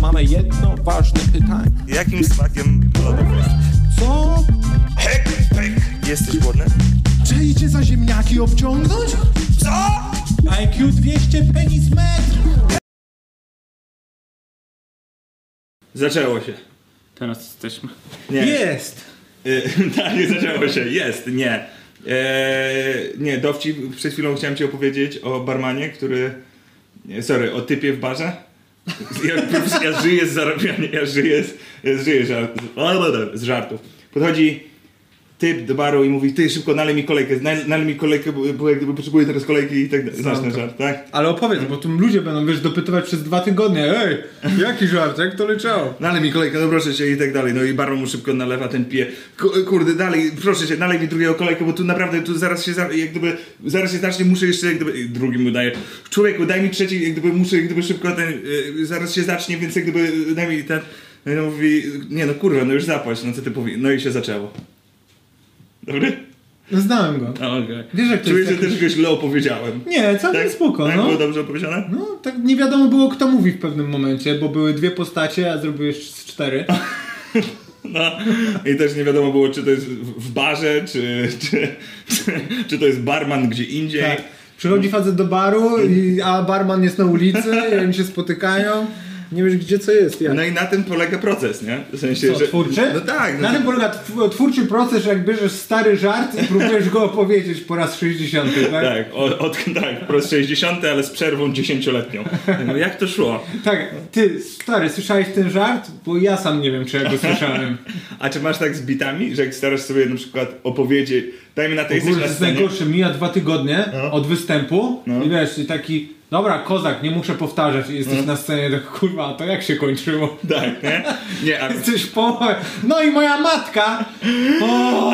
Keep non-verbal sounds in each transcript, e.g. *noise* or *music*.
Mamy jedno ważne pytanie. Jakim smakiem lodów jest? Co? Jesteś głodny? Czy idzie za ziemniaki obciągnąć? IQ 200 penis metr! Zaczęło się. Teraz jesteśmy. Nie. Jest! Y, *laughs* tak, nie zaczęło się. Jest, nie. Eee, nie, dowcip. Przed chwilą chciałem ci opowiedzieć o barmanie, który... nie, Sorry, o typie w barze. Ja, ja żyję z zarabiania, ja żyję z, ja żyję z, żart, z żartów. Podchodzi typ do baru i mówi, ty szybko nalej mi kolejkę, nal- nalej mi kolejkę, bo, bo jakby potrzebuję teraz kolejki i tak dalej. Znasz ten żart, tak? Ale opowiedz, bo tu ludzie będą, wiesz, dopytywać przez dwa tygodnie. Ej, jaki żart, jak to leciało? No ale mi kolejka, no proszę cię i tak dalej. No i barman mu szybko nalewa ten pije. Ku- Kurde, dalej, proszę cię, nalej mi drugiego kolejkę, bo tu naprawdę, tu zaraz się, za- jak gdyby, zaraz się zacznie, muszę jeszcze, jak gdyby, i drugi mu daje. Człowieku, daj mi trzeci, jak gdyby, muszę, jak gdyby szybko ten, y, zaraz się zacznie, więc jak gdyby, y, daj mi ten. No i on mówi, nie no kurwa, no już zapłać, no co ty powi. No i się zaczęło. Dobry? No, znałem go. A, okej. Wiesz, jak to Czuję, jest że jakiś- też go źle opowiedziałem. Nie, całkiem No, spoko, tak no. było dobrze opowiedziane? No, tak nie wiadomo było, kto mówi w pewnym momencie, bo były dwie postacie, a zrobiłeś z *laughs* cztery. Tak. No. I też nie wiadomo było, czy to jest w w barze, czy, czy, czy, czy to jest barman gdzie indziej. Tak. Przychodzi facet do baru, i, a barman jest na ulicy, *laughs* i oni się spotykają. Nie wiesz, gdzie co jest, jak. No i na tym polega proces, nie? W sensie, Co, że... twórczy? No tak. No, Na tym polega tw- twórczy proces, jak bierzesz stary żart i próbujesz go opowiedzieć po raz 60, tak? tak? Tak, od, od, tak, po raz 60, ale z przerwą 10-letnią. No jak to szło? Tak, ty, stary, słyszałeś ten żart? Bo ja sam nie wiem, *laughs* czy ja go słyszałem. A czy masz tak z bitami, że jak starasz sobie na przykład opowiedzieć, dajmy na to, jesteś No. Ogólnie na to jest scenie... najgorsze, mija dwa tygodnie od występu No. i wiesz, i taki, dobra, kozak, nie muszę powtarzać, i jesteś na scenie, tak kurwa, a to jak się kończyło? *laughs* Tak, nie? Nie, a... Jesteś po... No i moja matka! O!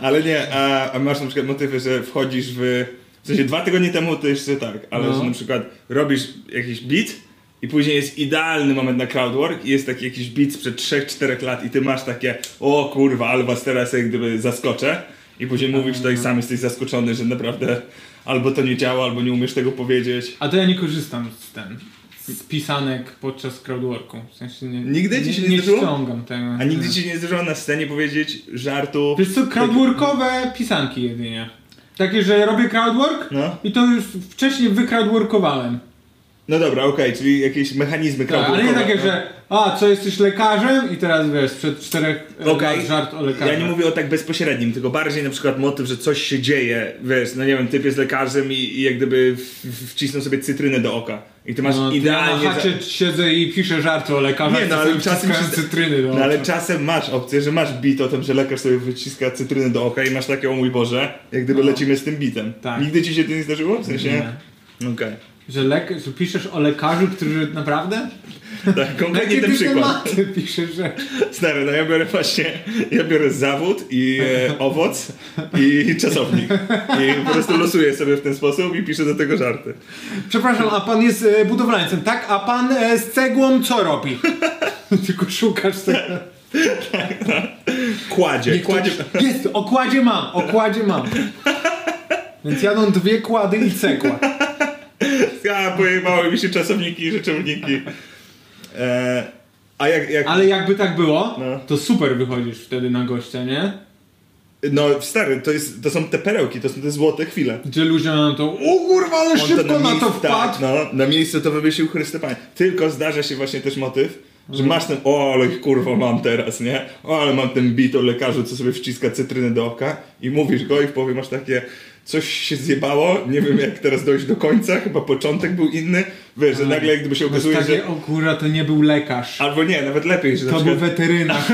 Ale nie, a, a masz na przykład motywy, że wchodzisz w. W sensie dwa tygodnie temu to jeszcze tak, ale No. że na przykład robisz jakiś beat i później jest idealny moment na crowdwork i jest taki jakiś beat sprzed 3-4 lat i ty masz takie o kurwa, ale was teraz jak gdyby zaskoczę i później mówisz to i sam jesteś zaskoczony, że naprawdę albo to nie działa, albo nie umiesz tego powiedzieć. A to ja nie korzystam z ten, z pisanek podczas crowdworku, w sensie nie... Nigdy ci się nie nie zdarzyło? ściągam tego. A nigdy ci się nie zdarzyło na scenie powiedzieć żartu. Tak. Tak. Wiesz co, crowdworkowe pisanki jedynie. Takie, że robię crowdwork No. i to już wcześniej wycrowdworkowałem. No dobra, okej, czyli jakieś mechanizmy Tak, crowdworkowe. ale nie takie, no. że a, co, jesteś lekarzem? I teraz wiesz, przed czterech e, Okej. lat żart o lekarzu. Ja nie mówię o tak bezpośrednim, tylko bardziej na przykład motyw, że coś się dzieje, wiesz, no nie wiem, typ jest lekarzem i, i jak gdyby w- w- wcisnął sobie cytrynę do oka. I ty masz No, to idealnie... Ja na za- chacie siedzę i piszę żarty o lekarzach, Nie, no, ale czasem wciskam się- cytryny do No ale oczu. czasem masz opcję, że masz bit o tym, że lekarz sobie wyciska cytrynę do oka i masz takie, o mój Boże, jak gdyby lecimy z tym bitem. No. Tak. Nigdy ci się to nie zdarzyło? W sensie... Okej. Że, lek... że piszesz o lekarzu, który naprawdę? Tak, konkretnie Jakie ten ty przykład. tematy *laughs* piszesz, że... Stary, no ja biorę właśnie, ja biorę zawód i e, owoc i czasownik. I po prostu losuję sobie w ten sposób i piszę do tego żarty. Przepraszam, a pan jest e, budowlańcem, tak? A pan e, z cegłą co robi? *laughs* Tylko szukasz tego. Kładzie, kładzie. Jest, o kładzie mam, o kładzie *laughs* mam. Więc jadą dwie kłady i cegła. A, pojebały mi się czasowniki i rzeczowniki. E, a jak, jak... Ale jakby tak było, No. to super wychodzisz wtedy na gościa, nie? No stary, to, jest, to są te perełki, to są te złote chwile. Gdzie ludzie mają to, o kurwa, ale On szybko na to miejscu- wpadł. Tak, no, na miejsce to wymyślił Chryste Panie. Tylko zdarza się właśnie też motyw, że masz ten, o ale kurwa mam teraz, nie? O ale mam ten bit o lekarzu, co sobie wciska cytrynę do oka i mówisz go i w połowie masz takie, coś się zjebało, nie wiem jak teraz dojść do końca, chyba początek był inny, wiesz, że nagle jak gdyby się To jest okazuje, takie, że... znaczy- o kurwa, to nie był lekarz. Albo nie, nawet lepiej, że na To przykład... był weterynarz,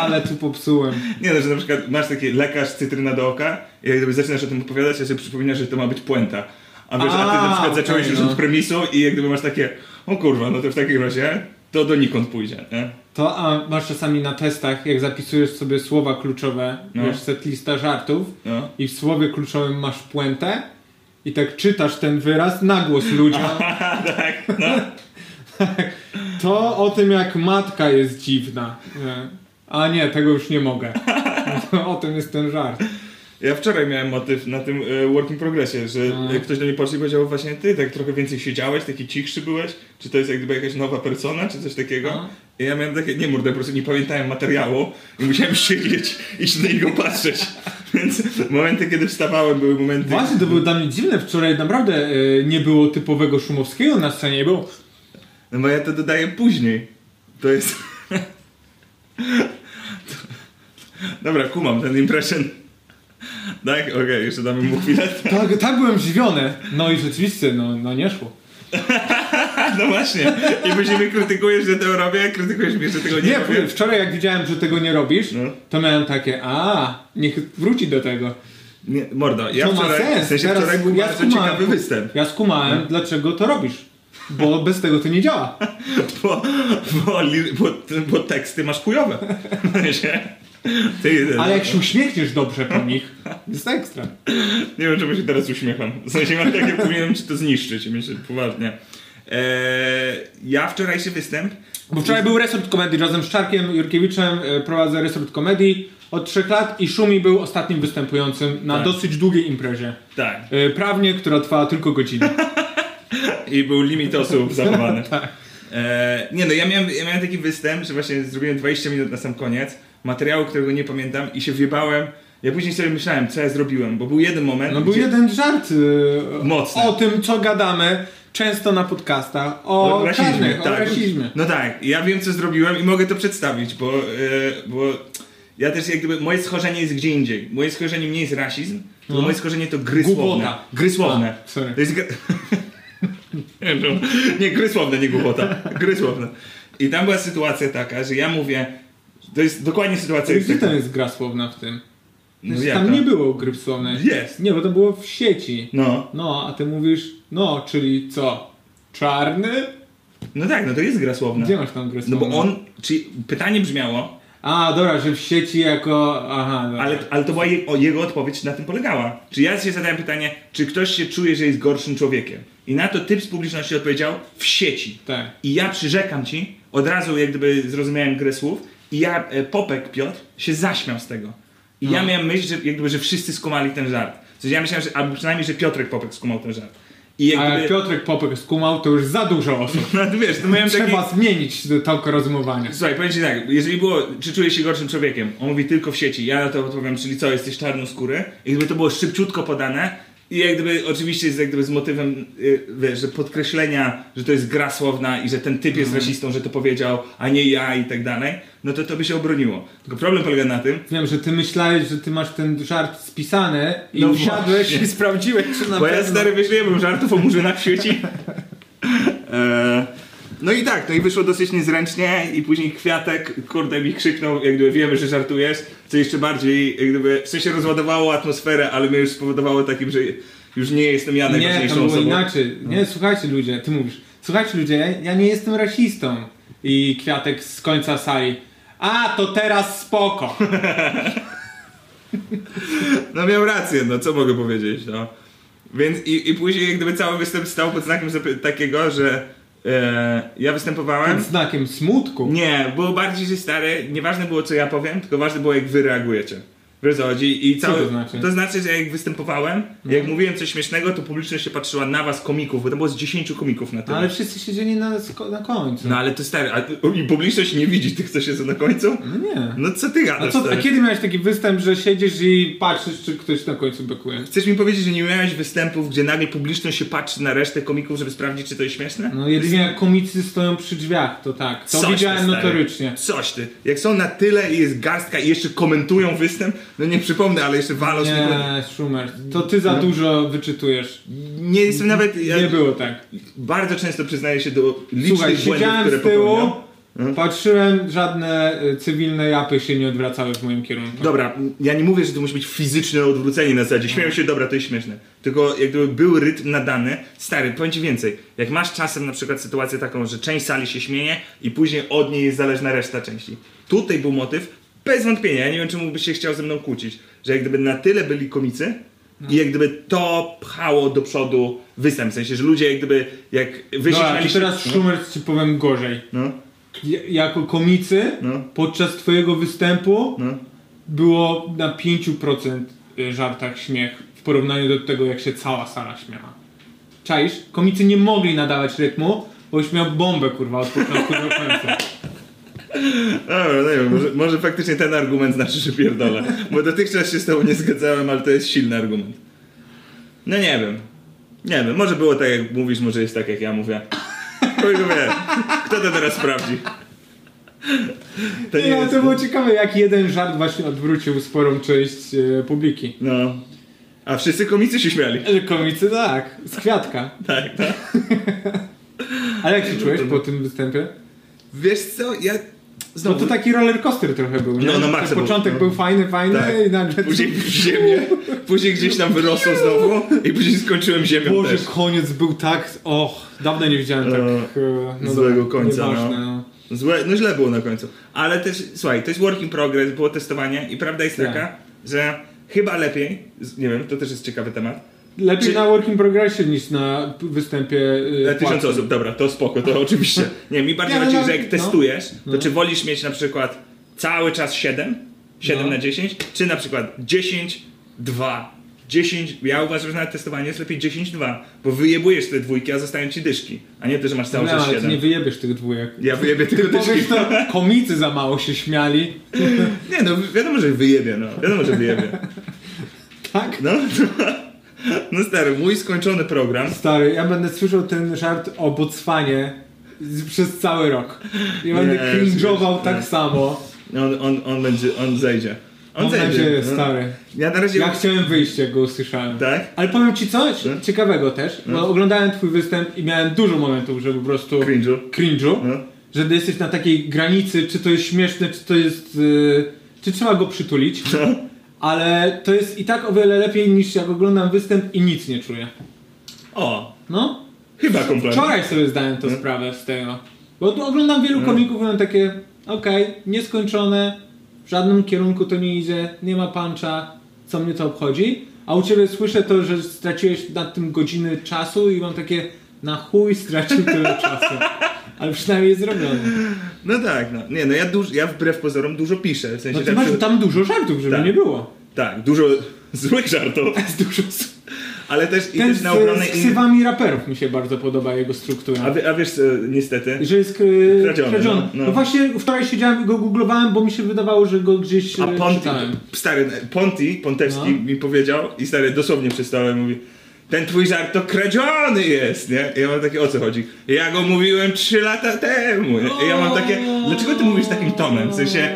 ale tu popsułem. Nie no, że na przykład masz taki lekarz cytryna do oka i jak gdyby zaczynasz o tym opowiadać, ja sobie przypominasz, że to ma być puenta. A wiesz, a, ty na A, przykład zacząłeś okej, już no. od premisu i jak gdyby masz takie, o kurwa, no to w takim razie to donikąd pójdzie, nie? To a masz czasami na testach, jak zapisujesz sobie słowa kluczowe, No. wiesz, set lista żartów No. i w słowie kluczowym masz puentę i tak czytasz ten wyraz na głos ludziom. *laughs* tak, no. To o tym, jak matka jest *laughs* dziwna. Nie. A nie, tego już nie mogę. O tym jest ten żart. Ja wczoraj miałem motyw na tym e, Working Progressie, że e, ktoś do mnie podszedł i powiedział właśnie ty tak trochę więcej siedziałeś, taki cichszy byłeś, czy to jest jak gdyby jakaś nowa persona, czy coś takiego. I ja miałem takie, nie murde, po prostu nie pamiętałem materiału i musiałem *laughs* siedzieć i na niego patrzeć. *laughs* Więc momenty, kiedy wstawałem, były momenty... Właśnie, to było dla mnie dziwne wczoraj, naprawdę e, nie było typowego Szumowskiego na scenie, nie było. No bo ja to dodaję później. To jest... Dobra, kumam ten impression. Tak? Okej, jeszcze damy mu *laughs* chwilę. Tak, tak byłem zdziwiony. No i rzeczywiście, no, no nie szło. No właśnie. I później mnie krytykujesz, że to robię, krytykujesz mnie, że tego nie, Nie, robię. wczoraj jak widziałem, że tego nie robisz, No. to miałem takie, a niech wróci do tego. Nie, mordo, ja To ma wczoraj, sens. w sensie Teraz wczoraj był ja bardzo skumałem. ciekawy występ, *laughs* No. Ja skumałem, dlaczego to robisz. Bo bez tego to nie działa. bo, bo, li- bo, bo teksty masz chujowe. *laughs* W sensie, Ty jeden. Ale jak się uśmiechniesz dobrze po nich, jest ekstra. Nie wiem, czemu się teraz uśmiecham. W sensie mam takie, powinienem ci to zniszczyć, myślę, poważnie. Eee, ja wczorajszy występ, Bo wczoraj był resort komedii razem z Czarkiem Jurkiewiczem, e, prowadzę resort komedii od trzech lat i Szumi był ostatnim występującym na Tak. dosyć długiej imprezie. tak, E, Prawnie, która trwała tylko godzinę. i był limit osób zachowany. *laughs* Tak. Eee, nie no, ja miałem, ja miałem taki występ, że właśnie zrobiłem 20 minut na sam koniec, materiału, którego nie pamiętam i się wjebałem. Ja później sobie myślałem, co ja zrobiłem, bo był jeden moment, No był gdzie- jeden żart e, Mocny. o tym, co gadamy często na podcastach, o O rasizmie, czarnych, tak. o rasizmie. No tak, ja wiem co zrobiłem i mogę to przedstawić, bo, e, bo ja też jak gdyby, moje schorzenie jest gdzie indziej. Moje schorzenie nie jest rasizm, tylko moje schorzenie to gry No. Głupota. słowne. Gry słowne. A, sorry. To jest gr... *laughs* nie, wiem, czemu. nie, gry słowne, nie głupota. Gry słowne. I tam była sytuacja taka, że ja mówię, to jest dokładnie sytuacja... Gdzie taka. tam jest gra słowna w tym? tak, No Znaczy, jak tam to? nie było gry słownej. Jest. Nie, bo to było w sieci. No, No, a ty mówisz, no, czyli co? Czarny? no tak, no to jest gra słowna. Gdzie masz tam grę No słowną? bo on, czyli pytanie brzmiało, A, dobra, że w sieci jako... Aha, dobra. Ale, ale to była je, o, jego odpowiedź na tym polegała. Czy ja się zadałem pytanie, czy ktoś się czuje, że jest gorszym człowiekiem? I na to typ z publiczności odpowiedział w sieci. Tak. I ja przyrzekam ci, od razu jak gdyby zrozumiałem grę słów i ja, e, Popek Piotr, się zaśmiał z tego. I No. ja miałem myśl, że, jak gdyby, że wszyscy skumali ten żart. Coś ja myślałem, że, albo przynajmniej, że Piotrek Popek skumał ten żart. I jak A gdyby, jak Piotrek Popek skumał, to już za dużo osób. *laughs* no, to wiesz, to miałem taki... Trzeba zmienić tok rozumowania. Słuchaj, powiem ci tak, jeżeli było, czy czujesz się gorszym człowiekiem, on mówi tylko w sieci, ja na to odpowiem, czyli co, jesteś czarnoskóry, i gdyby to było szybciutko podane, i jak gdyby, oczywiście z, jak gdyby z motywem, y, wiesz, że podkreślenia, że to jest gra słowna i że ten typ Mhm. jest rasistą, że to powiedział, a nie ja i tak dalej, no to to by się obroniło. Tylko problem polega na tym, Wiem, że ty myślałeś, że ty masz ten żart spisany i No usiadłeś właśnie. i sprawdziłeś, czy na bo pewno... ja stary wyślejemy żartów o murzynach w sieci. *laughs* Eee, No i tak, no i wyszło dosyć niezręcznie i później Kwiatek, kurde, mi krzyknął, jak gdyby wiemy, że żartujesz, co jeszcze bardziej, jak gdyby, w sensie rozładowało atmosferę, ale mnie już spowodowało takim, że już nie jestem ja Nie, to najważniejszą No. było osobą. inaczej. Nie, słuchajcie ludzie, ty mówisz. Słuchajcie ludzie, ja, ja nie jestem rasistą. I Kwiatek z końca sali. A, to teraz spoko. No miał rację, no co mogę powiedzieć, no. Więc i, i później jak gdyby cały występ stał pod znakiem zapy- takiego, że e, ja występowałem... Pod znakiem smutku. Nie, było bardziej, że stary, nieważne było co ja powiem, tylko ważne było jak wy reagujecie. Wiesz o co chodzi? I Co cały, to znaczy? Mhm. To znaczy, że jak występowałem, jak mówiłem coś śmiesznego, to publiczność się patrzyła na was komików, bo to było z 10 komików na No, tyle. ale wszyscy siedzieli na, sko- na końcu. No ale to stary, a, i publiczność nie widzi tych, co siedzą na końcu? No nie. No co ty gadasz, A, co, a stary? kiedy miałeś taki występ, że siedzisz i patrzysz, czy ktoś na końcu bekuje? Chcesz mi powiedzieć, że nie miałeś występów, gdzie nagle publiczność się patrzy na resztę komików, żeby sprawdzić, czy to jest śmieszne? No jedynie jak komicy stoją przy drzwiach, to tak. To Coś ty, widziałem stary. notorycznie. Coś ty. Jak są na tyle i jest garstka i jeszcze komentują występ, no nie przypomnę, ale jeszcze walą z tego- Nie, Schumer, to ty za dużo wyczytujesz. Nie jestem nawet. Ja Nie było tak. Bardzo często przyznaję się do licznych Słuchaj, błędów, siedziałem które z tyłu, popełniam. patrzyłem, żadne y, cywilne japy się nie odwracały w moim kierunku. Dobra, ja nie mówię, że to musi być fizyczne odwrócenie na zasadzie. Śmieją się, dobra, to jest śmieszne. Tylko jak gdyby był rytm nadany, stary, powiem ci więcej. Jak masz czasem na przykład sytuację taką, że część sali się śmieje i później od niej jest zależna reszta części. Tutaj był motyw, bez wątpienia, ja nie wiem, czemu byś się chciał ze mną kłócić, że jak gdyby na tyle byli komicy No. i jak gdyby to pchało do przodu występ, w sensie, że ludzie jak gdyby, jak wy się Dobra, i śmialiście- No, teraz Schumer ci powiem gorzej. No, Ja- Jako komicy No. podczas twojego występu no. było na 5% y, żartach śmiech w porównaniu do tego, jak się cała sala śmiała. Czaisz? Komicy nie mogli nadawać rytmu, bo już miał bombę, kurwa, od początku do końca. Dobra, no nie wiem, może, może faktycznie ten argument znaczy, że pierdolę. Bo dotychczas się z tobą nie zgadzałem, ale to jest silny argument. No nie wiem. Nie wiem, może było tak jak mówisz, może jest tak jak ja mówię. Chuj go wie. Kto to teraz sprawdzi? *laughs* To Nie, ale No, to było ciekawe, jak jeden żart właśnie odwrócił sporą część y, publiki. No. A wszyscy komicy się śmiali. Komicy tak, z kwiatka. Tak, tak. Ale No, jak się czułeś po tym występie? Wiesz co, ja... No Znowu... to taki roller coaster trochę był. Nie? No, no, Ten maksa był. Początek był fajny, fajny Tak. i nagle... Później w ziemię, później gdzieś tam wyrosło znowu i później skończyłem ziemią *laughs* Boże, też. koniec był tak. Och, dawno nie widziałem tak. No, e, no złego dobra, końca, Nieważne, no. no. Złe, no źle było na końcu. Ale też, słuchaj, to jest work in progress, było testowanie i prawda jest Tak. taka, że chyba lepiej, z- nie wiem, to też jest ciekawy temat, Lepiej Czy- na working progressie niż na p- występie. e, na tysiąc płatnym. osób, dobra, to spoko, to oczywiście. Nie, mi bardziej No. Nie, chodzi, no, że jak no. testujesz, to No. czy wolisz mieć na przykład cały czas 7, 7 No. na 10, czy na przykład 10, 2, 10, ja uważam, że na testowanie jest lepiej 10, 2, bo wyjebujesz te dwójki, a zostają ci dyszki, a nie to, że masz cały No, czas ale ty 7. nie wyjebiesz tych dwójek. Ja *laughs* wyjebię tylko dyszki. Powiesz to, komicy za mało się śmiali. *laughs* Nie no, wiadomo, że wyjebie, no, wiadomo, że wyjebie. Tak? No, no stary, mój skończony program. Stary, ja będę słyszał ten żart o Botswanie z- przez cały rok. I będę cringe'ował nie. tak samo. On, on, on będzie, on zejdzie. On Mam zejdzie. nadzieję, no. stary. Ja na razie. Ja chciałem wyjść, jak go usłyszałem. Tak? Ale powiem ci coś ciekawego też, No. bo oglądałem twój występ i miałem dużo momentów, że po prostu... Cringe'u. Cringe'u. No. Że ty jesteś na takiej granicy, czy to jest śmieszne, czy to jest... y, czy trzeba go przytulić. Ale to jest i tak o wiele lepiej niż jak oglądam występ i nic nie czuję. O, No. chyba kompletnie. Wczoraj sobie zdałem Hmm? to sprawę z tego. Bo tu oglądam wielu komików, i mam takie, okej, nieskończone, w żadnym kierunku to nie idzie, nie ma puncha, co mnie to obchodzi. A u ciebie słyszę to, że straciłeś nad tym godziny czasu i mam takie, na chuj stracił tyle czasu. Ale przynajmniej jest zrobione. No tak, no. Nie, no ja, duż, ja wbrew pozorom dużo piszę. W sensie No ty tam masz przy- tam dużo żartów, żeby Tak. nie było. Tak, dużo złych *laughs* żartów. Jest dużo. s- Ale też i Ten też z, na obronę z innych. ksywami raperów mi się bardzo podoba jego struktura. A, wy- a wiesz, e, niestety. Że jest e, Kradziony, kradziony. no, No, no. właśnie wczoraj siedziałem i go googlowałem, bo mi się wydawało, że go gdzieś A e, Ponti, czytałem. stary, Ponti, Pontewski No. mi powiedział i stary dosłownie przystałem, mówi ten twój żart to kradziony jest, nie? I ja mam takie, o co chodzi? Ja go mówiłem 3 lata temu. nie? I ja mam takie, dlaczego ty mówisz takim tonem? W sensie,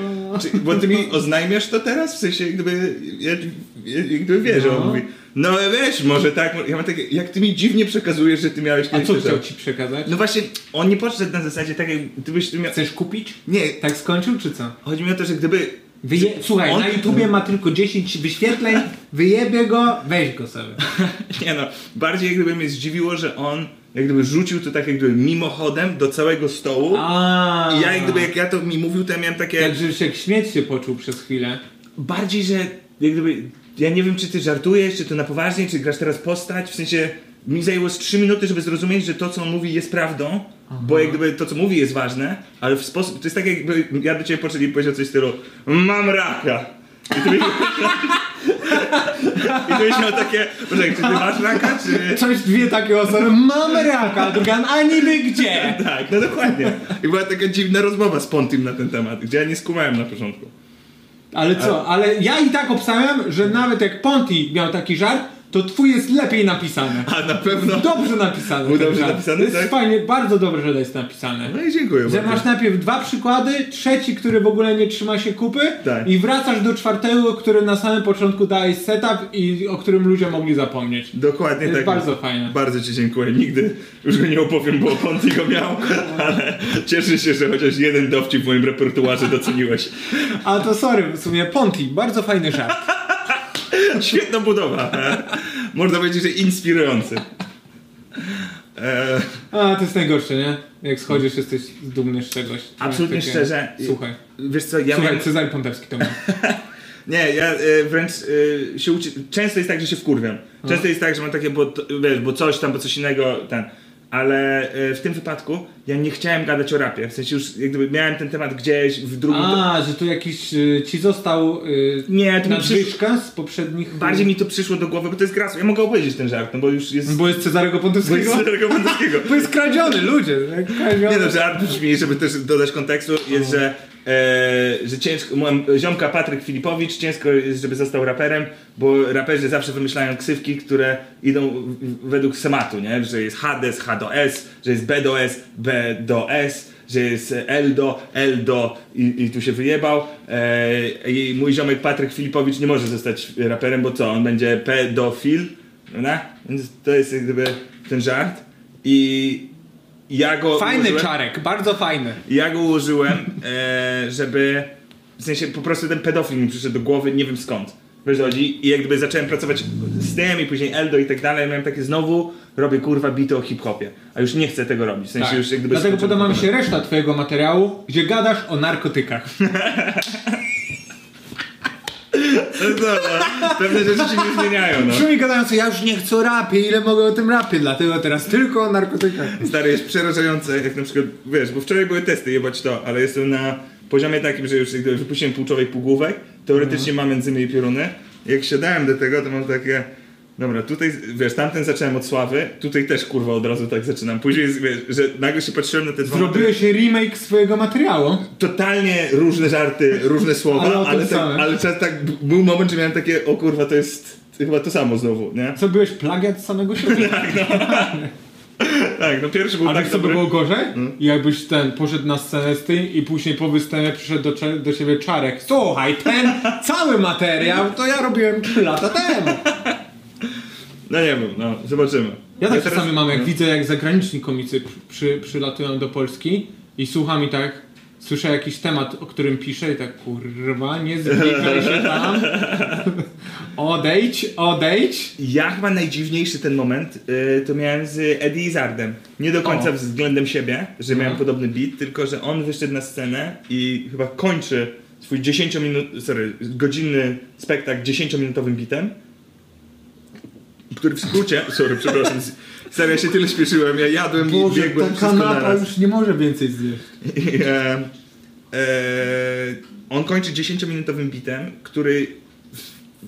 czy, bo ty mi oznajmiasz to teraz? W sensie, jak gdyby, jak, jak gdyby wiesz, No. on mówi, no ale wiesz, może tak, mo- ja mam takie, jak ty mi dziwnie przekazujesz, że ty miałeś A kiedyś co ten chciał żart? ci przekazać? No właśnie, on nie podszedł na zasadzie tak, jak gdybyś ty miał... Chcesz kupić? Nie, Tak skończył, czy co? chodzi mi o to, że gdyby... Wyje... Słuchaj, On- na YouTubie ma tylko 10 wyświetleń, wyjebie go, weź go sobie. *laughs* Nie no, bardziej jakby mnie zdziwiło, że on jak gdyby rzucił to tak jak gdyby mimochodem do całego stołu. A. I ja jak gdyby, jak ja to mi mówił, to ja miałem takie... Tak, żebyś jak śmieć się poczuł przez chwilę. Bardziej, że jak gdyby... Ja nie wiem, czy ty żartujesz, czy to na poważnie, czy grasz teraz postać, w sensie... Mi zajęło z 3 minuty, żeby zrozumieć, że to, co on mówi, jest prawdą, bo jak gdyby to, co mówi, jest ważne, ale w sposób... To jest tak, jakby ja do ciebie podszedł i powiedział coś w stylu Mam raka! I ty byś, *laughs* I ty byś miał takie... Poczekaj, czy ty masz raka, czy... Coś dwie takie osoby, mam raka, a druga, a niby gdzie? Tak, no dokładnie. I była taka dziwna rozmowa z Pontim na ten temat, gdzie ja nie skumałem na początku. Ale co, ale ja i tak obstawiam, że nawet jak Ponti miał taki żart, to twój jest lepiej napisany. A na pewno... Dobrze napisany. No. Był ten dobrze żart. napisany, To jest tak? fajnie, bardzo dobrze, że to jest napisane. No i dziękuję Że bardzo. masz najpierw dwa przykłady, trzeci, który w ogóle nie trzyma się kupy Tak. i wracasz do czwartego, który na samym początku dałeś setup i o którym ludzie mogli zapomnieć. Dokładnie Jest tak. bardzo fajne. Bardzo ci dziękuję. Nigdy już go nie opowiem, bo Ponti go miał, *laughs* ale cieszę się, że chociaż jeden dowcip w moim repertuarze doceniłeś. A to sorry, w sumie Ponti, bardzo fajny żart. Świetna budowa. E, Można powiedzieć, że inspirujący. E, A to jest najgorsze, nie? Jak schodzisz, jesteś dumny z czegoś. Tak, absolutnie Takie, szczerze. Słuchaj. Wiesz co, ja Słuchaj, miałem... Cezary Pątewski to miał. Nie, ja e, wręcz e, się No. uczy... Często jest tak, że się wkurwiam. Często jest tak, że mam takie, bo, to, wiesz, bo coś tam, bo coś innego, ten... A ale e, w tym wypadku ja nie chciałem gadać o rapie. W sensie już jak gdyby miałem ten temat gdzieś w drugim. A, że tu jakiś y, ci został y, Nie, to mi nadwyżka z poprzednich... Bardziej mi to przyszło do głowy, bo to jest gra. Ja mogę opowiedzieć ten żart, no bo już *laughs* jest. Bo jest Cezarego Bo jest Pontowskiego? Cezarego *laughs* Bandowskiego. To jest kradziony, ludzie. tak, Kradziony. Nie no, żart brzmi, żeby też dodać kontekstu, jest, że, e, że ciężko, mam ziomka Patryk Filipowicz, ciężko jest, żeby został raperem, bo raperzy zawsze wymyślają ksywki, które idą w- w- według sematu, nie? Że jest Hades, H do S, że jest B do S, B do S, że jest Eldo, Eldo i, i tu się wyjebał. E, I mój ziomek Patryk Filipowicz nie może zostać raperem, bo co, on będzie pedofil, prawda? Więc to jest jak gdyby ten żart. I ja go Fajny ułożyłem- czarek, bardzo fajny. ja go ułożyłem, e, żeby. W sensie po prostu ten pedofil mi przyszedł do głowy, nie wiem skąd. Wiesz, chodzi? I jak gdyby zacząłem pracować z tym i później Eldo i tak dalej, miałem takie znowu robię kurwa bity o hip-hopie. A już nie chcę tego robić. W sensie Tak. już jak gdyby Dlatego skończyłem podoba mi to się reszta twojego materiału, gdzie gadasz o narkotykach. No. robić. *laughs* No, no, Pewne rzeczy się nie zmieniają, no. Brzmi gadając, ja już nie chcę o rapie, ile mogę o tym rapie, dlatego teraz tylko o narkotykach. Stary, jest przerażające, jak na przykład, wiesz, bo wczoraj były testy, jebać to, ale jestem na poziomie takim, że już jak gdyby wypuściłem półczołek półgłówek, teoretycznie mam enzymy i pioruny. Jak siadałem do tego, to mam takie, dobra, tutaj, wiesz, tamten zacząłem od Sławy, tutaj też, kurwa, od razu tak zaczynam. Później, jest, wiesz, że nagle się patrzyłem na te dwa... Zrobiłeś remake swojego materiału. Totalnie różne żarty, *laughs* różne słowa, Ale o ale, tym tak, samym. ale czas tak, był moment, że miałem takie, o kurwa, to jest chyba to samo znowu, nie? Co byłeś plagiat *laughs* samego siebie. Tak, no pierwszy był Ale tak wiesz, co by dobry. Hmm? było gorzej? Jakbyś ten poszedł na scenę z tym i później po występie przyszedł do, cze- do siebie czarek. Słuchaj, ten cały materiał to ja robiłem 3 lata temu. No nie wiem, no, zobaczymy. Ja tak teraz- czasami mam, jak no. widzę, jak zagraniczni komicy przy, przy, przylatują do Polski i słucham i tak słyszę jakiś temat, o którym piszę i tak kurwa, nie zblikaj się *laughs* tam. odejdź, odejdź. Ja chyba najdziwniejszy ten moment y, to miałem z Eddie Izardem. Nie do końca O. względem siebie, że miałem Mhm. podobny beat, tylko że on wyszedł na scenę i chyba kończy swój 10 minut, sorry, godzinny spektakl 10-minutowym bitem, który w skrócie, sorry, przepraszam, *laughs* z- stary, ja się tyle śpieszyłem, ja jadłem i Boże, biegłem ta wszystko kanapa naraz. już nie może więcej zjeść. I, *laughs* e, e, on kończy 10-minutowym bitem, który w,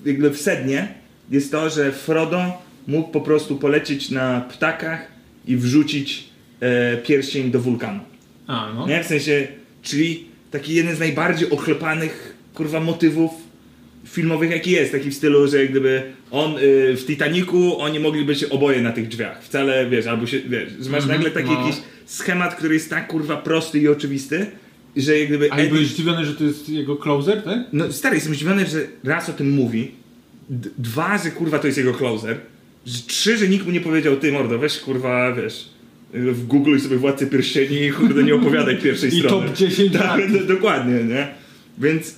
jakby w sednie jest to, że Frodo mógł po prostu polecieć na ptakach i wrzucić e, pierścień do wulkanu. A, no. Nie? W sensie, czyli taki jeden z najbardziej ochlepanych, kurwa, motywów filmowych jaki jest, taki w stylu, że jak gdyby on y, w Titaniku, oni mogli być oboje na tych drzwiach, wcale, wiesz, albo się, wiesz, że masz Mhm, nagle taki no. jakiś schemat, który jest tak, kurwa, prosty i oczywisty, że jak gdyby... A i Eddie- byłeś zdziwiony, że to jest jego closer, tak? no stary, jestem zdziwiony, że raz o tym mówi, d- dwa, że kurwa to jest jego closer, że trzy, że nikt mu nie powiedział, ty mordo, weź kurwa, wiesz, y, w Google sobie Władcę Pierścieni i kurde nie opowiadaj *laughs* pierwszej I strony. top 10 tak, lat. no, dokładnie, nie? Więc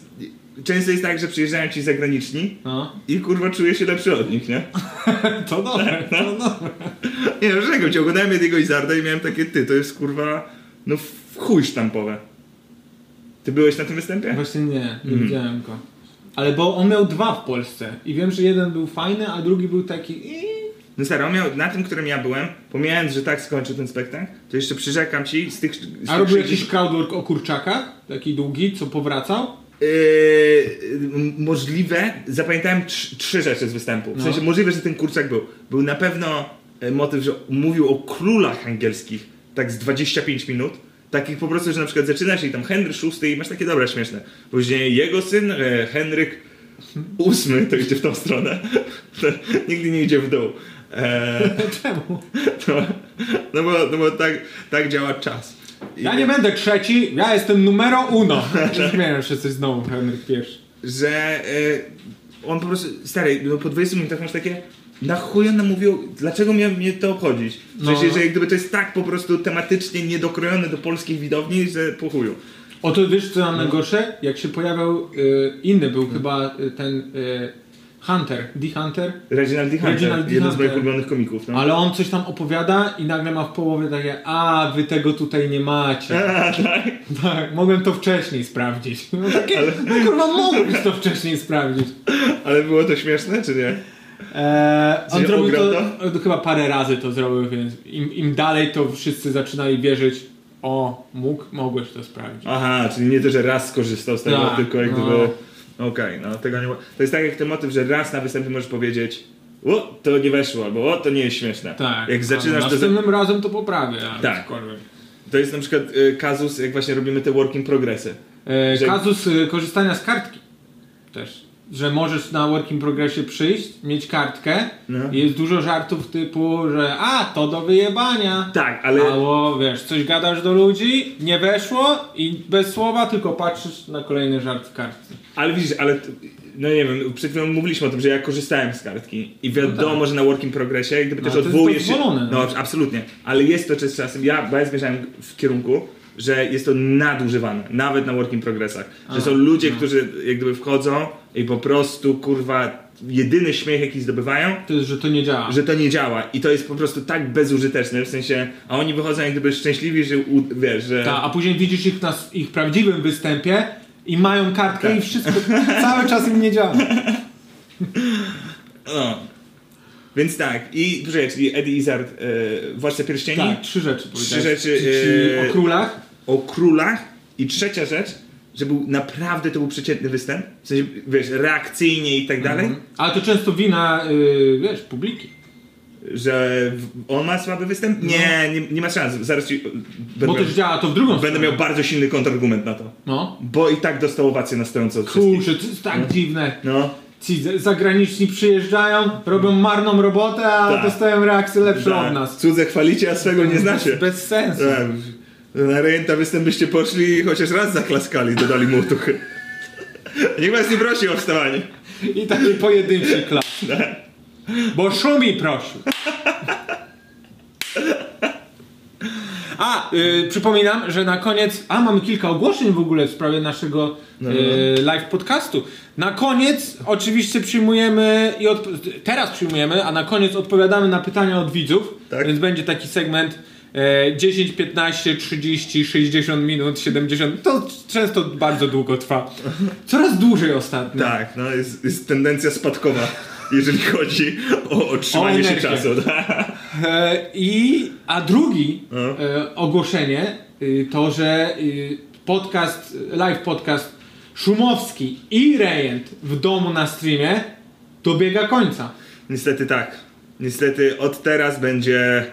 często jest tak, że przyjeżdżają ci zagraniczni No. i kurwa czuję się lepszy od nich, nie? *laughs* *laughs* To dobre, *laughs* to dobre. Nie no, wiem, czego cię oglądałem Ediego Izarda i miałem takie, ty, to jest kurwa, no w chuj sztampowe. Ty byłeś na tym występie? Właśnie nie, nie widziałem go. Ale bo on miał dwa w Polsce i wiem, że jeden był fajny, a drugi był taki... No stary, on miał, na tym, którym ja byłem, pomijając, że tak skończy ten spektakl, to jeszcze przyrzekam ci z tych... Z A tych robił 60 jakiś crowdwork o kurczakach, taki długi, co powracał. Yy, m- możliwe, zapamiętałem trz, trzy rzeczy z występu. W No. sensie możliwe, że ten kurczak był. Był na pewno e, motyw, że mówił o królach angielskich, tak z 25 minut. Takich po prostu, że na przykład zaczynasz i tam Henry VI i masz takie dobra, śmieszne. Później jego syn, e, Henryk VIII, to idzie w tą stronę. *laughs* To nigdy nie idzie w dół. E, Czemu? to, *laughs* no bo, no bo tak, tak działa czas. I- Ja nie będę trzeci, ja jestem numero uno. Zmieniam się coś znowu, Henryk pierwszy. że y, on po prostu, stary, no po 20 minutach masz takie, na chuj on nam mówił, dlaczego miał mnie to obchodzić? W No. sensie, że jak gdyby to jest tak po prostu tematycznie niedokrojone do polskiej widowni, że po chuju. Oto wiesz co nam najgorsze? Jak się pojawiał y, inny, był chyba y, ten y, Hunter, The Hunter, Reginald D. Hunter, Reginald D. jeden z Hunter. moich ulubionych komików. No. ale on coś tam opowiada i nagle ma w połowie takie, a wy tego tutaj nie *laughs* macie. A, *laughs* tak? Tak, mogłem to wcześniej sprawdzić. *laughs* No, takie, no kurwa, mogłeś to wcześniej sprawdzić. Ale było to śmieszne, czy nie? Eee, on Że zrobił ograł to, to? on chyba parę razy to zrobił, więc im, im dalej to wszyscy zaczynali wierzyć, o, mógł, mogłeś to sprawdzić. Aha, czyli nie to, że raz skorzystał z tego, Tak, tylko jak no. gdyby... Okej, no tego nie ma. To jest tak jak ten motyw, że raz na występie możesz powiedzieć o, to nie weszło, albo o, to nie jest śmieszne. Tak. Jak zaczynasz to... a za- Następnym razem to poprawię. ale Tak. cokolwiek. To jest na przykład y, kazus, jak właśnie robimy te working progressy. E, Że- Kazus e, korzystania z kartki też. Że możesz na Work in Progressie przyjść, mieć kartkę No. i jest dużo żartów typu, że a, to do wyjebania. Tak, ale... Albo wiesz, coś gadasz do ludzi, nie weszło i bez słowa tylko patrzysz na kolejny żart w kartce. Ale widzisz, ale t- no nie wiem, przed chwilą mówiliśmy o tym, że ja korzystałem z kartki i wiadomo, że na working progressie jak gdyby tak. też No, to jest odwołujesz się. dozwolone, No no. absolutnie, ale jest to czas czasem, ja, bo ja zmierzałem w kierunku, że jest to nadużywane, nawet na working progressach, że są ludzie, no. którzy jak gdyby wchodzą i po prostu kurwa jedyny śmiech jaki zdobywają, To jest, że to nie działa. że to nie działa i to jest po prostu tak bezużyteczne, w sensie, a oni wychodzą jak gdyby szczęśliwi, że u, wiesz, że... Ta, a później widzisz ich na s- ich prawdziwym występie i mają kartkę Tak. i wszystko cały czas im nie działa. No. Więc tak, i poczekaj, czyli Eddie Izzard, e, Władca Pierścieni, Tak, trzy rzeczy powiedziałeś. rzeczy, Ci- ci e, o królach. o królach i trzecia rzecz, że był naprawdę to był przeciętny występ, w sensie, wiesz, reakcyjnie i tak dalej, Mhm. Ale to często wina, y, wiesz, publiki. że w- on ma słaby występ? Nie, nie, nie ma szans, zaraz ci, No. będę, Bo miał, też działa to w drugą będę stronę. miał bardzo silny kontrargument na to, No. bo i tak dostał owację na stojąco od wszystkich. Kurczę, to jest tak dziwne. No, Ci z- zagraniczni przyjeżdżają, robią marną robotę, ale Tak. dostają reakcję lepszą tak. od nas. cudze chwalicie, a swego nie znacie. Bez sensu. Tak. Na rejenta występ byście poszli i chociaż raz zaklaskali, dodali mu otuchy. Nikt was nie prosi o wstawanie. I taki pojedynczy klas. Bo Szumi prosił. A, y, przypominam, że na koniec. A, mamy kilka ogłoszeń w ogóle w sprawie naszego y, live podcastu. Na koniec oczywiście przyjmujemy i odp- teraz przyjmujemy, a na koniec odpowiadamy na pytania od widzów. Tak. Więc będzie taki segment y, 10, 15, 30, 60 minut, 70. To często bardzo długo trwa. Coraz dłużej ostatnio. Tak, no jest, jest tendencja spadkowa, jeżeli chodzi o otrzymanie O się energię. czasu. *laughs* tak? E, I, a drugi No. e, ogłoszenie y, to, że y, podcast, live podcast Szumowski i Rejent w domu na streamie dobiega końca. Niestety tak. Niestety od teraz będzie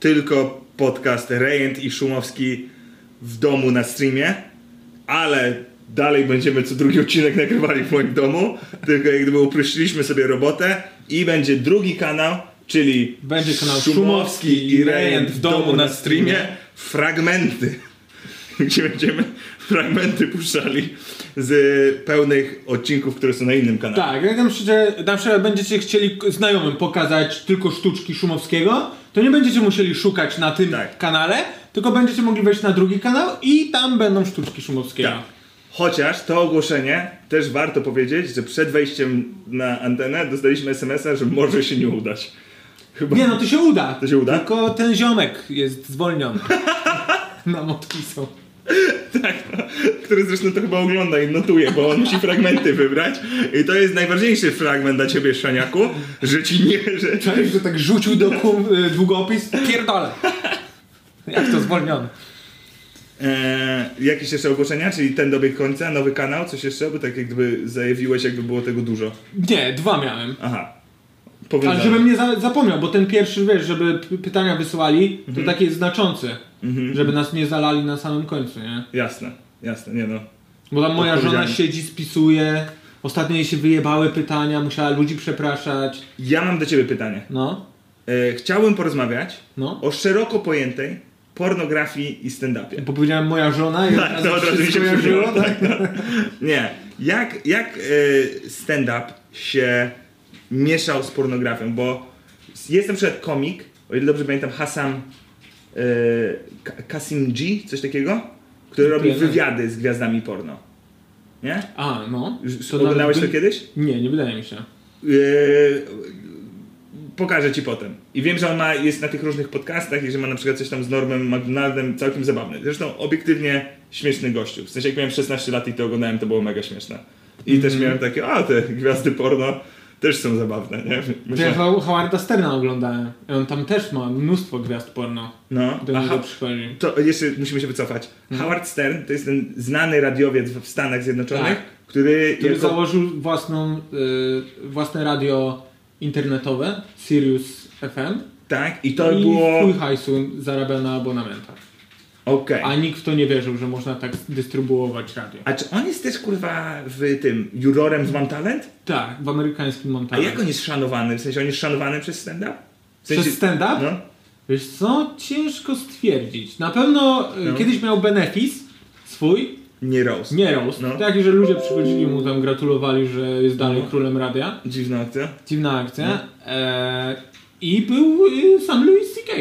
tylko podcast Rejent i Szumowski w domu na streamie, ale dalej będziemy co drugi odcinek nagrywali w moim domu, tylko jak gdyby uprościliśmy sobie robotę i będzie drugi kanał, czyli Będzie kanał Szumowski i Rejent w domu na streamie, fragmenty. *laughs* Gdzie będziemy fragmenty puszczali z pełnych odcinków, które są na innym kanale. Tak, jak na przykład, na przykład będziecie chcieli k- znajomym pokazać tylko sztuczki Szumowskiego, to nie będziecie musieli szukać na tym Tak. kanale, tylko będziecie mogli wejść na drugi kanał i tam będą sztuczki Szumowskiego. Tak. Chociaż to ogłoszenie też warto powiedzieć, że przed wejściem na antenę dostaliśmy SMS-a, że może się nie udać. Chyba. Nie no, to się uda. To się uda? Tylko ten ziomek jest *laughs* zwolniony. Nam odpisał. Tak, no, Który zresztą to chyba ogląda i notuje, bo on musi fragmenty wybrać. I to jest najważniejszy fragment dla ciebie, Szaniaku, że ci nie, że, Cześć, że tak rzucił do kum, y, długopis. Pierdolę. Jak to zwolniony? Eee, jakieś jeszcze ogłoszenia, czyli ten dobieg końca, nowy kanał, coś jeszcze, bo tak jak gdyby zajawiłeś, jakby było tego dużo. Nie, dwa miałem. Aha. Ale Powiedzmy. żebym nie za, zapomniał, bo ten pierwszy, wiesz, żeby p- pytania wysyłali, to Mhm. taki jest znaczący. Żeby nas nie zalali na samym końcu, nie? Jasne, jasne, nie no. Bo tam moja żona Odpowiedzialny. siedzi, spisuje. Ostatnio jej się wyjebały pytania, musiała ludzi przepraszać. Ja mam do ciebie pytanie. No, E, chciałbym porozmawiać no. o szeroko pojętej pornografii i stand-upie. Bo powiedziałem moja żona i Tak, to od razu mi się wszystko kojarzyło, przypomniało, tak, no. Nie. Jak, jak e, stand-up się mieszał z pornografią? Bo jest na przykład komik, o ile dobrze pamiętam, Hassan e, Ka- Kasimji, coś takiego, który robi Pijany. wywiady z gwiazdami porno. Nie? A, no. Już To Oglądałeś to nawet- kiedyś? Nie, nie wydaje mi się. Yy, pokażę ci potem. I wiem, że on ma, jest na tych różnych podcastach i że ma na przykład coś tam z Normem McDonaldem, całkiem zabawny. Zresztą obiektywnie śmieszny gościu. W sensie Mhm. jak miałem 16 lat i to oglądałem, to było mega śmieszne. I też miałem takie, a te gwiazdy porno, też są zabawne, nie? To ja Myślę, Ho- Howarda Sterna oglądałem. I on tam też ma mnóstwo gwiazd porno. no, Do aha, niego przychodzi. to jeszcze musimy się wycofać. Mhm. Howard Stern to jest ten znany radiowiec w Stanach Zjednoczonych, Tak. który, Który jako- założył własną, y, własne radio internetowe, Sirius FM. Tak, i to I było... chuj hajsu zarabiał na abonamentach. Okej. A nikt w to nie wierzył, że można tak dystrybuować radio. A czy on jest też kurwa w tym jurorem z Mam Talent? Tak, w amerykańskim A Montana. jak on jest szanowany? W sensie on jest szanowany przez stand-up? W sensie... Przez stand-up? No. Wiesz co? Ciężko stwierdzić. Na pewno y, No. kiedyś miał benefis swój, Nie roast. nie roast. No. Taki, że ludzie przychodzili mu tam, gratulowali, że jest dalej No. królem radia. Dziwna akcja. Dziwna akcja. E, I był y, sam Louis C.K.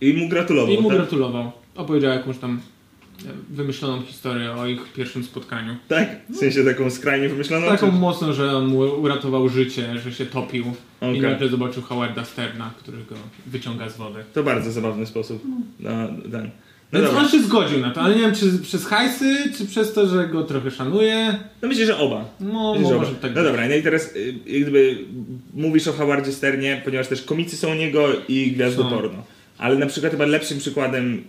I mu gratulował, I mu tak? gratulował. Opowiedział jakąś tam e, wymyśloną historię o ich pierwszym spotkaniu. tak? W sensie taką skrajnie wymyśloną? Taką No, czy- mocno, że on mu uratował życie, że się topił. Okej. I nagle zobaczył Howarda Sterna, który go wyciąga z wody. To bardzo zabawny sposób na ten. No No Więc dobra. on się zgodził na to, ale nie wiem czy przez hajsy, czy przez to, że go trochę szanuje. No myślę, że oba. No, Myślę, że no oba. może tak No być. dobra, no i teraz y, jak gdyby mówisz o Howardzie Sternie, ponieważ też komicy są u niego i gwiazdy Są. porno. Ale na przykład chyba lepszym przykładem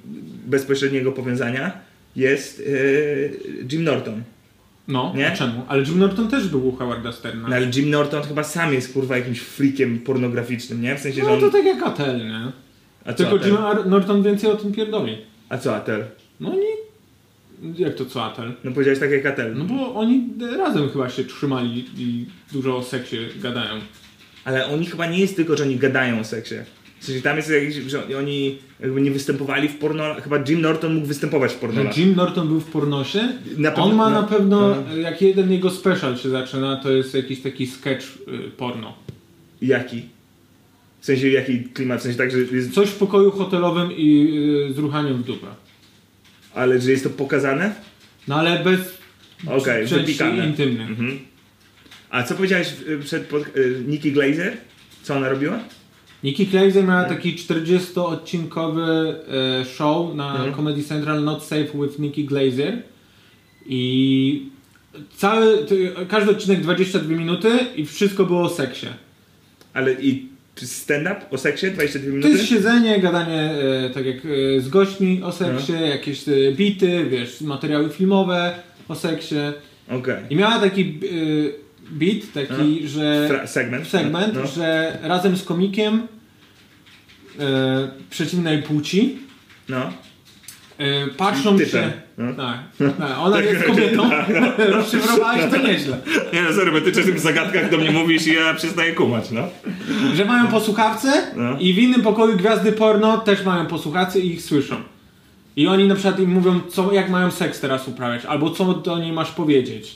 bezpośredniego powiązania jest y, Jim Norton. No, Nie? a czemu? Ale Jim Norton też był u Howarda Sterna. No ale Jim Norton chyba sam jest kurwa jakimś freakiem pornograficznym, nie? W sensie, że No on... to tak jak Atel, nie? A co Tylko Atel? Jim Ar- Norton więcej o tym pierdoli. A co Atel? No nie... Jak to co Atel? No powiedziałeś tak jak Atel. No bo oni razem chyba się trzymali i dużo o seksie gadają. Ale oni chyba nie jest tylko, że oni gadają o seksie. W sensie tam jest jakiś, że oni jakby nie występowali w porno, chyba Jim Norton mógł występować w porno. Że No, Jim Norton był w pornosie? Na pewno- On ma no, na pewno, no. jak jeden jego special się zaczyna, to jest jakiś taki sketch y, porno. Jaki? W sensie jaki klimat, w sensie tak, że jest, Coś w pokoju hotelowym i y, z ruchaniem w dupę. ale że jest to pokazane? No ale bez Okej, części wypikane. Mhm. intymnych. A co powiedziałeś y, przed pod, y, Nikki Glazer? Co ona robiła? Nikki Glaser miała taki 40-odcinkowy e, show na Mhm. Comedy Central Not Safe with Nikki Glaser i cały, ty- każdy odcinek 22 minuty i wszystko było o seksie. Ale i czy stand-up o seksie 22 To minuty? jest siedzenie, gadanie e, tak jak e, z gośćmi o seksie, Mhm. jakieś e, bity, wiesz, materiały filmowe o seksie. Okej. I miała taki e, bit, taki, że... Fra- Segment. segment, Mhm. No. że razem z komikiem e, przeciwnej płci no. e, patrzą Typem, Tak, się. no. Tak, tak, ona jest *laughs* kobietą. *laughs* Rozszyfrowałaś to nieźle. Nie no, sorry, bo ty czasem w zagadkach do mnie mówisz i ja przestaję kumać, no. Że mają posłuchawce No. i w innym pokoju gwiazdy porno też mają posłuchawce i ich słyszą. I oni na przykład im mówią, co, jak mają seks teraz uprawiać, albo co do niej masz powiedzieć.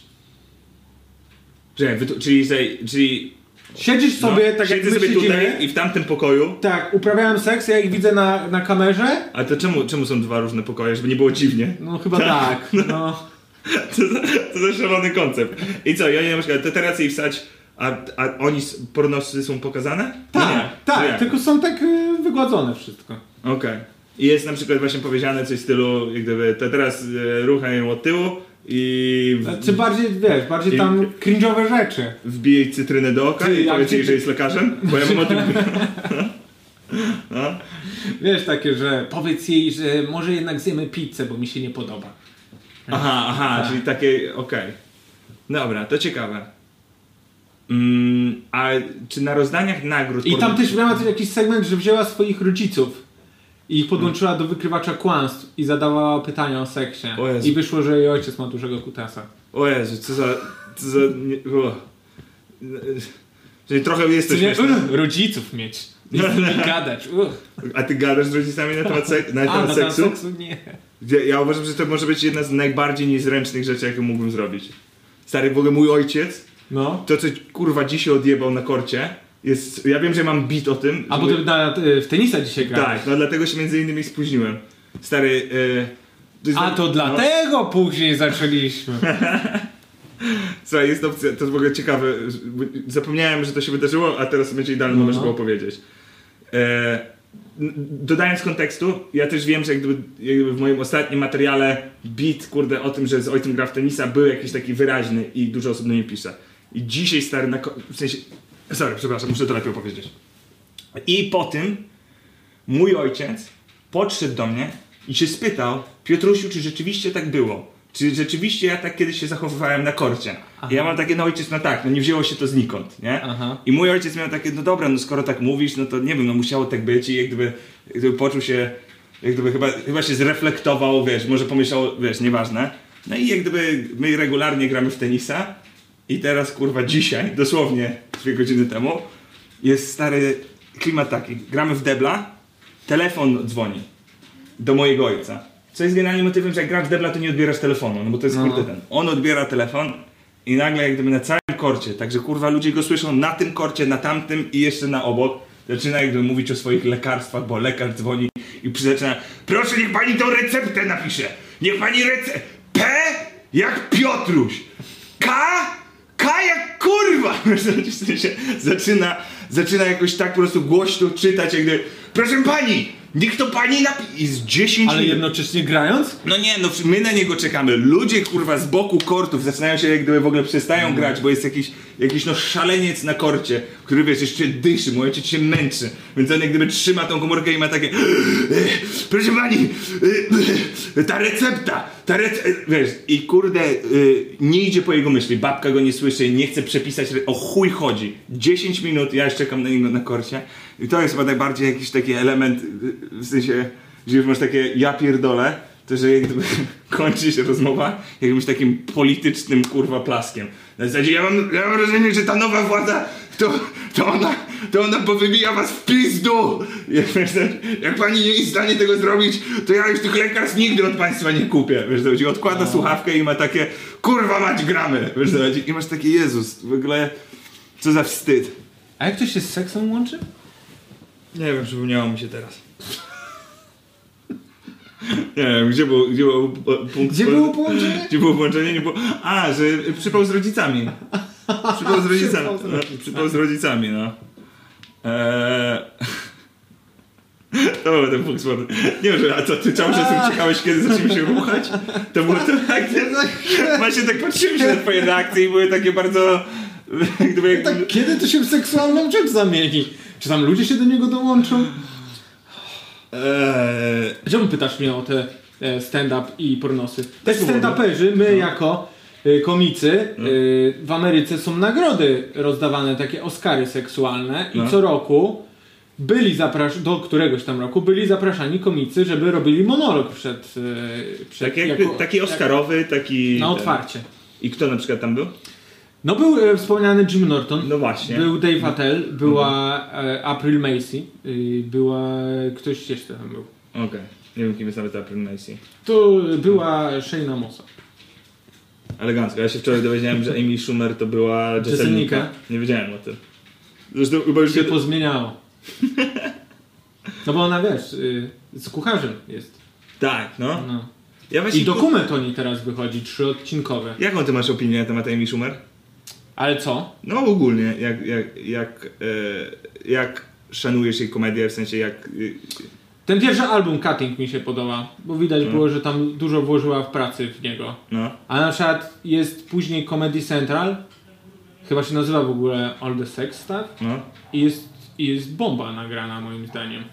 Czekaj, wy tu- czyli, tutaj- czyli Siedzisz sobie, no, tak jak siedzę my sobie siedzimy, tutaj i w tamtym pokoju. tak, uprawiałem seks, ja ich widzę na, na kamerze, A to czemu, czemu są dwa różne pokoje, żeby nie było dziwnie? *laughs* no chyba tak, no. Co za, co za szalony koncept. I co, i oni na przykład, to teraz jej wsać, a, a oni, s- pornosy są pokazane? No Tak, nie. No tak, jak? tylko są tak y, wygładzone wszystko. Okej. I jest na przykład właśnie powiedziane coś w stylu, jak gdyby, to teraz e, ruchaj ją od tyłu i w, Czy Znaczy bardziej, wiesz, bardziej tam cringe'owe rzeczy. wbij jej cytrynę do oka Ty, i jak powiedz ty- jej, że jest lekarzem? Bo ja mam *laughs* o tym... No. Wiesz, takie, że powiedz jej, że może jednak zjemy pizzę, bo mi się nie podoba. Aha, aha, czyli takie, okej. Dobra, to ciekawe. Mm, a czy na rozdaniach nagród... I tam porno- też miała jakiś segment, że wzięła swoich rodziców i ich podłączyła do wykrywacza kłamstw i zadawała pytania o seksie. O Jezu. I wyszło, że jej ojciec ma dużego kutasa. O Jezu, co za... Co za nie, o. Czyli trochę jest to Czy nie, śmieszne. Uch, rodziców mieć. I z nimi gadać. Uch. A ty gadasz z rodzicami na temat, sek- na A, temat no tam seksu? seksu nie. Ja, ja uważam, że to może być jedna z najbardziej niezręcznych rzeczy, jaką mógłbym zrobić. Stary, w ogóle mój ojciec, No. to co kurwa dzisiaj odjebał na korcie, jest... Ja wiem, że mam bit o tym. A że bo mój- ty na, y, w tenisa dzisiaj grałeś. Tak, no dlatego się między innymi spóźniłem. Stary... E, jest- A to dlatego później zaczęliśmy. *laughs* Słuchaj, jest opcja, to jest w ogóle ciekawe. bo Zapomniałem, że to się wydarzyło, a teraz będzie idealny No, moment, żeby opowiedzieć. E, n- dodając kontekstu, ja też wiem, że jak gdyby, jak gdyby w moim ostatnim materiale beat, kurde, o tym, że z ojcem gra w tenisa, był jakiś taki wyraźny i dużo osób do mnie pisze. I dzisiaj stary na. ko- W sensie. Sorry, przepraszam, muszę to lepiej opowiedzieć. I po tym mój ojciec podszedł do mnie i się spytał, Piotrusiu, czy rzeczywiście tak było? Czy rzeczywiście ja tak kiedyś się zachowywałem na korcie? I ja mam takie, no ojciec, no tak, no nie wzięło się to znikąd, nie? Aha. I mój ojciec miał takie, no dobra, no skoro tak mówisz, no to nie wiem, no musiało tak być i jak gdyby, jak gdyby poczuł się, jak gdyby chyba, chyba się zreflektował, wiesz, może pomyślał, wiesz, nieważne. No i jak gdyby my regularnie gramy w tenisa i teraz, kurwa, dzisiaj, dosłownie dwie godziny temu, jest stary klimat taki, gramy w debla, telefon dzwoni do mojego ojca. Co jest generalnie motywem, że jak grasz w debla, to nie odbierasz telefonu, no bo to jest kurde ten. On odbiera telefon i nagle jak gdyby na całym korcie, także kurwa ludzie go słyszą na tym korcie, na tamtym i jeszcze na obok. Zaczyna jak gdyby mówić o swoich lekarstwach, bo lekarz dzwoni i przy- zaczyna Proszę niech pani tą receptę napisze! Niech pani rece... P jak Piotruś! K K jak kurwa! *laughs* W sensie zaczyna, zaczyna jakoś tak po prostu głośno czytać, jak gdyby, Proszę pani! Niech to pani napi... I z 10 Ale minut- jednocześnie grając? no nie, no my na niego czekamy. Ludzie kurwa z boku kortów zaczynają się jak gdyby w ogóle przestają grać, bo jest jakiś, jakiś no szaleniec na korcie, który wiesz, jeszcze dyszy, mój ojciec się męczy, więc on jak gdyby trzyma tą komórkę i ma takie "Yy, Proszę pani, y, ta recepta, ta recepta, wiesz, i kurde, y, nie idzie po jego myśli, babka go nie słyszy, nie chce przepisać, re- o chuj chodzi. 10 minut, ja jeszcze czekam na niego na korcie i to jest chyba najbardziej jakiś taki element, y, w sensie, że już masz takie ja pierdolę, to *laughs* że jak gdyby kończy się rozmowa jakimś takim politycznym kurwa plaskiem. Na zasadzie ja mam, ja mam wrażenie, że ta nowa władza to, to ona to ona powybija was w pizdu! Jak, wiesz, jak pani nie jest w stanie tego zrobić, to ja już tych lekarstw nigdy od państwa nie kupię. Wiesz, to chodzi, odkłada słuchawkę i ma takie kurwa mać gramy! Wiesz, to chodzi, i masz taki Jezus, w ogóle co za wstyd. A jak to się z seksem łączy? Nie wiem, przypomniało mi się teraz. Nie wiem, gdzie było, gdzie było po- punkt... Gdzie było połączenie? Gdzie było połączenie? Nie było... A, że przypał z rodzicami. Przypał z rodzicami. Przypał z No, Przypał z rodzicami, no. Eee... To był ten punkt sporny. Nie wiem, że a co, ty cały czas uciekałeś, kiedy zaczęliśmy się ruchać? To było to tak... Właśnie tak patrzyłem się na twoje reakcje i były takie bardzo... jak Gdyby jak... Tak, kiedy to się w seksualną rzecz zamieni? Czy tam ludzie się do niego dołączą? Eee... Czemu pytasz mnie o te e, stand-up i pornosy? Te było, no. stand-uperzy, my jako y, komicy y, w Ameryce są nagrody rozdawane, takie Oscary seksualne i No. co roku byli zapraszani, do któregoś tam roku byli zapraszani komicy, żeby robili monolog przed... y, przed Tak jak, jako- taki Oscarowy, taki... Na ten. otwarcie. I kto na przykład tam był? No był e, wspomniany Jim Norton. No właśnie. Mhm. Był Dave Attell, była e, April Macy, y, była... ktoś jeszcze tam był. Okej. Nie wiem, kim jest nawet April Macy. Tu była Shayna Mossa. Elegancko. Ja się wczoraj dowiedziałem, że Amy Schumer to była Jesselnika. Jesselnika. Nie wiedziałem o tym. Zresztą chyba już... się pozmieniało. No bo ona wiesz, y, z kucharzem jest. Tak, no. No. Ja właśnie... I dokument o niej teraz wychodzi, trzyodcinkowy. Jaką ty masz opinię na temat Amy Schumer? Ale co? No ogólnie, jak... Jak... Jak, e, jak szanujesz jej komedię, w sensie jak... y, Ten pierwszy album Cutting mi się podoba, bo widać było, Mhm. że tam dużo włożyła w pracy w niego. No. A na przykład jest później Comedy Central, chyba się nazywa w ogóle All the Sex Stuff No. i jest, i jest bomba nagrana moim zdaniem.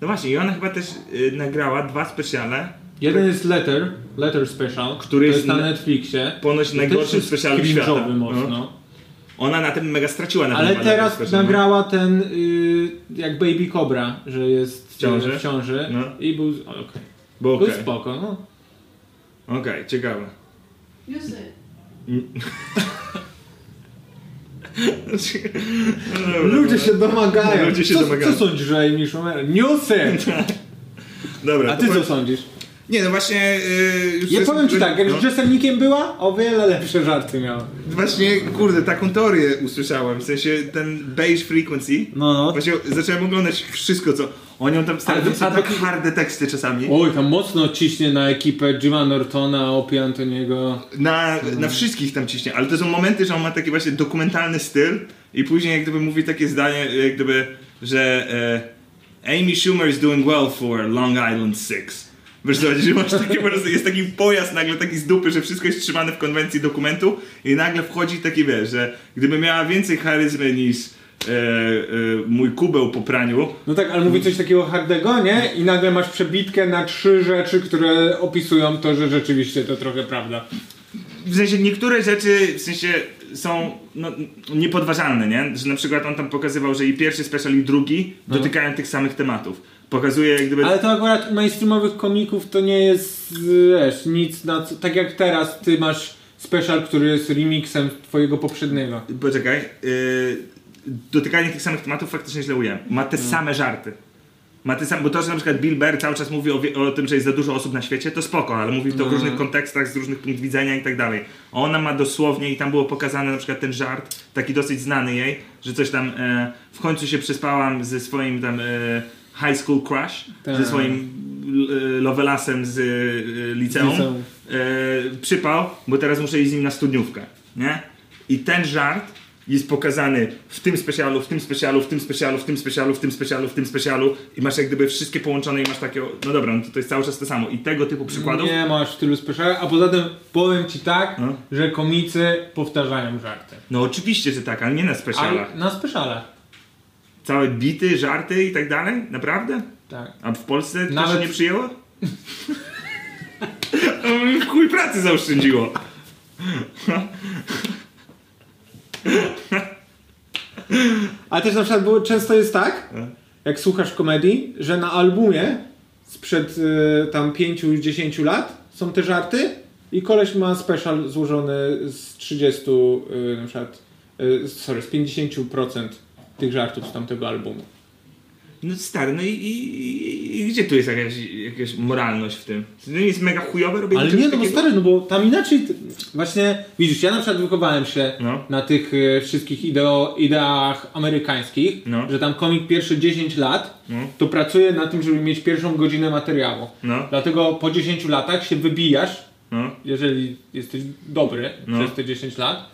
No właśnie, i ona chyba też y, nagrała dwa specjale. Jeden jest Letter, Letter Special, Który który jest, jest na na- Netflixie. ponoć Też najgorszym jest specialem świata. cringe'owy mocno. No. Ona na tym mega straciła na tym Ale badaniu teraz specjalnym. nagrała ten y, jak Baby Cobra, że jest y, w ciąży? w ciąży No. i był. o, Okej. Bo okej. Był spoko, no. Okej, ciekawe. Use it. *laughs* Ludzie się domagają. Ludzie się co, domagają. co sądzisz o Amy Schumer? Newsy! Dobra, A to ty co powiedz- sądzisz? Nie, no właśnie... Yy, już Ja jest- powiem ci tak, jak no, z Jesselnikiem była, o wiele lepsze żarty miała. Właśnie, kurde, taką teorię usłyszałem, w sensie ten beige frequency. No, no. Właśnie zacząłem oglądać wszystko, co... O nią tam stary, Ale to to- są tak harde teksty czasami. Oj, tam mocno ciśnie na ekipę Jima Nortona, Opie Antoniego. Na, na wszystkich tam ciśnie, ale to są momenty, że on ma taki właśnie dokumentalny styl i później jak gdyby mówi takie zdanie, jak gdyby, że e, Amy Schumer is doing well for Long Island 6. Wiesz co, chodzi, że masz takie po prostu, jest taki pojazd nagle taki z dupy, że wszystko jest trzymane w konwencji dokumentu i nagle wchodzi taki, wiesz, że gdyby miała więcej charyzmy niż e, e, mój kubeł po praniu, No tak, ale mówi coś takiego hardego, nie? I nagle masz przebitkę na trzy rzeczy, które opisują to, że rzeczywiście to trochę prawda. w sensie niektóre rzeczy w sensie są no, niepodważalne, nie? Że na przykład on tam pokazywał, że i pierwszy special i drugi dotykają tych samych tematów. Pokazuje jak gdyby... Ale to akurat u mainstreamowych komików to nie jest, wiesz, nic na co... Tak jak teraz ty masz special, który jest remixem twojego poprzedniego. Poczekaj. Yy, dotykanie tych samych tematów faktycznie źle ujęłem. Ma No. te same żarty. Ma te same, bo to, że na przykład Bill Burr cały czas mówi o, wie- o tym, że jest za dużo osób na świecie, to spoko, ale mówi No. to w różnych kontekstach, z różnych punktów widzenia i tak dalej. A Ona ma dosłownie, i tam było pokazane na przykład ten żart, taki dosyć znany jej, że coś tam e, w końcu się przespałam ze swoim tam e, high school crush, Tak. ze swoim l- lovelasem z e, liceum. Liceum. E, przypał, bo teraz muszę iść z nim na studniówkę, nie? I ten żart jest pokazany w tym specjalu, w tym specjalu, w tym specjalu, w tym specjalu, w tym specjalu, w tym specjalu i masz jak gdyby wszystkie połączone i masz takie, no dobra, no to, to jest cały czas to samo. I tego typu przykładów, Nie masz tylu speciali, a poza tym powiem ci tak, No. że komicy powtarzają żarty. no oczywiście, że tak, ale nie na Ale specjalach. na specialach, Całe bity, żarty i tak dalej, naprawdę? tak. A w Polsce to się Nawet- nie przyjęło? *laughs* No, mi w chuj pracy zaoszczędziło. A też na przykład było, często jest tak, Mm. jak słuchasz komedii, że na albumie sprzed y, tam 5-10 lat są te żarty i koleś ma special złożony z 30, y, na przykład, y, sorry, z 50% tych żartów z tamtego albumu. No stary, no i, i, i- i gdzie tu jest jakaś, jakaś moralność w tym? To nie jest mega chujowe robienie Ale czegoś nie, no bo takiego? stary, no bo tam inaczej, ty- właśnie, widzisz, ja na przykład wychowałem się No. na tych y, wszystkich ideo, ideach amerykańskich, No. że tam komik pierwsze 10 lat No. to pracuje na tym, żeby mieć pierwszą godzinę materiału. No. Dlatego po 10 latach się wybijasz, No, jeżeli jesteś dobry No. przez te 10 lat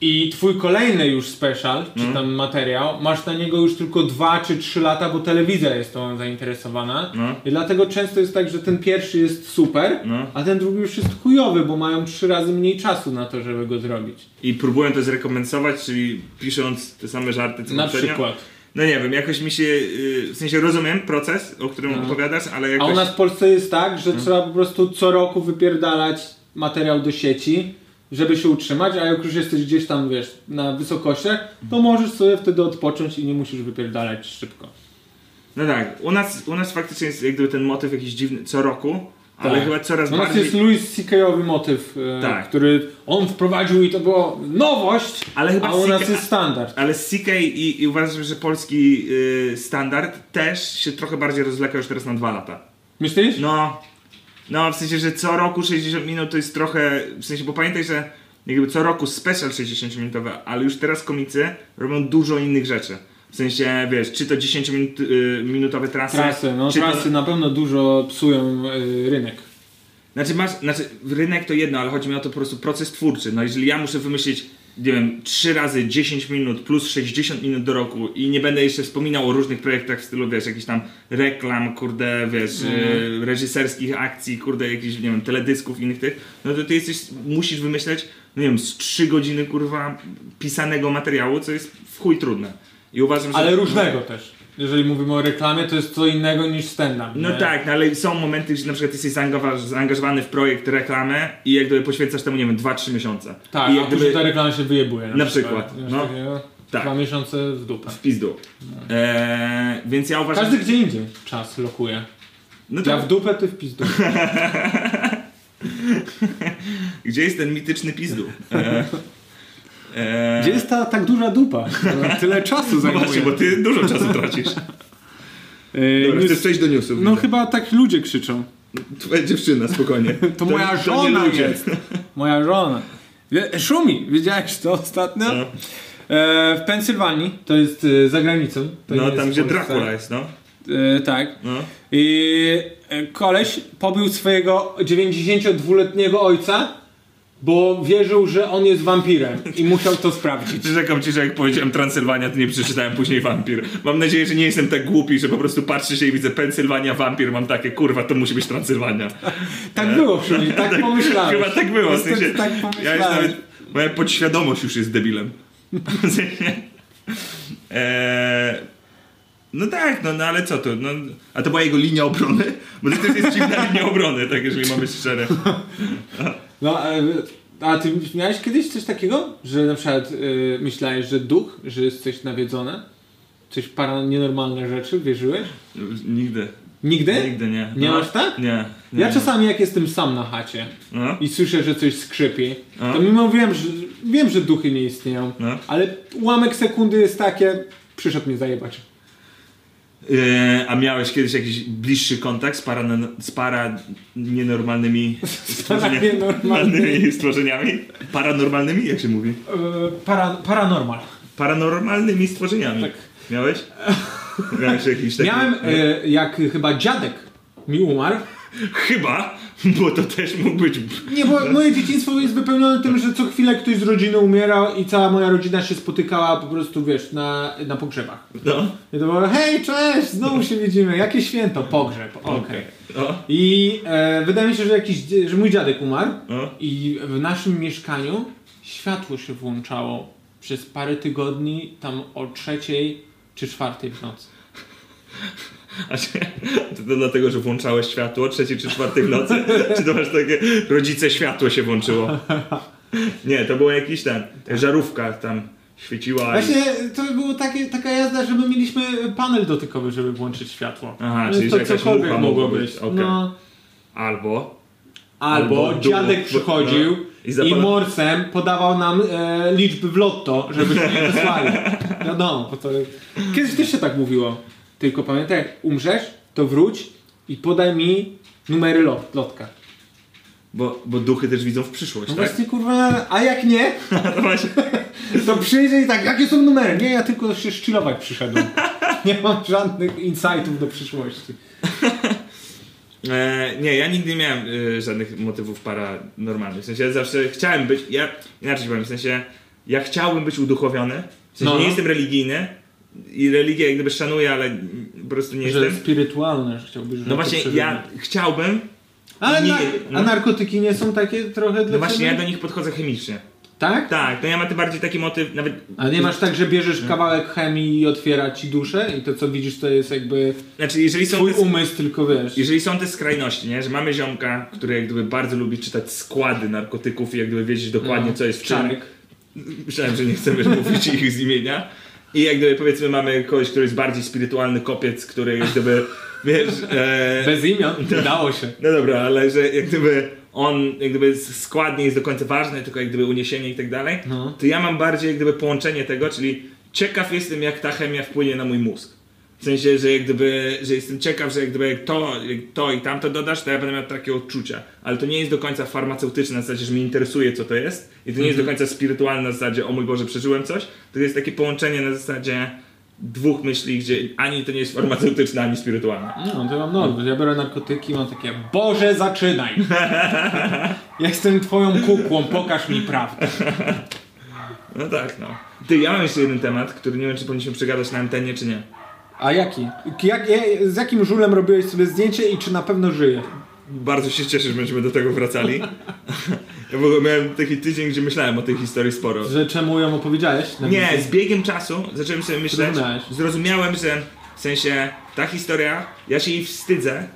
i twój kolejny już special, czy Mhm. tam materiał, masz na niego już tylko 2 czy 3 lata, bo telewizja jest tą zainteresowana. No. I dlatego często jest tak, że ten pierwszy jest super, No. a ten drugi już jest chujowy, bo mają 3 razy mniej czasu na to, żeby go zrobić. I próbuję to zrekompensować, czyli pisząc te same żarty co Na poprzednio. przykład. No nie wiem, jakoś mi się, yy, w sensie rozumiem proces, o którym opowiadasz, ale No. A jakoś... Hmm. u nas w Polsce jest tak, że trzeba po prostu co roku wypierdalać materiał do sieci, żeby się utrzymać, a jak już jesteś gdzieś tam, wiesz, na wysokościach, Hmm. to możesz sobie wtedy odpocząć i nie musisz wypierdalać szybko. No tak, u nas, u nas faktycznie jest jak gdyby ten motyw jakiś dziwny co roku, ale Tak. chyba coraz U nas bardziej... jest Louis C.K.owy motyw, e, Tak. który on wprowadził i to było nowość, Ale chyba a u nas CK jest standard. Ale CK i, i uważam, że polski yy, standard też się trochę bardziej rozleka już teraz na dwa lata. Myślisz? No, no w sensie, że co roku 60 minut to jest trochę, w sensie, bo pamiętaj, że jakby co roku special 60-minutowe, ale już teraz komicy robią dużo innych rzeczy. W sensie, wiesz, czy to 10-minutowe trasy, Trasy, no czy trasy To, na pewno dużo psują e, rynek. znaczy, masz, znaczy, rynek to jedno, ale chodzi mi o to po prostu proces twórczy. No jeżeli ja muszę wymyślić, nie wiem, 3 razy 10 minut plus 60 minut do roku i nie będę jeszcze wspominał o różnych projektach w stylu, wiesz, jakichś tam reklam, kurde, wiesz, e, reżyserskich akcji, kurde, jakichś, nie wiem, teledysków, innych tych, no to ty jesteś, musisz wymyśleć, no nie wiem, z 3 godziny, kurwa, pisanego materiału, co jest w chuj trudne. I uważam, że... Ale różnego też. Jeżeli mówimy o reklamie, to jest co innego niż stand-up. No nie? tak, no ale są momenty, że na przykład jesteś zaangażowa- zaangażowany w projekt, reklamę i jak gdyby poświęcasz temu, nie wiem, 2-3 miesiące. Tak, I a jak później ta reklama się wyjebuje. Na przykład, Masz no. takiego Tak. Dwa miesiące w dupę. w pizdu. Eee, więc ja uważam... No. Każdy gdzie indziej czas lokuje. No to, Ja w dupę, ty w pizdu. Gdzie jest ten mityczny pizdu? Eee, eee, *laughs* Gdzie jest ta tak duża dupa? *laughs* Tyle czasu No właśnie, bo ty dużo czasu tracisz. *laughs* Dobra, chcesz przejść do newsów. no chyba tak ludzie krzyczą. Twoja dziewczyna, spokojnie. To, moja nie żona ludzie. No, jest. Moja żona. Wie- Szumi, wiedziałeś to ostatnio? No. E, w Pensylwanii, to jest e, za granicą. To nie No jest tam, w gdzie Polsce. Dracula jest, no. E, tak. no. I e, koleś pobił swojego 92-letniego ojca bo wierzył, że on jest wampirem i musiał to sprawdzić. Przyrzekam ci, że jak powiedziałem Transylwania, to nie przeczytałem później Wampir. Mam nadzieję, że nie jestem tak głupi, że po prostu patrzę się i widzę Pensylwania, Wampir, mam takie, kurwa, to musi być Transylwania. Tak było, Szuli, tak pomyślałem. Chyba *laughs* tak było. W sensie, tak ja pomyślałem. już nawet, moja podświadomość już jest debilem. *laughs* W sensie, eee, no tak, no, no ale co to? No, a to była jego linia obrony? Bo to też jest dziwna linia obrony, tak jeżeli mamy szczere. No, a, a ty miałeś kiedyś coś takiego, że na przykład y, myślałeś, że duch, że jest coś nawiedzone? Coś para nienormalne rzeczy, wierzyłeś? Nigdy. Nigdy? Nigdy nie. Nie No. masz tak? Nie. nie. Ja czasami jak jestem sam na chacie No. i słyszę, że coś skrzypi, A? to mimo wiem, że wiem, że duchy nie istnieją, No. ale ułamek sekundy jest takie, przyszedł mnie zajebać. Eee, a miałeś kiedyś jakiś bliższy kontakt z para, z para nienormalnymi stworzeniami? *laughs* nienormalnymi. stworzeniami? Paranormalnymi, jak się mówi? Yy, para, paranormal. paranormalnymi stworzeniami. Tak. Miałeś? Miałeś jakiś taki... Miałem, y, jak chyba dziadek mi umarł, Chyba, bo to też mógł być... Nie, bo moje dzieciństwo jest wypełnione tym, że co chwilę ktoś z rodziny umierał i cała moja rodzina się spotykała po prostu, wiesz, na, na pogrzebach. No, I to było, hej, cześć, znowu się widzimy, jakie święto, pogrzeb, okej. no, I e, wydaje mi się, że, jakiś, dzie- że mój dziadek umarł no. i w naszym mieszkaniu światło się włączało przez parę tygodni, tam o trzeciej czy czwartej w nocy. A się, to, to dlatego, że włączałeś światło o trzeciej czy czwartej w nocy? Czy to masz takie... Rodzice światło się włączyło. Nie, to było jakiś ten... Żarówka tam świeciła i- Właśnie to było takie, taka jazda, że my mieliśmy panel dotykowy, żeby włączyć światło. Aha, Więc czyli to że jakaś cokolwiek mucha mogło mogła być. być, okej. No. Albo... Albo Albo dziadek duch, przychodził no, i i, zapala- morsem podawał nam e, liczby w lotto, żebyśmy nie wysłali. Wiadomo, po to... Kiedyś też się tak mówiło. Tylko pamiętaj, jak umrzesz, to wróć i podaj mi numery lot, lotka. Bo, bo duchy też widzą w przyszłość, No tak? właśnie kurwa, a jak nie, *laughs* No właśnie. to przyjdzie i tak, jakie są numery? Nie, ja tylko się szczylować przyszedłem. Nie mam żadnych insightów do przyszłości. E, nie, ja nigdy nie miałem e, żadnych motywów paranormalnych. W sensie ja zawsze chciałem być. Ja inaczej powiem, w sensie ja chciałbym być uduchowiony. W sensie No. nie jestem religijny i religię jak gdyby szanuję, ale mm, po prostu nie Że jestem. spirytualne, że chciałbyś żeby No to właśnie, przeżywać. ja chciałbym. Ale nie- na, no. a narkotyki nie są takie trochę dla No właśnie, ja ciebie? do nich podchodzę chemicznie. Tak? Tak, no ja mam bardziej taki motyw, nawet. A nie masz tak, że bierzesz kawałek chemii i otwiera ci duszę i to co widzisz to jest jakby Znaczy, jeżeli są. twój um- te- umysł, tylko wiesz. Jeżeli są te skrajności, nie? że mamy ziomka, który jak gdyby bardzo lubi czytać składy narkotyków i jak gdyby wiedzieć No. dokładnie co jest w czym. Czarek. Myślałem, że nie chcemy mówić ich z imienia. I jak gdyby powiedzmy mamy kogoś, który jest bardziej spirytualny kopiec, który jak gdyby, wiesz... E, Bez imion? *laughs* Udało się. no dobra, ale że jak gdyby on jak gdyby skład nie jest do końca ważny, tylko jak gdyby uniesienie i tak dalej, No. to ja mam bardziej jak gdyby połączenie tego, czyli ciekaw jestem jak ta chemia wpłynie na mój mózg. W sensie, że jak gdyby, że jestem ciekaw, że jak gdyby jak to, jak to i tamto dodasz, to ja będę miał takie odczucia. Ale to nie jest do końca farmaceutyczne na zasadzie, że mnie interesuje co to jest i to nie jest do końca spirytualne na zasadzie, o mój Boże, przeżyłem coś. To jest takie połączenie na zasadzie dwóch myśli, gdzie ani to nie jest farmaceutyczne, ani spirytualne. No to mam nowy. Ja biorę narkotyki i mam takie Boże zaczynaj! *laughs* Jestem twoją kukłą, pokaż mi prawdę. No tak, no. Ty, ja mam jeszcze jeden temat, który nie wiem, czy powinniśmy przegadać na antenie, czy nie. A jaki? Jak, jak, z jakim żulem robiłeś sobie zdjęcie i czy na pewno żyje? Bardzo się cieszę, że będziemy do tego wracali. *laughs* ja w ogóle miałem taki tydzień, gdzie myślałem o tej historii sporo. Że czemu ją opowiedziałeś? Na Nie, z biegiem czasu zacząłem sobie myśleć, Zrozumiałeś. zrozumiałem, że w sensie ta historia, ja się jej wstydzę,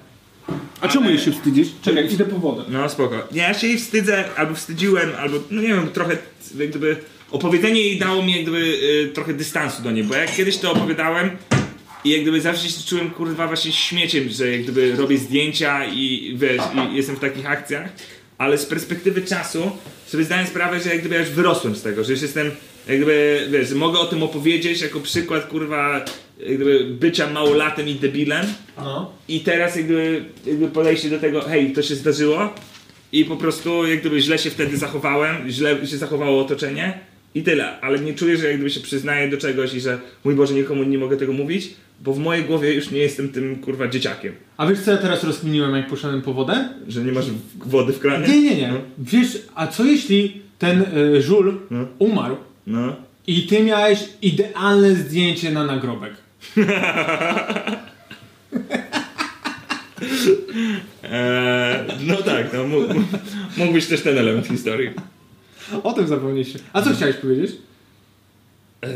A czemu jej się wstydzisz? Czekaj, idę po wodę. No spoko. Nie, ja się jej wstydzę, albo wstydziłem, albo no nie wiem, trochę jak gdyby opowiedzenie jej dało mi jak gdyby y, trochę dystansu do niej, bo jak kiedyś to opowiadałem i jak gdyby zawsze się czułem kurwa właśnie śmieciem, że jak gdyby robię zdjęcia i wiesz, i jestem w takich akcjach, ale z perspektywy czasu sobie zdałem sprawę, że jak gdyby ja już wyrosłem z tego, że już jestem jak gdyby, wiesz, że mogę o tym opowiedzieć jako przykład kurwa jak gdyby bycia małolatem i debilem, No. i teraz jakby, jakby podejście do tego, hej, to się zdarzyło i po prostu jak gdyby źle się wtedy zachowałem, źle się zachowało otoczenie I tyle, ale nie czuję, że jak gdyby się przyznaję do czegoś i że mój Boże, nikomu nie mogę tego mówić, bo w mojej głowie już nie jestem tym kurwa dzieciakiem, A wiesz co ja teraz rozkminiłem, jak poszedłem po wodę? że nie masz w- wody w kranie. Nie, nie, nie. No, Wiesz, a co jeśli ten y, żul No. umarł no. i ty miałeś idealne zdjęcie na nagrobek? Eee, no tak, no, mógł, mógł być też ten element historii. O tym zapomnieliście. A Hmm. co chciałeś powiedzieć? Eee,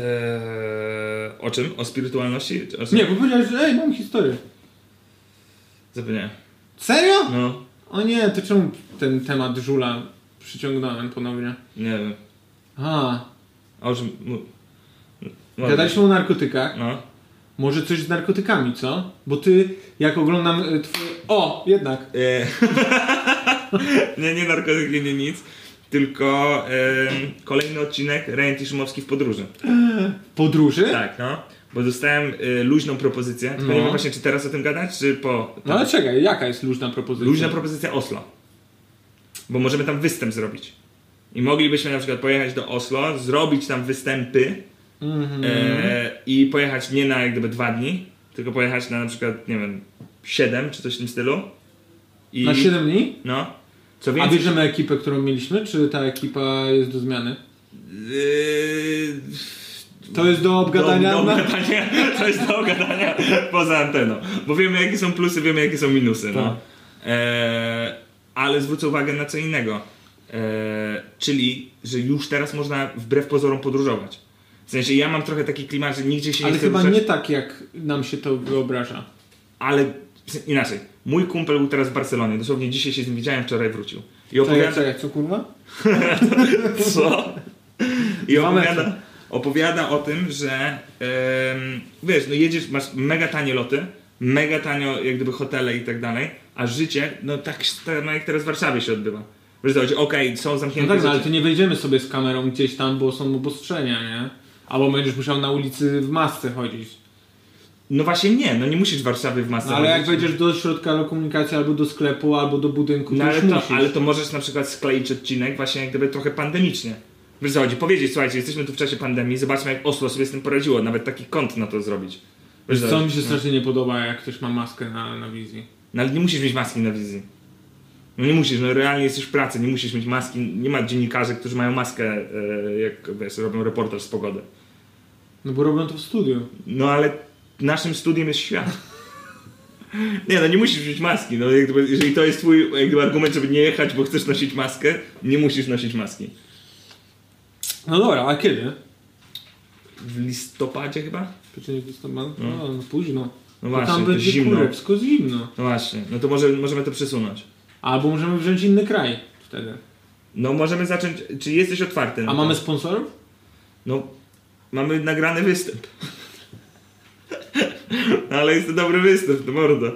E, o czym? O spirytualności? Czy O czym? Nie, bo powiedziałeś, że ej, mam historię. Zapomniałem. Serio? No, O nie, to czemu ten temat żula przyciągnąłem ponownie? nie wiem. A, A o czym? mu- No, gadaliśmy o narkotykach. No. Może coś z narkotykami, co? Bo ty, jak oglądam y, twoje... O, jednak. Eee. *laughs* nie, nie narkotyki, nie nic. Tylko em, kolejny odcinek Rejent i Szumowski w podróży. Podróży? Tak, no. Bo dostałem e, luźną propozycję. Tylko No. nie wiem właśnie, czy teraz o tym gadać, czy po... No ale czekaj, jaka jest luźna propozycja? Luźna propozycja Oslo. Bo możemy tam występ zrobić. I moglibyśmy na przykład pojechać do Oslo, zrobić tam występy Mhm. e, i pojechać nie na jak gdyby dwa dni, tylko pojechać na na przykład, nie wiem, siedem czy coś w tym stylu. I, Na 7 dni? No. Co A więcej... bierzemy ekipę, którą mieliśmy, czy ta ekipa jest do zmiany? Yy, To jest do obgadania? do, do na- gadania. To jest do gadania poza anteną. Bo wiemy jakie są plusy, wiemy jakie są minusy. Tak. No. Eee, ale zwrócę uwagę na co innego. Eee, czyli, że już teraz można wbrew pozorom podróżować. W sensie ja mam trochę taki klimat, że nigdzie się nie Ale chcę chyba ruszać, nie tak, jak nam się to wyobraża. ale inaczej. Mój kumpel był teraz w Barcelonie, dosłownie dzisiaj się z nim widziałem, wczoraj wrócił. I Czekaj, opowiada... czekaj, co kurwa? Co? I Dwa opowiada, metry. opowiada o tym, że em, wiesz, no jedziesz, masz mega tanie loty, mega tanio jak gdyby hotele i tak dalej, a życie, no tak samo jak teraz w Warszawie się odbywa. Wiesz, to chodzi, okej, są No zamknięte tak, no, ale rzeczy. to nie wejdziemy sobie z kamerą gdzieś tam, bo są obostrzenia, nie? Albo będziesz musiał na ulicy w masce chodzić. No właśnie nie, no nie musisz Warszawy w masce No, ale jak chodzić. wejdziesz do środka komunikacji, albo do sklepu, albo do budynku, No to ale już to, musisz. ale to możesz na przykład skleić odcinek właśnie jak gdyby trochę pandemicznie. Wiesz co chodzi, powiedzieć, słuchajcie, jesteśmy tu w czasie pandemii, zobaczmy jak Oslo sobie z tym poradziło, nawet taki kąt na to zrobić. Wiesz, Co mi się strasznie nie podoba, jak ktoś ma maskę na, na wizji. No ale nie musisz mieć maski na wizji. No nie musisz, no realnie jesteś w pracy, nie musisz mieć maski. Nie ma dziennikarzy, którzy mają maskę, e, jak wiesz, robią reportaż z pogody. No bo robią to w studiu. No ale naszym studiem jest świat. *laughs* Nie, no nie musisz mieć maski. No, jak gdyby, jeżeli to jest twój jak gdyby, argument, żeby nie jechać, bo chcesz nosić maskę, nie musisz nosić maski. No dobra, a kiedy? W listopadzie chyba? Przecież listopada? No, no późno. No No właśnie, tam to będzie zimno. kurewsko zimno. No właśnie, no to może, możemy to przesunąć. Albo możemy wziąć inny kraj wtedy. No możemy zacząć, czy jesteś otwarty? na A to? mamy sponsorów? No, mamy nagrany występ. No, ale jest to dobry występ, to mordo.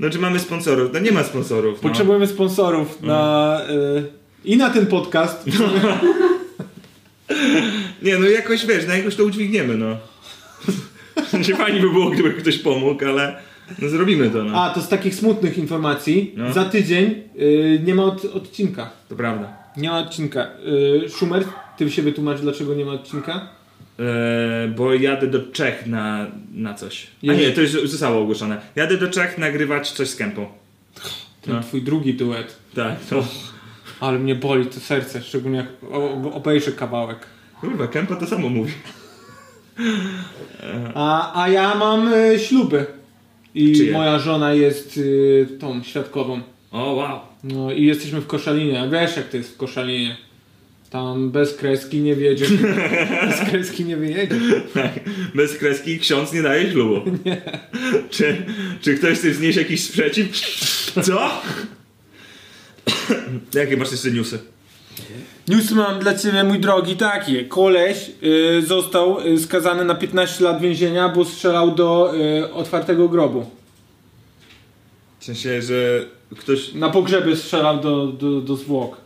No czy mamy sponsorów? No nie ma sponsorów. No. Potrzebujemy sponsorów na... y, I na ten podcast. Nie, no jakoś wiesz, no jakoś to udźwigniemy, no. *laughs* W sensie fajnie by było, gdyby ktoś pomógł, ale no zrobimy to, no. A, to z takich smutnych informacji. No. Za tydzień y, nie ma od, odcinka. To prawda. Nie ma odcinka. Y, Szumer, ty się wytłumacz, dlaczego nie ma odcinka? Eee, bo jadę do Czech na, na coś. A Jeżeli- nie, to już zostało ogłoszone. Jadę do Czech nagrywać coś z kępą. Ten No. twój drugi duet. Tak, to... Ale mnie boli to serce, szczególnie jak o- obejrzę kawałek. Kurwa, kępa to samo mówi. A, a ja mam y, śluby. I Czyje? moja żona jest y, tą świadkową. O, wow. No i jesteśmy w Koszalinie. A wiesz jak to jest w Koszalinie? Tam bez kreski nie wiedziesz. *laughs* bez kreski nie wyjedziesz. Tak. Bez kreski ksiądz nie daje *laughs* ślubu. Nie. Czy, czy ktoś chce wznieść jakiś sprzeciw? Co? *coughs* Jakie masz jeszcze newsy? News mam dla ciebie, mój drogi, takie. Koleś y, został y, skazany na 15 lat więzienia, bo strzelał do y, otwartego grobu. W sensie, że ktoś Na pogrzebie strzelał do, do, do zwłok.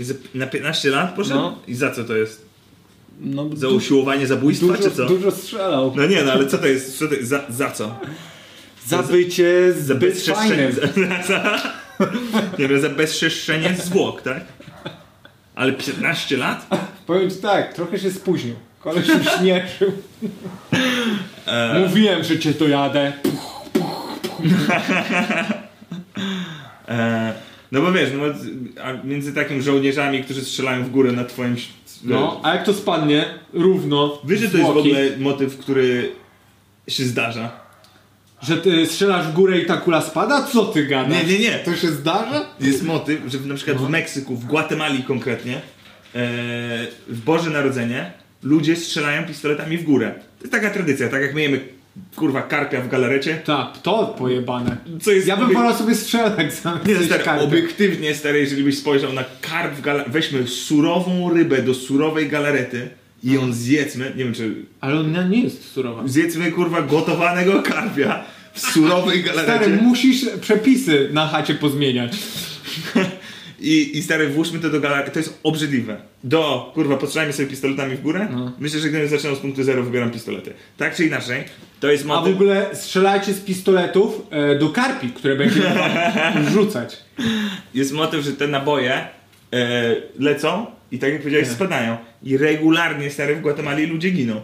z- na 15 lat poszedł? No. I za co to jest? No, Za usiłowanie zabójstwa, czy co? dużo, dużo strzelał. No nie, no ale co to jest? Co to jest? Za, za co? Za bycie Za zbyt bezczeszczenie... fajnym. *laughs* Za, za, no, nie wiem, za bezczeszczenie zwłok, tak? Ale 15 lat? Powiem ci tak, trochę się spóźnił. Koleś już nie *laughs* żył. Mówiłem, że cię dojadę. E, no bo wiesz, no, z- a między takim żołnierzami, którzy strzelają w górę na twoim... ś- No, a jak to spadnie równo. Wiesz, że to jest w zwłoki, ogóle motyw, który się zdarza. Że ty strzelasz w górę i ta kula spada? Co ty gadasz? Nie, nie, nie. To się zdarza? Jest motyw, że na przykład w No. Meksyku, w Gwatemali konkretnie, e, w Boże Narodzenie ludzie strzelają pistoletami w górę. To jest taka tradycja, tak jak myjemy kurwa karpia w galarecie. Tak, to pojebane. Co jest ja bym obie- wolał sobie strzelać zamiast Nie, jeść stary, karpia. obiektywnie stary, jeżeli byś spojrzał na karp w galarecie, weźmy surową rybę do surowej galarety i No. ją zjedzmy, nie wiem czy Ale ona nie jest surowa. zjedzmy kurwa gotowanego karpia w surowej Stary, galarecie musisz przepisy na chacie pozmieniać. *laughs* I, I stary, włóżmy to do galerii. To jest obrzydliwe. Do, kurwa, postrzelajmy sobie pistoletami w górę. No. Myślę, że gdybym zaczynał z punktu zero, wybieram pistolety. Tak czy inaczej, to jest A w motyw. ogóle strzelajcie z pistoletów e, do karpi, *laughs* które będziemy wam rzucać. Jest motyw, że te naboje e, lecą i tak jak powiedziałeś, spadają. I regularnie, stary, w Gwatemali ludzie giną.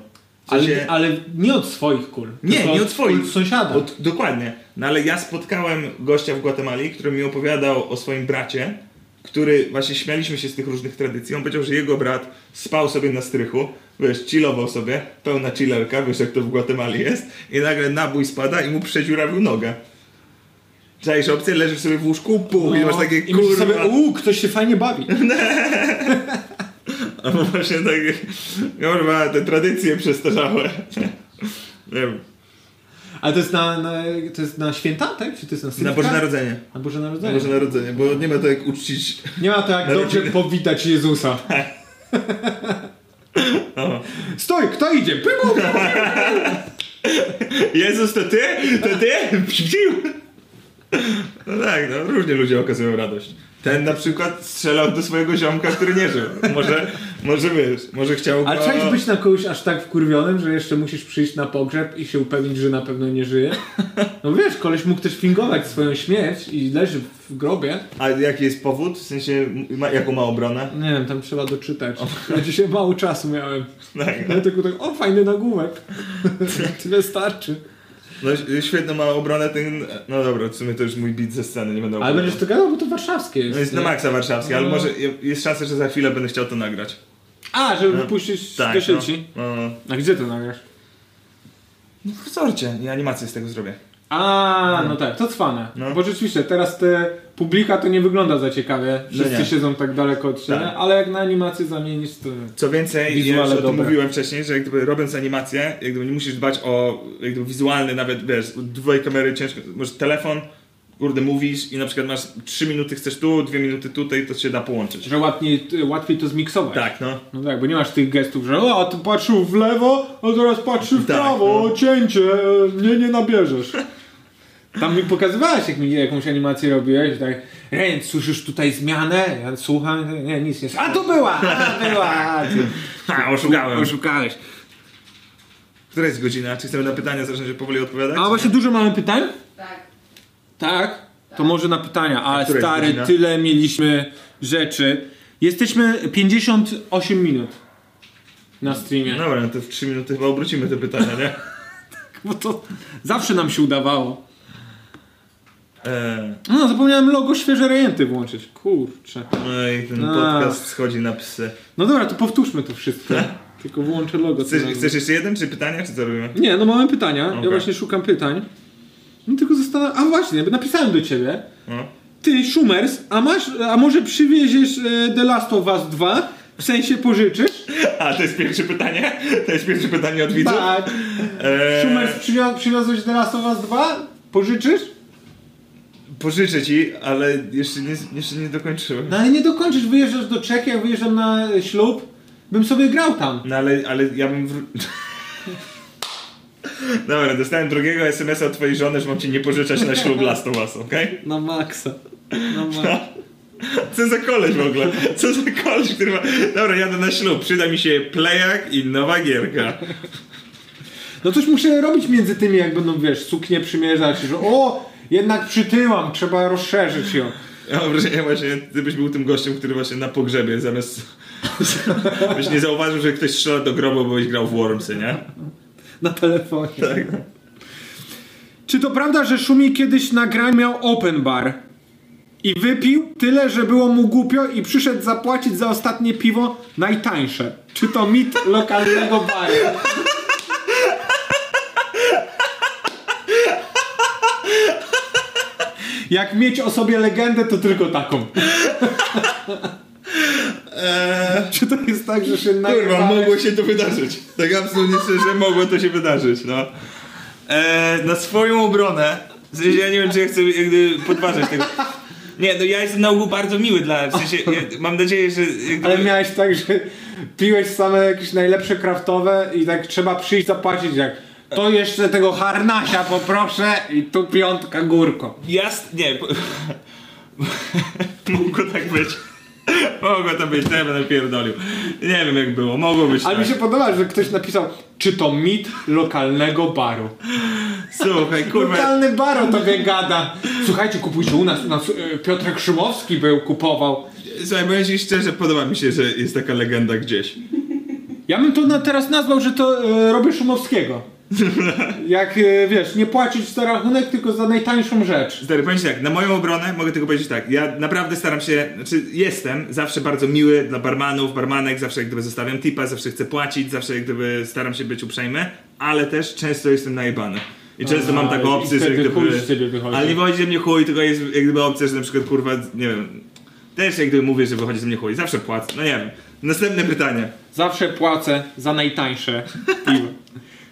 W Ale, sensie- ale nie od swoich kul. Nie, tylko nie od swoich. Kul sąsiada. Od, dokładnie. No ale ja spotkałem gościa w Gwatemali, który mi opowiadał o swoim bracie, który właśnie śmialiśmy się z tych różnych tradycji. On powiedział, że jego brat spał sobie na strychu, wiesz, chillował sobie, pełna chillerka, wiesz jak to w Gwatemali jest, i nagle nabój spada i mu przedziurawił nogę. Czaisz opcję, leżysz sobie w łóżku, puch, i masz takie No, I myślisz kurwa... sobie, uuu, ktoś się fajnie bawi. A bo *laughs* właśnie takie, kurwa, te tradycje przestarzałe. Nie wiem, Ale to jest na, na, to jest na święta, tak? Czy to jest na na Sylwka? Boże Narodzenie. Na Boże Na Narodzenie. Boże No Narodzenie, bo nie ma to jak uczcić Nie ma to jak dobrze Narodziny. *laughs* powitać Jezusa. Tak. *laughs* Stoj, kto idzie? Pybu! Jezus, to ty? To ty? Psiu! No tak, no różnie ludzie okazują radość. Ten na przykład strzelał do swojego ziomka, który nie żył. Może, może wiesz, może chciał go... Ale trzeba być na kogoś aż tak wkurwionym, że jeszcze musisz przyjść na pogrzeb i się upewnić, że na pewno nie żyje. No wiesz, koleś mógł też fingować swoją śmierć i leży w grobie. A jaki jest powód? W sensie, m- ma, jaką ma obronę? Nie wiem, tam trzeba doczytać. Ja dzisiaj mało czasu miałem. Tak, no. Ja tylko tak, o *laughs* fajny nagłówek. Tyle starczy. no ś- świetną ma obronę ten... No dobra, w sumie to już mój bit ze sceny, nie będę Ale opowiadał. będziesz to No. gadał, bo to warszawskie jest. No jest nie? na maksa warszawski, ale może jest szansa, że za chwilę będę chciał to nagrać. A, żeby wypuścić do no. sieci. No, no. A gdzie to nagrasz? No w sorcie, i animację z tego zrobię. A, no tak, to cwane. No. Bo rzeczywiście, teraz te publika to nie wygląda za ciekawie. Wszyscy No nie. siedzą tak daleko od siebie, Tak. ale jak na animację zamienisz, to... Co więcej, ja Wizuale już o tym dobre. mówiłem wcześniej, że jak gdyby robiąc animację, jak gdyby nie musisz dbać o jak gdyby wizualny nawet, wiesz, dwoje kamery ciężko, może telefon, kurde mówisz i na przykład masz 3 minuty chcesz tu, 2 minuty tutaj, to się da połączyć. Że łatwiej, łatwiej to zmiksować. Tak, no. *laughs* No tak, bo nie masz tych gestów, że o, a tu patrzył w lewo, a teraz patrzy w Tak, prawo, no. cięcie, e, mnie nie nabierzesz. Tam mi pokazywałeś, jak mi jakąś animację robiłeś, tak, Ręcz, słyszysz tutaj zmianę? Ja słucham, nie, nic nie słyszę. A tu była, a była, a ty Ha, oszukałem. oszukałeś. Która jest godzina? Czy chcemy na pytania zacząć powoli odpowiadać? A właśnie dużo mamy pytań? Tak. Tak? To może na pytania, ale która jest stary, godzina? tyle mieliśmy rzeczy. Jesteśmy 58 minut na streamie. No Dobra, no to w 3 minuty chyba obrócimy te pytania, nie? *laughs* Bo to zawsze nam się udawało. Eee, No, zapomniałem logo świeże rejenty włączyć. Kurczę. no i ten A. podcast schodzi na psy. No dobra, to powtórzmy to *laughs* wszystko. Tylko włączę logo. co Chcesz, najmniej. chcesz jeszcze jeden, czy pytania, czy co robimy? Nie, no mamy pytania. Ja Okej. właśnie szukam pytań. No tylko zastanawiam. A właśnie, bo napisałem do ciebie. No. *laughs* Ty, Schumers, a masz, a może przywieziesz e, The Last of Us 2? W sensie pożyczysz? A, to jest pierwsze pytanie? *laughs* To jest pierwsze pytanie od widzów? Tak. Eee, Schumers, przywio- przywiozłeś The Last of Us 2? Pożyczysz? Pożyczę ci, ale jeszcze nie, jeszcze nie dokończyłem. No ale nie dokończysz, wyjeżdżasz do Czech, ja wyjeżdżam na e, ślub. Bym sobie grał tam. No ale, ale ja bym wró... *laughs* Dobra, dostałem drugiego SMS-a od twojej żony, że mam cię nie pożyczać na ślub Last of Us, okej? *laughs* Na maksa. Na maksa. Co za koleś w ogóle? Co za koleś, który ma... Dobra, jadę na ślub, przyda mi się playak i nowa gierka. No coś muszę robić między tymi, jak będą, wiesz, suknie przymierzać, że o, jednak przytyłam, trzeba rozszerzyć ją. Ja mam wrażenie właśnie, gdybyś był tym gościem, który właśnie na pogrzebie zamiast *laughs* Byś nie zauważył, że ktoś strzela do grobu, bo byś grał w Wormsy, nie? na telefonie. Tak. Czy to prawda, że Szumi kiedyś na graniu miał open bar i wypił tyle, że było mu głupio i przyszedł zapłacić za ostatnie piwo najtańsze? Czy to mit Lokalnego baru. Jak mieć o sobie legendę, to tylko taką. Czy to jest tak, że się Kurwa, najebałeś? mogło się to wydarzyć. Tak absolutnie szczerze, mogło to się wydarzyć, no. E, na swoją obronę, w sensie ja nie wiem, czy ja chcę jakby podważać tego. Nie, no ja jestem na ogół bardzo miły dla, w sensie, ja, mam nadzieję, że jakby... Ale miałeś tak, że piłeś same jakieś najlepsze kraftowe i tak trzeba przyjść zapłacić jak to jeszcze tego harnasia poproszę i tu piątka górko. Jas... nie. po- *laughs* Mogło tak być. Mogło to być, to ja będę pierdolił. Nie wiem jak było, mogło być Ale tak. mi się podoba, że ktoś napisał, czy to mit lokalnego baru. Słuchaj, kurwa, Lokalny bar o tobie gada. Słuchajcie, kupujcie u nas, u nas e, Piotrek Szymowski był, kupował. słuchaj, powiem ci szczerze, podoba mi się, że jest taka legenda gdzieś. Ja bym to na, teraz nazwał, że to e, robię *laughs* Szumowskiego. Jak e, wiesz, nie płacić za rachunek, tylko za najtańszą rzecz. Stary, powiem ci tak, na moją obronę mogę tylko powiedzieć tak, ja naprawdę staram się, znaczy jestem zawsze bardzo miły dla barmanów, barmanek, zawsze jak gdyby zostawiam tipa, zawsze chcę płacić, zawsze jak gdyby staram się być uprzejmy, ale też często jestem najebany. I często mam taką i opcję, że jak wtedy chuj gdyby... z ciebie wychodzi. Ale nie wychodzi ze mnie chuj, tylko jest jak gdyby opcja, że na przykład kurwa, nie wiem, też jak gdyby mówię, że wychodzi ze mnie chuj, zawsze płacę, no nie wiem. Następne pytanie. Zawsze płacę za najtańsze piwo.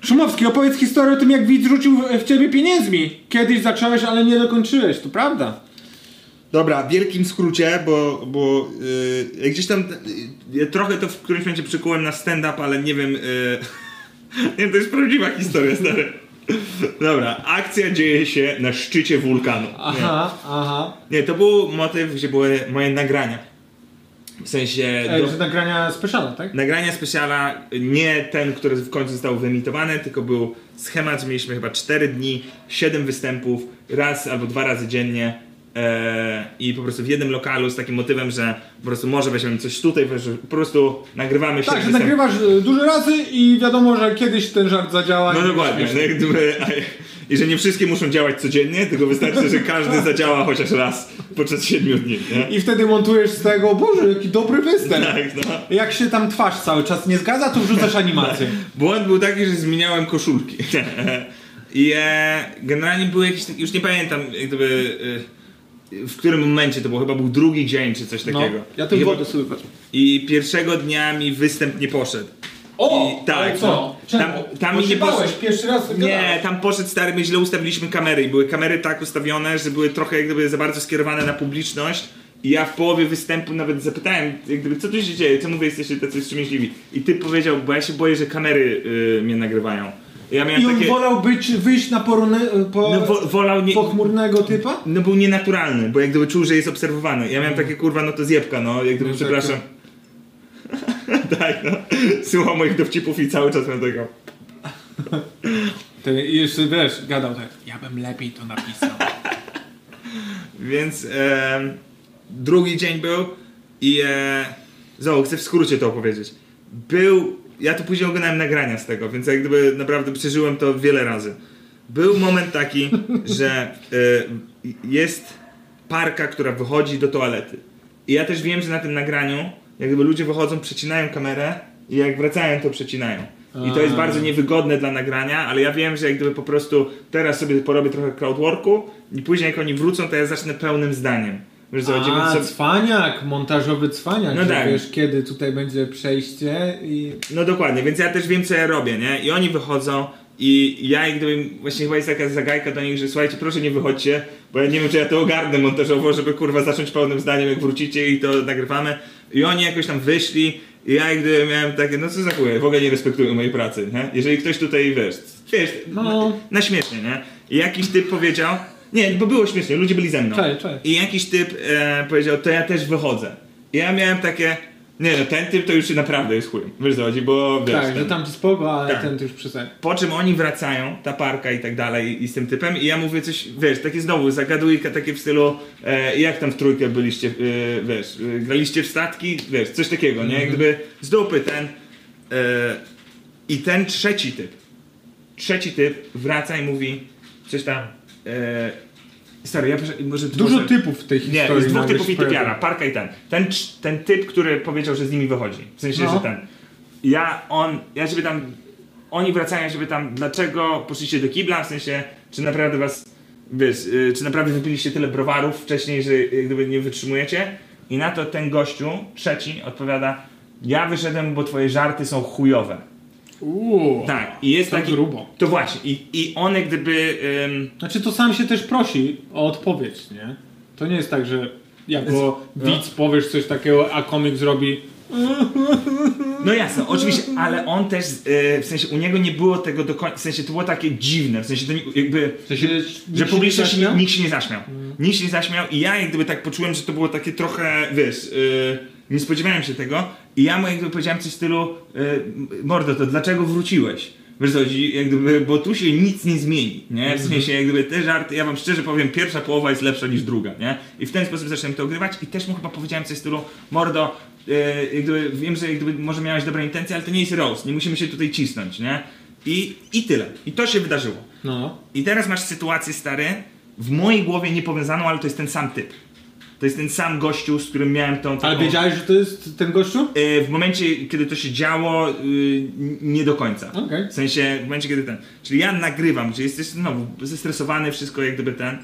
Szumowski, opowiedz historię o tym, jak widz rzucił w, w ciebie pieniędzmi. Kiedyś zacząłeś, ale nie dokończyłeś, to prawda. Dobra, w wielkim skrócie, bo, bo yy, gdzieś tam yy, ja trochę to w którymś momencie przykułem na stand-up, ale nie wiem. Yy, *laughs* nie wiem, to jest prawdziwa historia, stary. Dobra, akcja dzieje się na szczycie wulkanu. Nie, Aha, aha. nie to był motyw, gdzie były moje nagrania. W sensie. Ej, do- że nagrania speszala, tak? Nagrania specjala, nie ten, który w końcu został wyemitowany, tylko był schemat, że mieliśmy chyba 4 dni, 7 występów, raz albo dwa razy dziennie e, i po prostu w jednym lokalu z takim motywem, że po prostu może weźmiemy coś tutaj, że po prostu nagrywamy się. Tak, że nagrywasz e, dużo razy i wiadomo, że kiedyś ten żart zadziała. i No będzie dokładnie, no, śmieszny. jak gdyby, a, *laughs* i że nie wszystkie muszą działać codziennie, tylko wystarczy, że każdy zadziała chociaż raz podczas 7 dni. Nie? I wtedy montujesz z tego, boże, jaki dobry występ. Tak, no. Jak się tam twarz cały czas nie zgadza, to wrzucasz animację. Tak. Błąd był taki, że zmieniałem koszulki. I e, generalnie były jakieś, tak- już nie pamiętam, jak gdyby, e, w którym momencie to było, chyba był drugi dzień czy coś No, takiego. ja tę I, wodę sobie wezmę. I pierwszego dnia mi występ nie poszedł. O, I tak, ale no. co? Tam- tam mi nie bałeś, poszło- pierwszy raz Nie, gadałeś. tam poszedł stary, my źle ustawiliśmy kamery i były kamery tak ustawione, że były trochę jak gdyby za bardzo skierowane na publiczność i ja w połowie występu nawet zapytałem, jak gdyby, co tu się dzieje, czemu wy jesteście tacy wstrzemięźliwi? I ty powiedział, bo ja się boję, że kamery y, mnie nagrywają. Ja miałem I on takie... wolał być, wyjść na porunę, po, No, wo, wolał nie... pochmurnego typa? No był nienaturalny, bo jak gdyby czuł, że jest obserwowany. Ja miałem takie kurwa, no to zjebka, no, jak gdyby, Mhm. No tak, przepraszam. *laughs* tak, no. Słuchał moich dowcipów i cały czas miałem tego. Ty jeszcze wiesz, gadał tak, ja bym lepiej to napisał. Więc em, drugi dzień był i e, znowu chcę w skrócie to opowiedzieć. Był, ja tu później oglądałem nagrania z tego, więc jak gdyby naprawdę przeżyłem to wiele razy. Był moment taki, że e, jest parka, która wychodzi do toalety. I ja też wiem, że na tym nagraniu, jak gdyby ludzie wychodzą, przecinają kamerę i jak wracają, to przecinają. I to jest bardzo niewygodne dla nagrania, ale ja wiem, że jak gdyby po prostu teraz sobie porobię trochę crowdworku i później jak oni wrócą, to ja zacznę pełnym zdaniem. Wiesz, co chodzi? Więc A, sobie- cwaniak, montażowy cwaniak, No że tak. wiesz kiedy tutaj będzie przejście i... No dokładnie, więc ja też wiem, co ja robię, nie? I oni wychodzą i ja jak gdybym, właśnie chyba jest taka zagajka do nich, że słuchajcie, proszę nie wychodźcie, bo ja nie wiem, czy ja to ogarnę montażowo, żeby kurwa zacząć pełnym zdaniem, jak wrócicie i to nagrywamy. I oni jakoś tam wyszli i ja jak gdyby miałem takie, no co za chuje, w ogóle nie respektują mojej pracy, nie? Jeżeli ktoś tutaj, wiesz, wiesz, No. na śmiesznie, nie? I jakiś typ powiedział, nie, bo było śmiesznie, ludzie byli ze mną. Cześć, cześć. I jakiś typ e, powiedział, to ja też wychodzę. I ja miałem takie, Nie no, ten typ to już naprawdę jest chuj. Wiesz co chodzi, bo wiesz, Tak, ten- że tam spoko, ale Tak. ten to już przestań. Po czym oni wracają, ta parka i tak dalej, i z tym typem, i ja mówię coś, wiesz, takie znowu zagadujka, takie w stylu, e, jak tam w trójkę byliście, e, wiesz, e, graliście w statki, wiesz, coś takiego, Mhm. nie? Jak gdyby z dupy ten. E, I ten trzeci typ, trzeci typ wraca i mówi coś tam, e, stary, ja proszę, może ty Dużo może- typów w tej nie, historii. jest dwóch nagle typów się i typiara, pojawia. Parka i ten. Ten, cz- ten typ, który powiedział, że z nimi wychodzi. W sensie, No. że ten. Ja, on, ja żeby tam, oni wracają, żeby tam, dlaczego poszliście do kibla, w sensie, czy naprawdę was, wiesz, y, czy naprawdę wypiliście tyle browarów wcześniej, że jak gdyby nie wytrzymujecie? I na to ten gościu, trzeci, odpowiada, ja wyszedłem, bo twoje żarty są chujowe. Uuu. Tak, i jest to taki... grubo. To właśnie, i, i on jak gdyby... ym, Znaczy to sam się też prosi o odpowiedź, nie? To nie jest tak, że jako widz powiesz coś takiego, a komik zrobi No jasne, oczywiście, ale on też, e, w sensie u niego nie było tego do końca, w sensie to było takie dziwne, w sensie to nie- jakby, To się- że nikt się publiczność, nie zaśmiał? nikt się nie zaśmiał, nikt się nie zaśmiał i ja jak gdyby tak poczułem, że to było takie trochę, wiesz, e, nie spodziewałem się tego i ja mu jak gdyby powiedziałem coś w stylu, e, mordo, to dlaczego wróciłeś? Wiesz co, chodzi, jak gdyby, bo tu się nic nie zmieni, nie? W sensie jak gdyby te żarty, ja wam szczerze powiem, pierwsza połowa jest lepsza niż druga, nie? I w ten sposób zacząłem to ogrywać i też mu chyba powiedziałem coś w stylu, mordo, E, jak gdyby, wiem, że jak gdyby może miałeś dobre intencje, ale to nie jest roast, nie musimy się tutaj cisnąć, nie? I, i tyle. I to się wydarzyło. no. I teraz masz sytuację, stary, w mojej głowie niepowiązaną, ale to jest ten sam typ. To jest ten sam gościu, z którym miałem tą taką... Ale wiedziałeś, że to jest ten gościu? E, w momencie, kiedy to się działo, y, n- nie do końca. Okej. W sensie, w momencie, kiedy ten. Czyli ja nagrywam, gdzie jesteś znowu zestresowany, wszystko jak gdyby ten.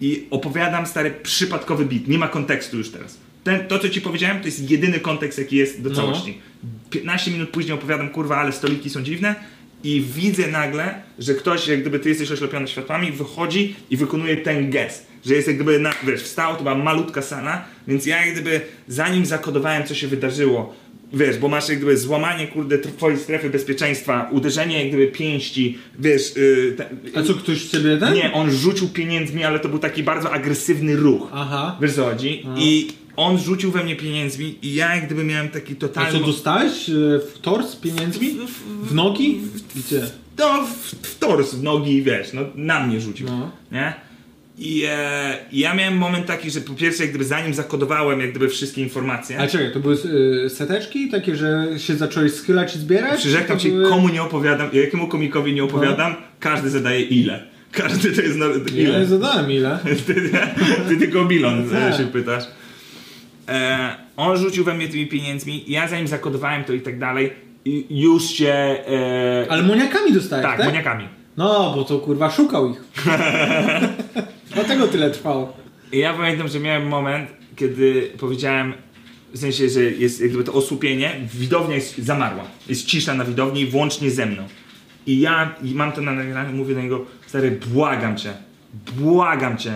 I opowiadam stary przypadkowy bit. Nie ma kontekstu już teraz. Ten, to, co ci powiedziałem, to jest jedyny kontekst, jaki jest do No. całości. 15 minut później opowiadam, kurwa, ale stoliki są dziwne. I widzę nagle, że ktoś, jak gdyby ty jesteś oślepiony światłami, wychodzi i wykonuje ten gest. Że jest jak gdyby, na, wiesz, wstał, to była malutka sana, więc ja jak gdyby, zanim zakodowałem, co się wydarzyło, wiesz, bo masz jak gdyby złamanie, kurde, tr- twojej strefy bezpieczeństwa, uderzenie jak gdyby pięści, wiesz, yy, te, A co, ktoś z ciebie ten? nie, on rzucił pieniędzmi, ale to był taki bardzo agresywny ruch, Aha. wiesz co chodzi, i on rzucił we mnie pieniędzmi i ja jak gdyby miałem taki A co, totalny... dostałeś e, w tors pieniędzmi? Tak, W nogi? Gdzie? to No, w, w tors, w nogi, wiesz, no na mnie rzucił, No. nie? I e, ja miałem moment taki, że po pierwsze, jak gdyby zanim zakodowałem jak gdyby wszystkie informacje... A czekaj, to były e, seteczki takie, że się zacząłeś schylać i zbierać? Przyrzekam Czy ci, to były- No. komu nie opowiadam, jakiemu komikowi nie opowiadam, każdy zadaje ile. Każdy to jest... No, Ja ile? nie zadałem ile. *laughs* Ty, ty tylko o bilon Tak. się pytasz. E, on rzucił we mnie tymi pieniędzmi, ja zanim zakodowałem to i tak dalej, i już się... E, Ale moniakami dostałeś, tak? tak, maniakami. No, bo to kurwa szukał *laughs* ich. Dlatego tyle trwało. I ja pamiętam, że miałem moment, kiedy powiedziałem, w sensie, że jest jakby to osłupienie, widownia jest zamarła. Jest cisza na widowni, włącznie ze mną. I ja i mam to na nagraniu, mówię do niego, stary, błagam cię, błagam cię,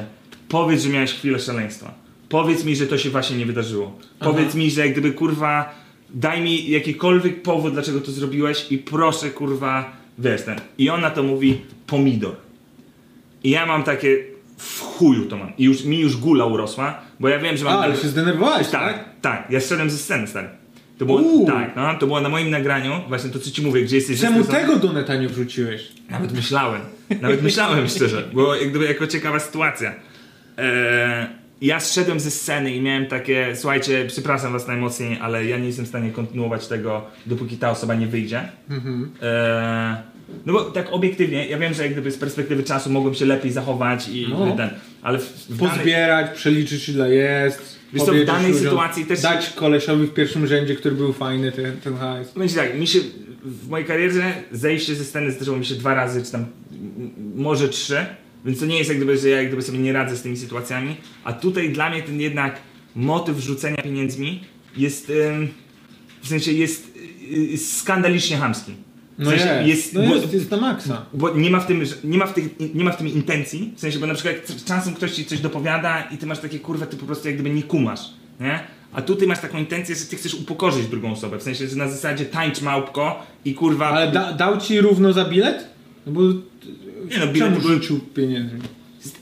powiedz, że miałeś chwilę szaleństwa. Powiedz mi, że to się właśnie nie wydarzyło. Powiedz mi, że jak gdyby kurwa, daj mi jakikolwiek powód, dlaczego to zrobiłeś i proszę kurwa, wiesz ten. I on na to mówi, pomidor. I ja mam takie w chuju to mam. I już, mi już gula urosła, bo ja wiem, że mam. A, ale się zdenerwowałeś, tak? tak, tak. Ja szedłem ze sceny, stary. To było, Uuu. tak, no, to było na moim nagraniu, właśnie to co ci mówię, gdzie jesteś. Czemu zestresowany. tego do neta nie wrzuciłeś? Nawet myślałem. Nawet myślałem szczerze. Było jak gdyby jako ciekawa sytuacja. Eee, ja zszedłem ze sceny i miałem takie, słuchajcie, przepraszam was najmocniej, ale ja nie jestem w stanie kontynuować tego, dopóki ta osoba nie wyjdzie. Mhm. Eee, no bo tak obiektywnie, ja wiem, że jak gdyby z perspektywy czasu mogłem się lepiej zachować i No. ten, ale w, w danej- Pozbierać, przeliczyć ile jest. Wiesz co, w powiedzieć danej sytuacji też- Dać kolesiowi w pierwszym rzędzie, który był fajny, ten, ten hajs. Będzie tak, mi się w mojej karierze zejście ze sceny zdarzyło mi się dwa razy, czy tam m- m- może trzy, więc to nie jest jak gdyby, że ja jak gdyby sobie nie radzę z tymi sytuacjami, a tutaj dla mnie ten jednak motyw rzucenia pieniędzmi jest, ym, w sensie jest y, skandalicznie chamski. W No sensie jest, no bo- jest, jest na maksa. bo nie ma w tym, że- nie ma w, tych, nie ma w tym intencji, w sensie, bo na przykład jak czasem ktoś ci coś dopowiada i ty masz takie kurwa, ty po prostu jak gdyby nie kumasz, nie? A tu ty masz taką intencję, że ty chcesz upokorzyć drugą osobę, w sensie, że na zasadzie tańcz małpko i kurwa... Ale da, dał ci równo za bilet? No bo nie no, czemu bilet był... rzucił pieniędzy?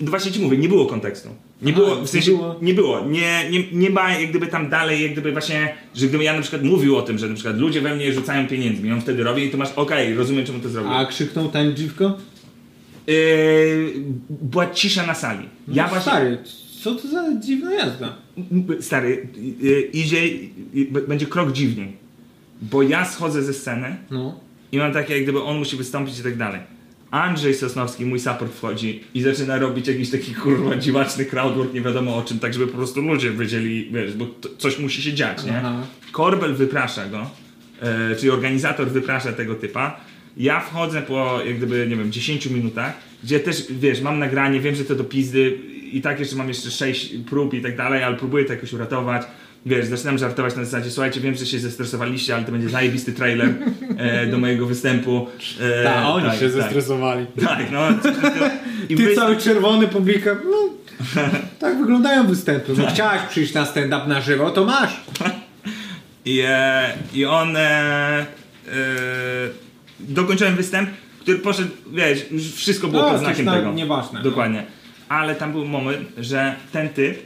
No właśnie ci mówię, nie było kontekstu. Nie było, nie w sensie, nie było. było, nie, Nie, nie, ma jak gdyby tam dalej, jak gdyby właśnie, że gdybym ja na przykład mówił o tym, że na przykład ludzie we mnie rzucają pieniędzmi, on wtedy robi i to masz, okej, rozumiem czemu to zrobił. A krzyknął tań dziwko? Yy, była cisza na sali. ja właśnie, No Stary, co to za dziwna jazda? M- Stary, yy, idzie, yy, b- będzie krok dziwniej, bo ja schodzę ze sceny No. i mam takie, jak gdyby on musi wystąpić i tak dalej. Andrzej Sosnowski, mój support wchodzi i zaczyna robić jakiś taki kurwa dziwaczny crowdwork, nie wiadomo o czym, tak żeby po prostu ludzie wiedzieli, wiesz, bo to, coś musi się dziać, nie? Aha. Korbel wyprasza go, e, czyli organizator wyprasza tego typa. Ja wchodzę po, jak gdyby, nie wiem, 10 minutach, gdzie też, wiesz, mam nagranie, wiem, że to do pizdy i tak jeszcze mam jeszcze 6 prób i tak dalej, ale próbuję to jakoś uratować. Wiesz, zaczynam żartować na zasadzie, słuchajcie, wiem, że się zestresowaliście, ale to będzie zajebisty trailer e, do mojego występu. E, A oni się tak, zestresowali. Tak, *laughs* no. coś takiego. I Ty wy- cały czerwony publika. *laughs* No, tak wyglądają występy. Tak. No chciałaś przyjść na stand-up na żywo, to masz. I, e, i on. E, e, dokończyłem występ, który poszedł, wiesz, już wszystko było No, pod coś znakiem tam tego. nieważne. no. Dokładnie. Ale tam był moment, że ten typ.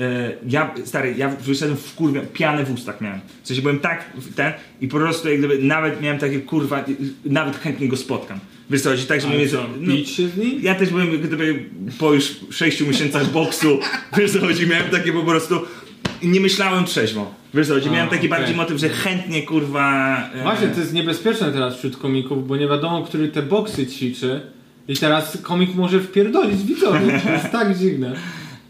E, ja, stary, ja wyszedłem w kurwę, pianę w ustach miałem. W sensie byłem tak w- ten i po prostu jak gdyby nawet miałem takie kurwa, nawet chętnie go spotkam. Wiesz co, chodzi, tak, że mnie. no, Bić się z nim? ja też byłem jak gdyby po już 6 miesiącach boksu, wiesz co chodzi, miałem takie po prostu, nie myślałem trzeźwo, wiesz co chodzi, miałem taki okej. bardziej motyw, że chętnie kurwa... e, Właśnie, to jest niebezpieczne teraz wśród komików, bo nie wiadomo, który te boksy ćwiczy. I teraz komik może wpierdolić widzowi. To jest tak dziwne.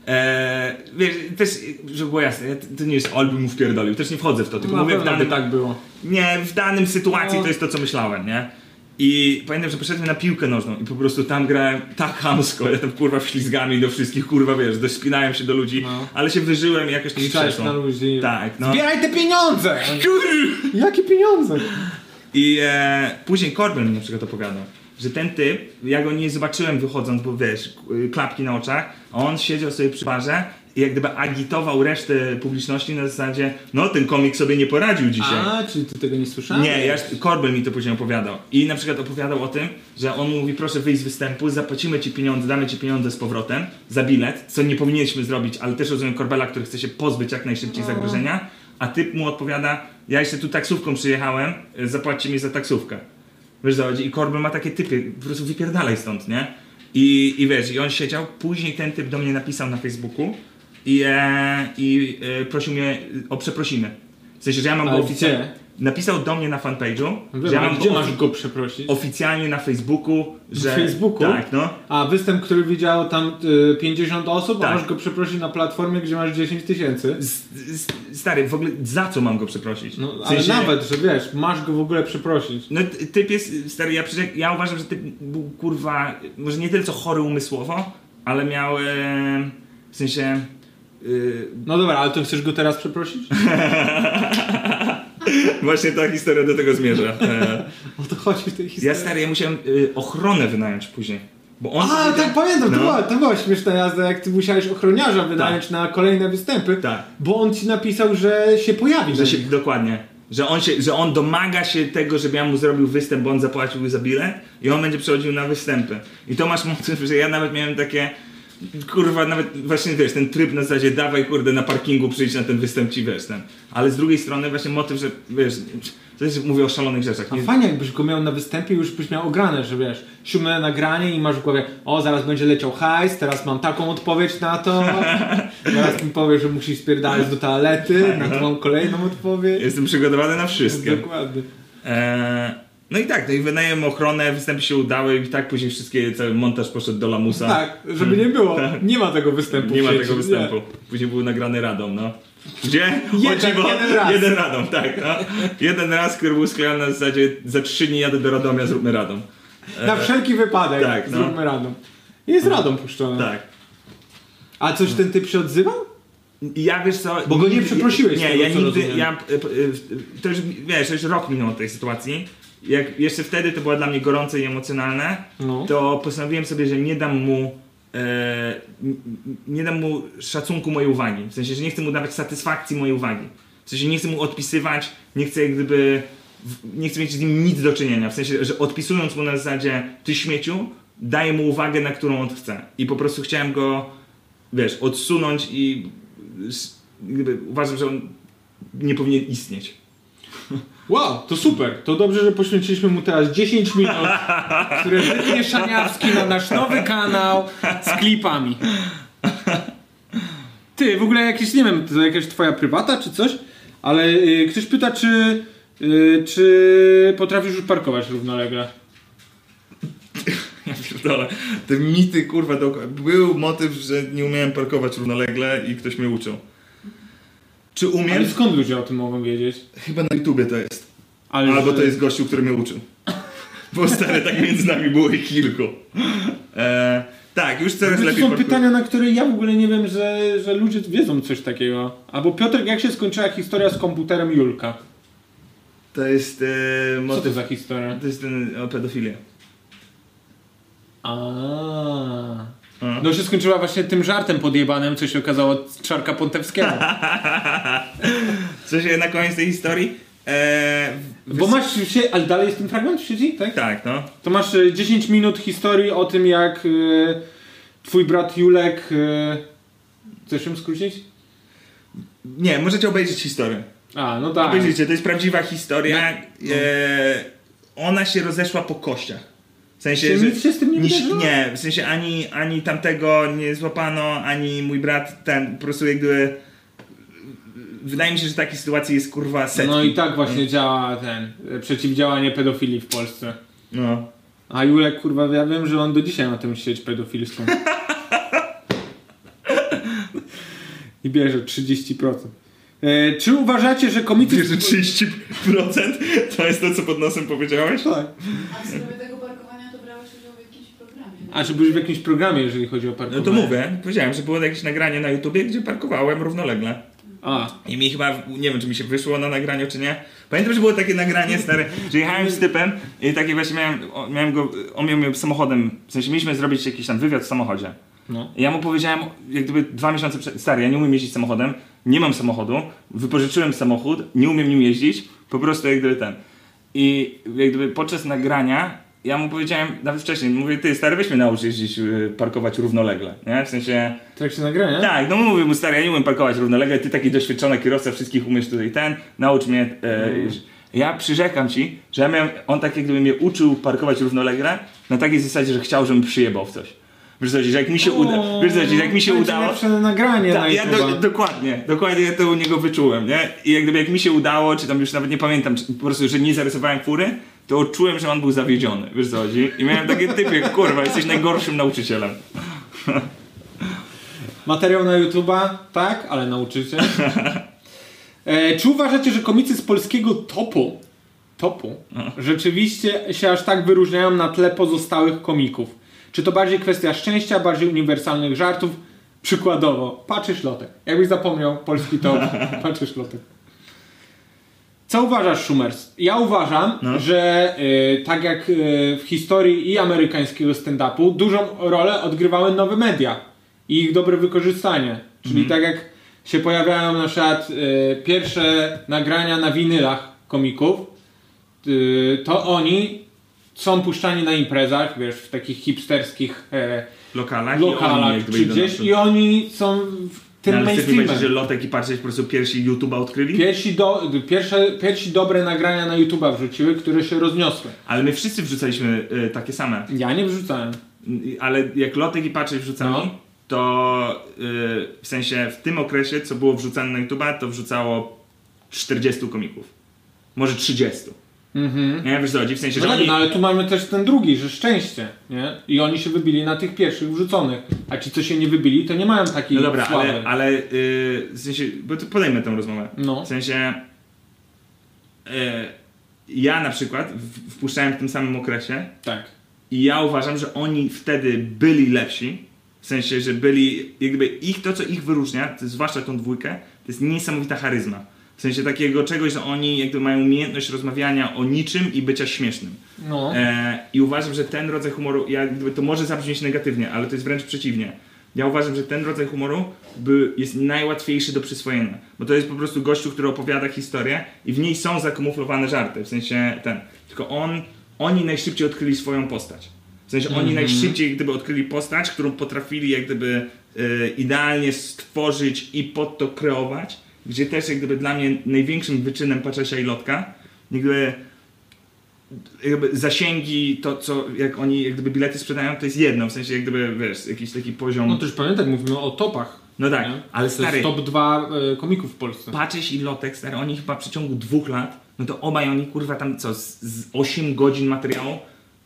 e, wiesz, też, żeby było jasne, ja- to nie jest olbym wpierdolił, też nie wchodzę w to, tylko Na mówię w pewno by danym, tak było. nie, w danym sytuacji No. to jest to, co myślałem, nie? I pamiętam, że poszedłem na piłkę nożną i po prostu tam grałem tak hamsko, ja tam kurwa wślizgami do wszystkich, kurwa, wiesz, dospinałem się do ludzi, No. ale się wyżyłem i jakoś to mi Krzyczałeś przeszło. na ludzi. Tak, no. Zbieraj te pieniądze! Jakie pieniądze? I e, później Corbyn mi na przykład opowiadał, że ten typ, ja go nie zobaczyłem wychodząc, bo wiesz, k- y, klapki na oczach, a on siedział sobie przy barze i jak gdyby agitował resztę publiczności na zasadzie, no ten komik sobie nie poradził dzisiaj. A, czyli ty tego nie słyszałeś? Nie, ja, Corbyn mi to później opowiadał. I na przykład opowiadał o tym, że on mówi, proszę wyjść z występu, zapłacimy ci pieniądze, damy ci pieniądze z powrotem za bilet, co nie powinniśmy zrobić, ale też rozumiem Corbela, który chce się pozbyć jak najszybciej zagrożenia, a typ mu odpowiada, ja jeszcze tu taksówką przyjechałem, y, zapłaćcie mi za taksówkę. Wiesz, zachodzi. I Corbyn ma takie typy, po prostu wypierdalaj stąd, nie? I, I wiesz, i on siedział, później ten typ do mnie napisał na Facebooku i, e, i e, prosił mnie o przeprosiny. W sensie, że ja mam Ale go oficjalnie gdzie? napisał do mnie na fanpage'u, że ja Wybacz, mam No gdzie go masz go przeprosić? oficjalnie na Facebooku, że... Facebooku? Tak, no. A występ, który widziało tam y, 50 osób, a Tak. masz go przeprosić na platformie, gdzie masz 10 tysięcy. S- s- Stary, w ogóle za co mam go przeprosić? No, W ale sensie- nawet, że wiesz, masz go w ogóle przeprosić. No ty- typ jest, stary, ja, przecież, ja uważam, że typ był kurwa, może nie tyle co chory umysłowo, ale miał, e, w sensie, e, No dobra, ale to chcesz go teraz *laughs* przeprosić? Właśnie ta historia do tego zmierza. E, O to chodzi w tej historii. ja stary, ja musiałem e, ochronę wynająć później, bo on... A, tak pamiętam, to, No. była, to była śmieszna jazda, jak ty musiałeś ochroniarza wynająć na kolejne występy, Tak. bo on ci napisał, że się pojawi. Że na się, nich. dokładnie. Że on, się, że on domaga się tego, żeby ja mu zrobił występ, bo on zapłacił za bilet i on będzie przechodził na występy. I to masz motyw, że ja nawet miałem takie kurwa, nawet właśnie wiesz, ten tryb na zasadzie dawaj kurde na parkingu przyjdź na ten występ ci wiesz ten. Ale z drugiej strony właśnie motyw, że wiesz, to jest, mówię o szalonych rzeczach. A Nie, fajnie, jakbyś go miał na występie i już byś miał ograne, że wiesz, siódme nagranie i masz w głowie, o, zaraz będzie leciał hajs, teraz mam taką odpowiedź na to, *laughs* teraz mi powiesz, że musisz spierdalać do Tak. toalety, na to mam kolejną odpowiedź. jestem przygotowany na wszystkie. Dokładnie. Eee, no i tak, no i wynajem ochronę, występy się udały i tak później wszystkie, cały montaż poszedł do lamusa. Tak, żeby nie *laughs* było, nie ma tego występu. Nie w ma sieci, tego występu. Później był nagrany Radom, no. Gdzie? Jeden- O dziwo, tak, jeden raz. Jeden Radom, tak. No. Jeden raz, który był sklejany na zasadzie za trzy dni jadę do Radomia, zróbmy Radom. Nie. Na wszelki wypadek, E, Tak, no. zróbmy radą. Jest radą puszczone. Tak. No. A coś ten typ się odzywał? I Ja wiesz co... Bo go nie przeprosiłeś z Nie, tego, ja co nigdy... rozumiem. Ja, e, p- e, to już, wiesz, już rok minął od tej sytuacji. Jak jeszcze wtedy to było dla mnie gorące i emocjonalne, No. to postanowiłem sobie, że nie dam mu... E, n- n- nie dam mu szacunku mojej uwagi. W sensie, że nie chcę mu dawać satysfakcji mojej uwagi. W sensie, nie chcę mu odpisywać, nie chcę jak gdyby... w- Nie chcę mieć z nim nic do czynienia. W sensie, że odpisując mu na zasadzie ty śmieciu, daję mu uwagę, na którą on chce. I po prostu chciałem go wiesz, odsunąć i s- jakby uważam, że on nie powinien istnieć. Wow, to super. To dobrze, że poświęciliśmy mu teraz 10 *laughs* minut, które wytnie Szaniawski na nasz nowy kanał. z klipami. Ty, w ogóle jakieś, nie wiem, to jakaś twoja prywata czy coś, ale y, ktoś pyta, czy, y, czy potrafisz już parkować równolegle. Ja pierdolę. Te mity, kurwa, dookoła. Był motyw, że nie umiałem parkować równolegle i ktoś mnie uczył. Czy umiem? Ale skąd ludzie o tym mogą wiedzieć? Chyba na YouTubie to jest. Ale Albo że- to jest gościu, który mnie uczył. Bo stary, tak między nami było ich kilku. E, tak, już coraz To lepiej są parkuję. pytania, na które ja w ogóle nie wiem, że, że ludzie wiedzą coś takiego. Albo Piotr, jak się skończyła historia z komputerem Julka? To jest e, Co to motyw. za historia? To jest ten o pedofilię. A. A. No się skończyła właśnie tym żartem podjebanym, co się okazało od Czarka Pontewskiego. Co się na koniec tej historii? E, w- Bo masz się, ale dalej jest ten fragment siedzi, tak? Tak, no. To masz y, 10 minut historii o tym, jak y, twój brat Julek. Y, chcesz ją skrócić? Nie, możecie obejrzeć historię. A, no tak. No. Obejrzyjcie, to jest prawdziwa historia. E, ona się rozeszła po kościach. W sensie, Czy nic się z tym nie nic- wydarzyło? Nie, w sensie ani, ani tamtego nie złapano, ani mój brat ten, po prostu jakby... Wydaje mi się, że takich sytuacji jest kurwa setki. No i tak właśnie działa ten y, przeciwdziałanie pedofilii w Polsce. No. A Julek, kurwa, ja wiem, że on do dzisiaj ma tę sieć pedofilską. I bierze 30%. E, czy uważacie, że komicy... Wiesz, że 30% to jest to, co pod nosem powiedziałeś? Tak. A w sprawie tego parkowania to brałeś udział w jakimś programie. A czy byłeś w jakimś programie, jeżeli chodzi o No parkowanie? to mówię, powiedziałem, że było jakieś nagranie na YouTubie, gdzie parkowałem równolegle. A, I mi chyba, nie wiem czy mi się wyszło na nagraniu czy nie. Pamiętam, że było takie nagranie stare, że jechałem z typem i takie właśnie miałem, o- miałem go, on miał mnie samochodem, w sensie mieliśmy zrobić jakiś tam wywiad w samochodzie. no. I ja mu powiedziałem, jak gdyby dwa miesiące przed, stary, ja nie umiem jeździć samochodem, nie mam samochodu, wypożyczyłem samochód, nie umiem nim jeździć, po prostu jak gdyby ten. I jak gdyby podczas nagrania ja mu powiedziałem, nawet wcześniej, mówię, ty stary, weź mnie naucz jeździć, y, parkować równolegle, nie? W sensie... Tak się nagrania? Tak, no mówię mu stary, ja nie umiem parkować równolegle, ty taki doświadczony kierowca, wszystkich umiesz tutaj ten, naucz mnie. E, No. jeździ- Ja przyrzekam ci, że ja miałem, on tak jak gdyby mnie uczył parkować równolegle na takiej zasadzie, że chciał, żebym przyjebał w coś. Wiesz co, chodzi, że jak mi się uda, wiesz co, chodzi, że jak mi się będzie udało, lepsze nagranie na tak, ja YouTube'a. do, dokładnie, dokładnie ja to u niego wyczułem, nie? I jak gdyby jak mi się udało, czy tam już nawet nie pamiętam, czy, po prostu, że nie zarysowałem fury, to czułem, że on był zawiedziony, wiesz co chodzi? I miałem takie typie, kurwa, jesteś najgorszym nauczycielem. Materiał na YouTube'a, tak, ale nauczycie. E, czy uważacie, że komicy z polskiego topu, topu rzeczywiście się aż tak wyróżniają na tle pozostałych komików? Czy to bardziej kwestia szczęścia, bardziej uniwersalnych żartów? Przykładowo, patrzysz lotek. Jakbyś zapomniał, polski top, patrzysz lotek. Co uważasz, Schumers? Ja uważam, No. że y, tak jak y, w historii i amerykańskiego stand-upu, dużą rolę odgrywały nowe media i ich dobre wykorzystanie. Czyli Mhm. tak jak się pojawiają na przykład y, pierwsze nagrania na winylach komików, y, to oni są puszczani na imprezach, wiesz, w takich hipsterskich e, Lokalach, Tak, i oni jak lokalach gdyby czy idą na gdzieś przód. i oni są w tym No, ale chcesz mi mainstreamem. powiedzieć, że Lotek i Patrzeć po prostu pierwsi YouTube'a odkryli? Pierwsi, do, pierwsze, pierwsi dobre nagrania na YouTube'a wrzuciły, które się rozniosły. ale my wszyscy wrzucaliśmy y, takie same. Ja nie wrzucałem. Y, Ale jak Lotek i Patrzeć wrzucali, No. to y, w sensie w tym okresie, co było wrzucane na YouTube'a, to wrzucało 40 komików. Może 30. Mhm. Nie wiesz co chodzi? W sensie, No, że tak, oni... no ale tu mamy też ten drugi, że szczęście, nie? I oni się wybili na tych pierwszych wrzuconych. A ci, co się nie wybili, to nie mają takiej No dobra, sławy. ale, ale y, w sensie, bo to podejmę tę rozmowę. No. W sensie, y, ja na przykład w- wpuszczałem w tym samym okresie Tak. I ja uważam, że oni wtedy byli lepsi. W sensie, że byli, jakby ich to, co ich wyróżnia, to zwłaszcza tą dwójkę, to jest niesamowita charyzma. W sensie takiego czegoś, że oni jakby mają umiejętność rozmawiania o niczym i bycia śmiesznym. No. E, I uważam, że ten rodzaj humoru, ja, jakby to może zabrzmieć negatywnie, ale to jest wręcz przeciwnie. Ja uważam, że ten rodzaj humoru by, jest najłatwiejszy do przyswojenia. Bo to jest po prostu gościu, który opowiada historię i w niej są zakamuflowane żarty. W sensie ten. Tylko on, oni najszybciej odkryli swoją postać. W sensie oni najszybciej jak gdyby odkryli postać, którą potrafili jak gdyby e, idealnie stworzyć i pod to kreować, gdzie też jak gdyby dla mnie największym wyczynem Paczesia i Lotka, jak gdyby jakby zasięgi, to co, jak oni jak gdyby bilety sprzedają, to jest jedno, w sensie jak gdyby, wiesz, jakiś taki poziom... No też pamiętaj, mówimy o topach. No tak, nie? ale to stary- jest top 2 e, komików w Polsce. Patrzeć i Lotek, stary, oni chyba w przeciągu dwóch lat, no to obaj oni kurwa tam co, z, z 8 godzin materiału,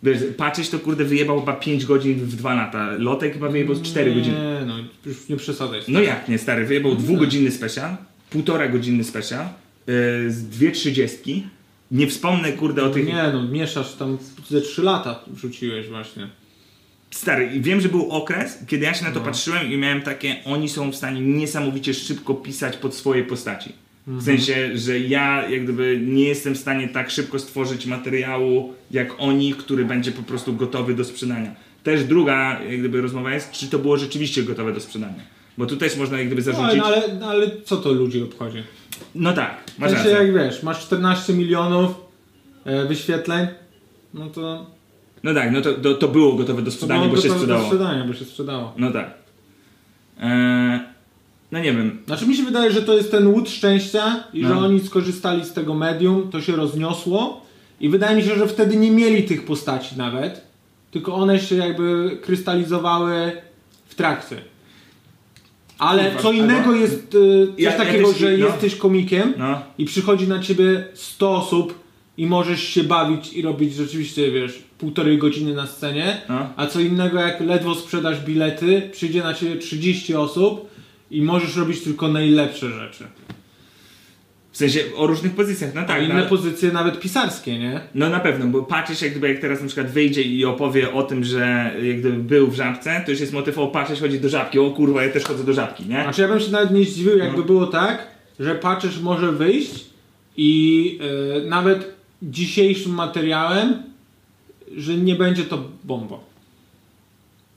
wiesz, Patrzeć to kurde wyjebał chyba 5 godzin w 2 lata, Lotek chyba wyjebał z 4 godziny. Nie, no już nie przesadzaj. No jak nie, stary, wyjebał dwugodzinny special, półtora godzinny special, yy, z dwie trzydziestki, nie wspomnę kurde o tych... Nie no, mieszasz tam ze 3 lata rzuciłeś właśnie. Stary, i wiem, że był okres, kiedy ja się No. na to patrzyłem i miałem takie, oni są w stanie niesamowicie szybko pisać pod swoje postaci. Mhm. W sensie, że ja jak gdyby nie jestem w stanie tak szybko stworzyć materiału jak oni, który będzie po prostu gotowy do sprzedania. Też druga jak gdyby rozmowa jest, czy to było rzeczywiście gotowe do sprzedania. Bo tu też można jak gdyby No, zarzucić. ale, ale, ale co to ludzi obchodzi? No tak, W masz sensie rację. jak wiesz, masz 14 milionów e, wyświetleń, no to, No tak, no to, to, to było gotowe do to sprzedania, bo się gotowe do sprzedało. sprzedania, bo się sprzedało. No tak. Eee, no nie wiem, Znaczy mi się wydaje, że to jest ten łód szczęścia i że No. oni skorzystali z tego medium, to się rozniosło i wydaje mi się, że wtedy nie mieli tych postaci nawet, tylko one się jakby krystalizowały w trakcie. Ale Kurwa, co innego albo- jest y, coś Ja- ja takiego, też- że no. jesteś komikiem No. i przychodzi na ciebie 100 osób i możesz się bawić i robić rzeczywiście, wiesz, półtorej godziny na scenie, No. a co innego jak ledwo sprzedasz bilety, przyjdzie na ciebie 30 osób i możesz robić tylko najlepsze rzeczy. w sensie o różnych pozycjach, no A tak. no, inne ale- pozycje nawet pisarskie, nie? No na pewno, bo patrzysz jak gdyby jak teraz na przykład wyjdzie i opowie o tym, że jak gdyby był w żabce, to już jest motyw o patrzeć chodzi do żabki, o kurwa ja też chodzę do żabki, nie? Znaczy ja bym się nawet nie zdziwił, jakby No. było tak, że patrzysz może wyjść i y, nawet dzisiejszym materiałem, że nie będzie to bomba.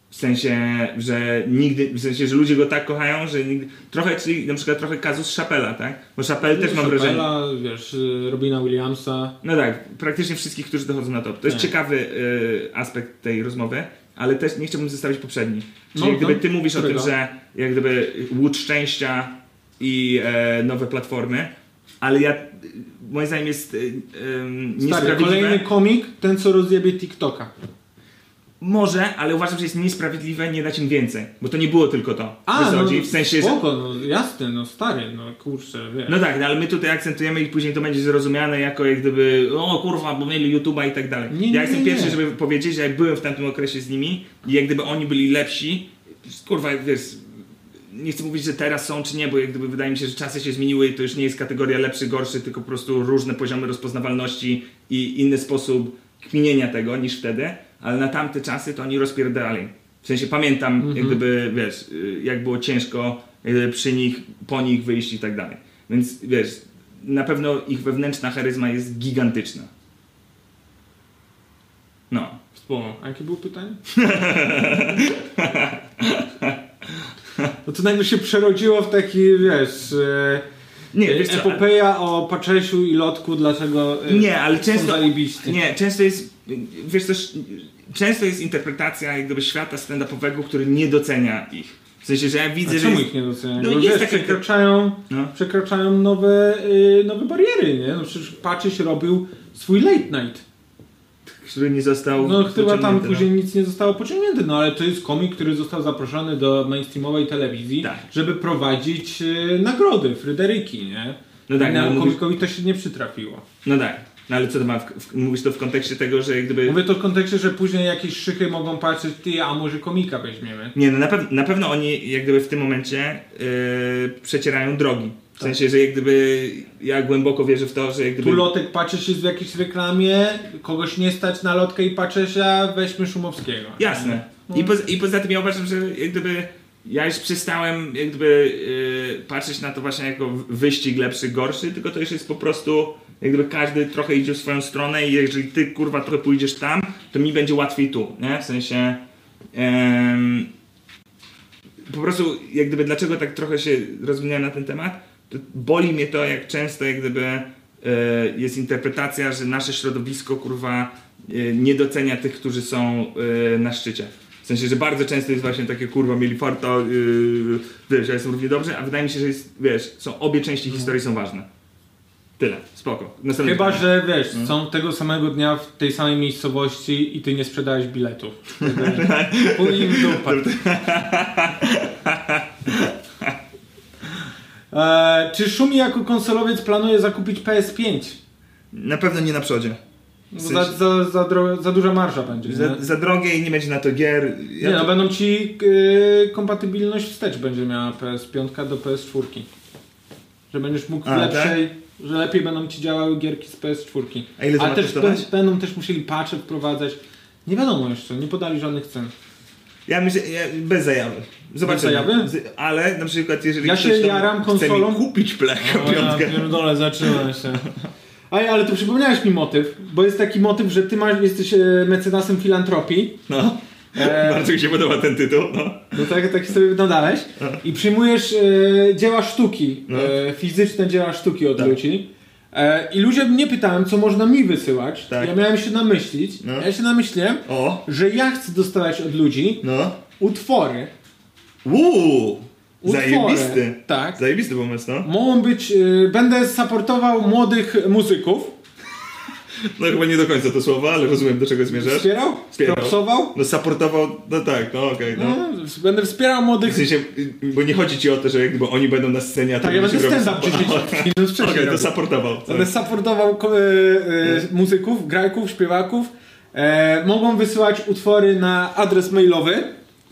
W sensie, że nigdy, w sensie, że ludzie go tak kochają, że nigdy, trochę, czyli na przykład trochę kazus Szapela, tak? Bo Szapel też mam wrażenie. Chappella, wiesz, y, Robina Williamsa. No tak, praktycznie wszystkich, którzy dochodzą na top. To jest Tak. ciekawy y, aspekt tej rozmowy, ale też nie chciałbym zostawić poprzedni. Czyli No, jak gdyby no, ty mówisz o którego? tym, że jak gdyby łód szczęścia i e, nowe platformy, ale ja, y, moim zdaniem jest y, y, Stary, niesprawiedliwe. kolejny komik, ten co rozjebie TikToka. Może, ale uważam, że jest niesprawiedliwe nie dać im więcej, bo to nie było tylko to. A, no, Wychodzi, w sensie, że... spoko, no jasne, no stary, no kurczę, wiesz. No tak, no, ale my tutaj akcentujemy i później to będzie zrozumiane jako jak gdyby, o kurwa, bo mieli YouTube'a i tak dalej. Nie, nie, ja jestem nie, pierwszy, nie. żeby powiedzieć, że jak byłem w tamtym okresie z nimi i jak gdyby oni byli lepsi, kurwa, wiesz, nie chcę mówić, że teraz są czy nie, bo jak gdyby wydaje mi się, że czasy się zmieniły i to już nie jest kategoria lepszy, gorszy, tylko po prostu różne poziomy rozpoznawalności i inny sposób kminienia tego niż wtedy, ale na tamte czasy to oni rozpierdali. W sensie pamiętam, Mhm. jak gdyby, wiesz, y, jak było ciężko jak gdyby przy nich, po nich wyjść i tak dalej. Więc wiesz, na pewno ich wewnętrzna charyzma jest gigantyczna. No. Spoko. A jakie było *laughs* pytanie? No to nagle się przerodziło w taki, wiesz, e, Nie, wiesz co, ale- epopeja o Paczesiu i Lotku, dlaczego e, Nie, ale są często. zajebiści. Nie, często jest. Wiesz też, często jest interpretacja jak gdyby świata stand-upowego, który nie docenia ich. W sensie, że ja widzę, A że. czemu Jest, ich nie doceniają? No No, jest wiesz, taka- przekraczają, No. przekraczają nowe, y, nowe bariery, nie? No przecież Paczyś robił swój late night. który nie został. No chyba tam pociągnięty, no. później nic nie zostało pociągnięte, no ale to jest komik, który został zaproszony do mainstreamowej telewizji, Tak. żeby prowadzić y, nagrody Fryderyki, nie? No tak, I no, nam mówisz- komikowi to się nie przytrafiło. No tak. No ale co to ma. W, w, mówisz to w kontekście tego, że jak gdyby. Mówię to w kontekście, że później jakieś szychy mogą patrzeć, ty, a może komika weźmiemy. Nie, no na, pew- na pewno oni jak gdyby w tym momencie yy, przecierają drogi. W sensie, że jak gdyby ja głęboko wierzę w to, że jak gdyby... Tak. Tu lotek patrzy się w jakiejś reklamie, kogoś nie stać na lotkę i patrzy się, weźmy Szumowskiego. Jasne. I, poza, I poza tym ja uważam, że jak gdyby ja już przestałem jak gdyby yy, patrzeć na to właśnie jako w- wyścig lepszy, gorszy, tylko to już jest po prostu jak gdyby każdy trochę idzie w swoją stronę i jeżeli ty kurwa trochę pójdziesz tam, to mi będzie łatwiej tu, nie? W sensie em, po prostu jak gdyby dlaczego tak trochę się rozwinąłem na ten temat, to boli mnie to jak często jak gdyby e, jest interpretacja, że nasze środowisko kurwa e, nie docenia tych, którzy są e, na szczycie. W sensie, że bardzo często jest właśnie takie kurwa, mieli farta, yy, wiesz, ja jestem równie dobrze, a wydaje mi się, że jest, wiesz, są obie części historii są ważne. Tyle, spoko. Następne Mhm. Chyba, pytanie. że wiesz, są tego samego dnia w tej samej miejscowości i ty nie sprzedałeś biletów. *laughs* Pójdź im w dupę. Eee, czy Szumi jako konsolowiec planuje zakupić PS5? Na pewno nie na przodzie. Bo W za, sensie- za, za, dro- za duża marsza będzie. Za, nie? za drogie i nie będzie na to gier. Ja Nie, to- no będą ci y, kompatybilność wstecz będzie miała PS5 do PS4. Że będziesz mógł w A, tak? lepszej, że lepiej będą ci działały gierki z PS4. A ile to ma też kosztować? bę- będą też musieli patche wprowadzać. Nie wiadomo jeszcze, nie podali żadnych cen. Ja myślę, ja, bez zajawy. Zobaczymy. Bez zajawy? Z- Ale na przykład jeżeli Ja ktoś się tam jaram chce konsolą. No, mi kupić plechę piątkę. pierdolę, zaczyna się. Ej, ale tu przypomniałeś mi motyw, bo jest taki motyw, że ty masz, jesteś e, mecenasem filantropii. No. E, Bardzo mi się podoba ten tytuł. No. No tak, tak sobie nadałeś. I przyjmujesz e, dzieła sztuki, e, fizyczne dzieła sztuki od No. Tak. ludzi. E, I ludzie mnie pytałem, co można mi wysyłać. Tak. Ja miałem się namyślić. No. Ja się namyśliłem, O. że ja chcę dostawać od ludzi No. utwory. Uuu. Utwory. Zajebisty. Tak. Zajebisty pomysł, no. Mogą być. E, będę supportował młodych muzyków. No chyba nie do końca to słowa, ale rozumiem do czego zmierzasz. Wspierał? Wspierał. Propsował? No supportował, no tak, no okej, no. No, będę wspierał W młodych. sensie, y, bo nie chodzi ci o to, że jakby oni będą na scenie, a ty Tak, ja będę będziesz stand-up robił- ćwiczyć. No, wcześniej *laughs* Okej, to robię. supportował. tak. Będę supportował ko- e, e, muzyków, grajków, śpiewaków. E, mogą wysyłać utwory na adres mailowy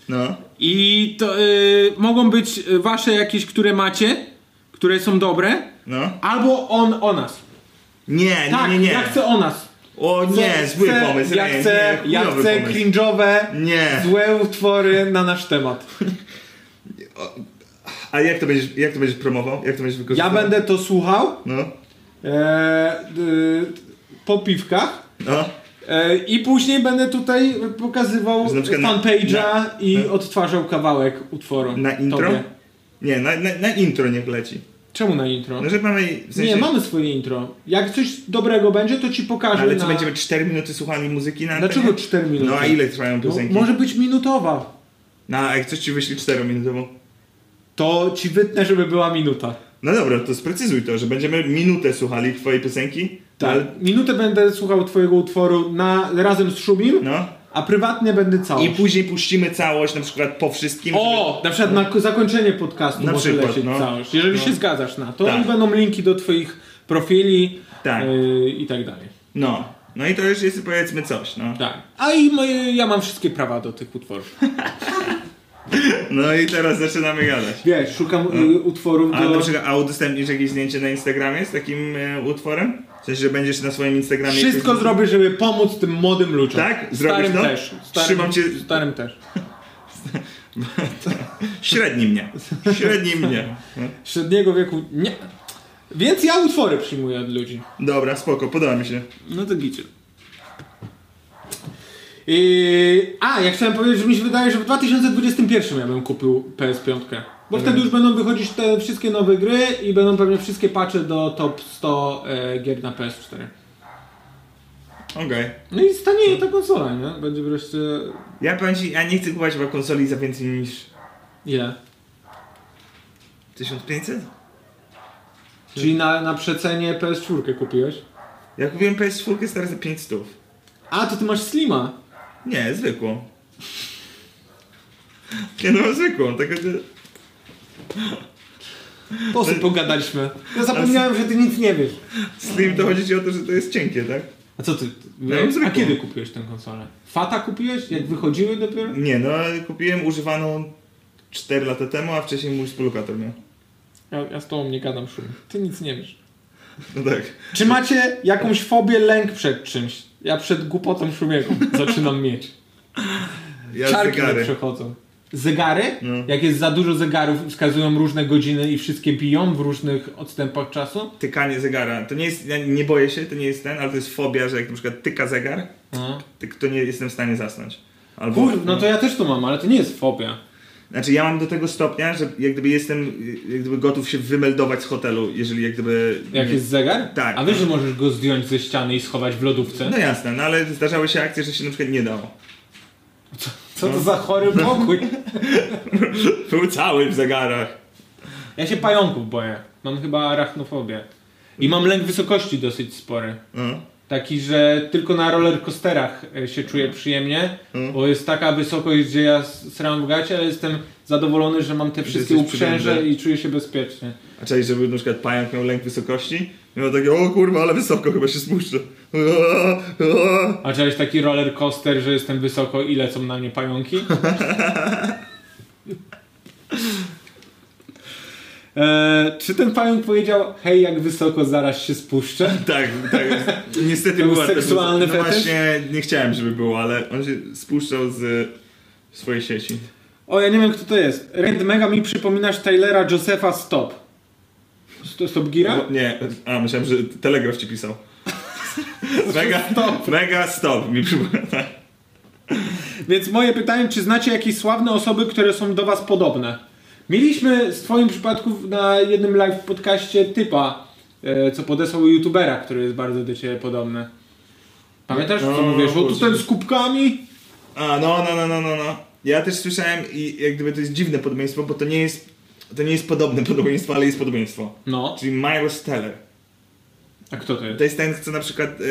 No. I to e, mogą być e, wasze jakieś, które macie, które są dobre, No. albo on o nas. Nie, Tak, nie, nie, nie. ja chcę o nas. O nie, Chcę- zły pomysł. Ja nie, chcę, nie, ja chujowy chcę pomysł. cringe'owe, Nie. złe utwory na nasz temat. A jak to będziesz, jak to będziesz promował? Jak to będziesz Ja wykorzystywał? będę to słuchał No, e, y, po piwkach. no. E, I później będę tutaj pokazywał Że na przykład na- fanpage'a na- i na- odtwarzał kawałek utworu. Na intro? Tobie. Nie, na, na, na intro niech leci. Czemu na intro? No, że mamy... W sensie, Nie, mamy swoje intro. Jak coś dobrego będzie, to ci pokażę. Ale co, na... będziemy 4 minuty słuchali muzyki na antenie? Dlaczego 4 minuty? No, a ile trwają No, piosenki? może być minutowa. No, a jak coś ci wyśli 4-minutową? To ci wytnę, żeby była minuta. No dobra, to sprecyzuj to, że będziemy minutę słuchali twojej piosenki. Tak. Ale, Minutę będę słuchał twojego utworu na, razem z Szumim, no. a prywatnie będę całość. I później puścimy całość, na przykład po wszystkim. żeby- O! Na przykład na ko- zakończenie podcastu Na może przykład, lecieć no. całość. Jeżeli No. się zgadzasz na to, Tak. i będą linki do twoich profili Tak. yy, i tak dalej. No. No i to już jest powiedzmy coś, no. Tak. A i moje, ja mam wszystkie prawa do tych utworów. No i teraz zaczynamy gadać. Wiesz, szukam y, utworów A, do... na przykład, a udostępnisz jakieś zdjęcie na Instagramie z takim e, utworem? W sensie, że będziesz na swoim Instagramie... Wszystko jakoś- zrobię, żeby pomóc tym młodym ludziom. Tak? Zrobisz Starym to? też. Starym, Trzymam cię- Starym też. Średni mnie. Średni *laughs* mnie. No. Średniego wieku nie. Więc ja utwory przyjmuję od ludzi. Dobra, spoko, podoba mi się. no to gicie. I... Yy, A, ja chciałem powiedzieć, że mi się wydaje, że w 2021 ja bym kupił PS5. Bo wtedy już będą wychodzić te wszystkie nowe gry i będą pewnie wszystkie patche do top 100 e, gier na PS4. Okej. No i stanieje ta konsola, nie? Będzie wreszcie... Ja powiem ci, ja nie chcę kupować chyba konsoli za więcej niż Ile? 1500? Czyli na, na przecenie PS4 kupiłeś? Ja kupiłem PS4 stary za 500. A, to ty masz Slima. Nie, zwykłą. Nie no, zwykłą, tak że... O tym pogadaliśmy. Ja zapomniałem, że ty nic nie wiesz. Z tym to chodzi ci o to, że to jest cienkie, tak? A co ty? Ja ją A zwykłą. kiedy kupiłeś tę konsolę? Fata kupiłeś? Jak wychodziły dopiero? Nie no, kupiłem używaną 4 lata temu, a wcześniej mój współlokator miał. Ja, ja z tobą nie gadam szum. Ty nic nie wiesz. No tak. Czy macie jakąś fobię, lęk przed czymś? Ja przed głupotą *laughs* szumiego zaczynam mieć. Ja Czarki mi zegary. przechodzą. Zegary? No. Jak jest za dużo zegarów i wskazują różne godziny i wszystkie biją w różnych odstępach czasu? Tykanie zegara. To nie jest, ja nie boję się, to nie jest ten, ale to jest fobia, że jak na przykład tyka zegar, No. tyk- to nie jestem w stanie zasnąć. Albo, Kur, no to ja też to mam, ale to nie jest fobia. Znaczy ja mam do tego stopnia, że jak gdyby jestem y, jak gdyby gotów się wymeldować z hotelu, jeżeli jak gdyby... Jak jest zegar? Tak. A wiesz, że możesz go zdjąć ze ściany i schować w lodówce? No jasne, no ale zdarzały się akcje, że się na przykład nie dało. Co to za chory pokój? Był cały w zegarach. Ja się pająków boję. Mam chyba arachnofobię. I mam lęk wysokości dosyć spory. No. Taki, że tylko na rollercoasterach e, się czuję przyjemnie, bo jest taka wysokość, gdzie ja s- sram w gacie, ale jestem zadowolony, że mam te wszystkie jesteś uprzęże przyjemny. i czuję się bezpiecznie. A czekaj, żeby na przykład pająk miał lęk wysokości? I miał takie, o kurwa, ale wysoko chyba się spuszczę. *laughs* Ua, ua. A czegoś taki roller coaster, że jestem wysoko i lecą na mnie *laughs* pająki? Eee, czy ten pająk powiedział, hej, jak wysoko, zaraz się spuszczę? Tak, tak. Niestety To był była też- seksualny No fetysz? właśnie, nie chciałem, żeby było, ale on się spuszczał z swojej sieci. O, ja nie wiem, kto to jest. Red Mega mi przypominasz Taylora Josepha Stop. Sto- Stop Gira? Bo- Nie, a myślałem, że telegraf ci *laughs* pisał. Mega stop. Mega stop mi przypomina. tak. Więc moje pytanie, czy znacie jakieś sławne osoby, które są do was podobne? Mieliśmy z twoim przypadku na jednym live podcaście typa, e, co podesłał youtubera, który jest bardzo do ciebie podobny. Pamiętasz, co No, mówisz? O, tu kurczę. ten z kubkami? A, no, no, no, no, no, no. Ja też słyszałem i jak gdyby to jest dziwne podobieństwo, bo to nie jest, to nie jest podobne podobieństwo, ale jest podobieństwo. No. Czyli Miles Teller. A kto to To jest? jest ten, co na przykład... Yy,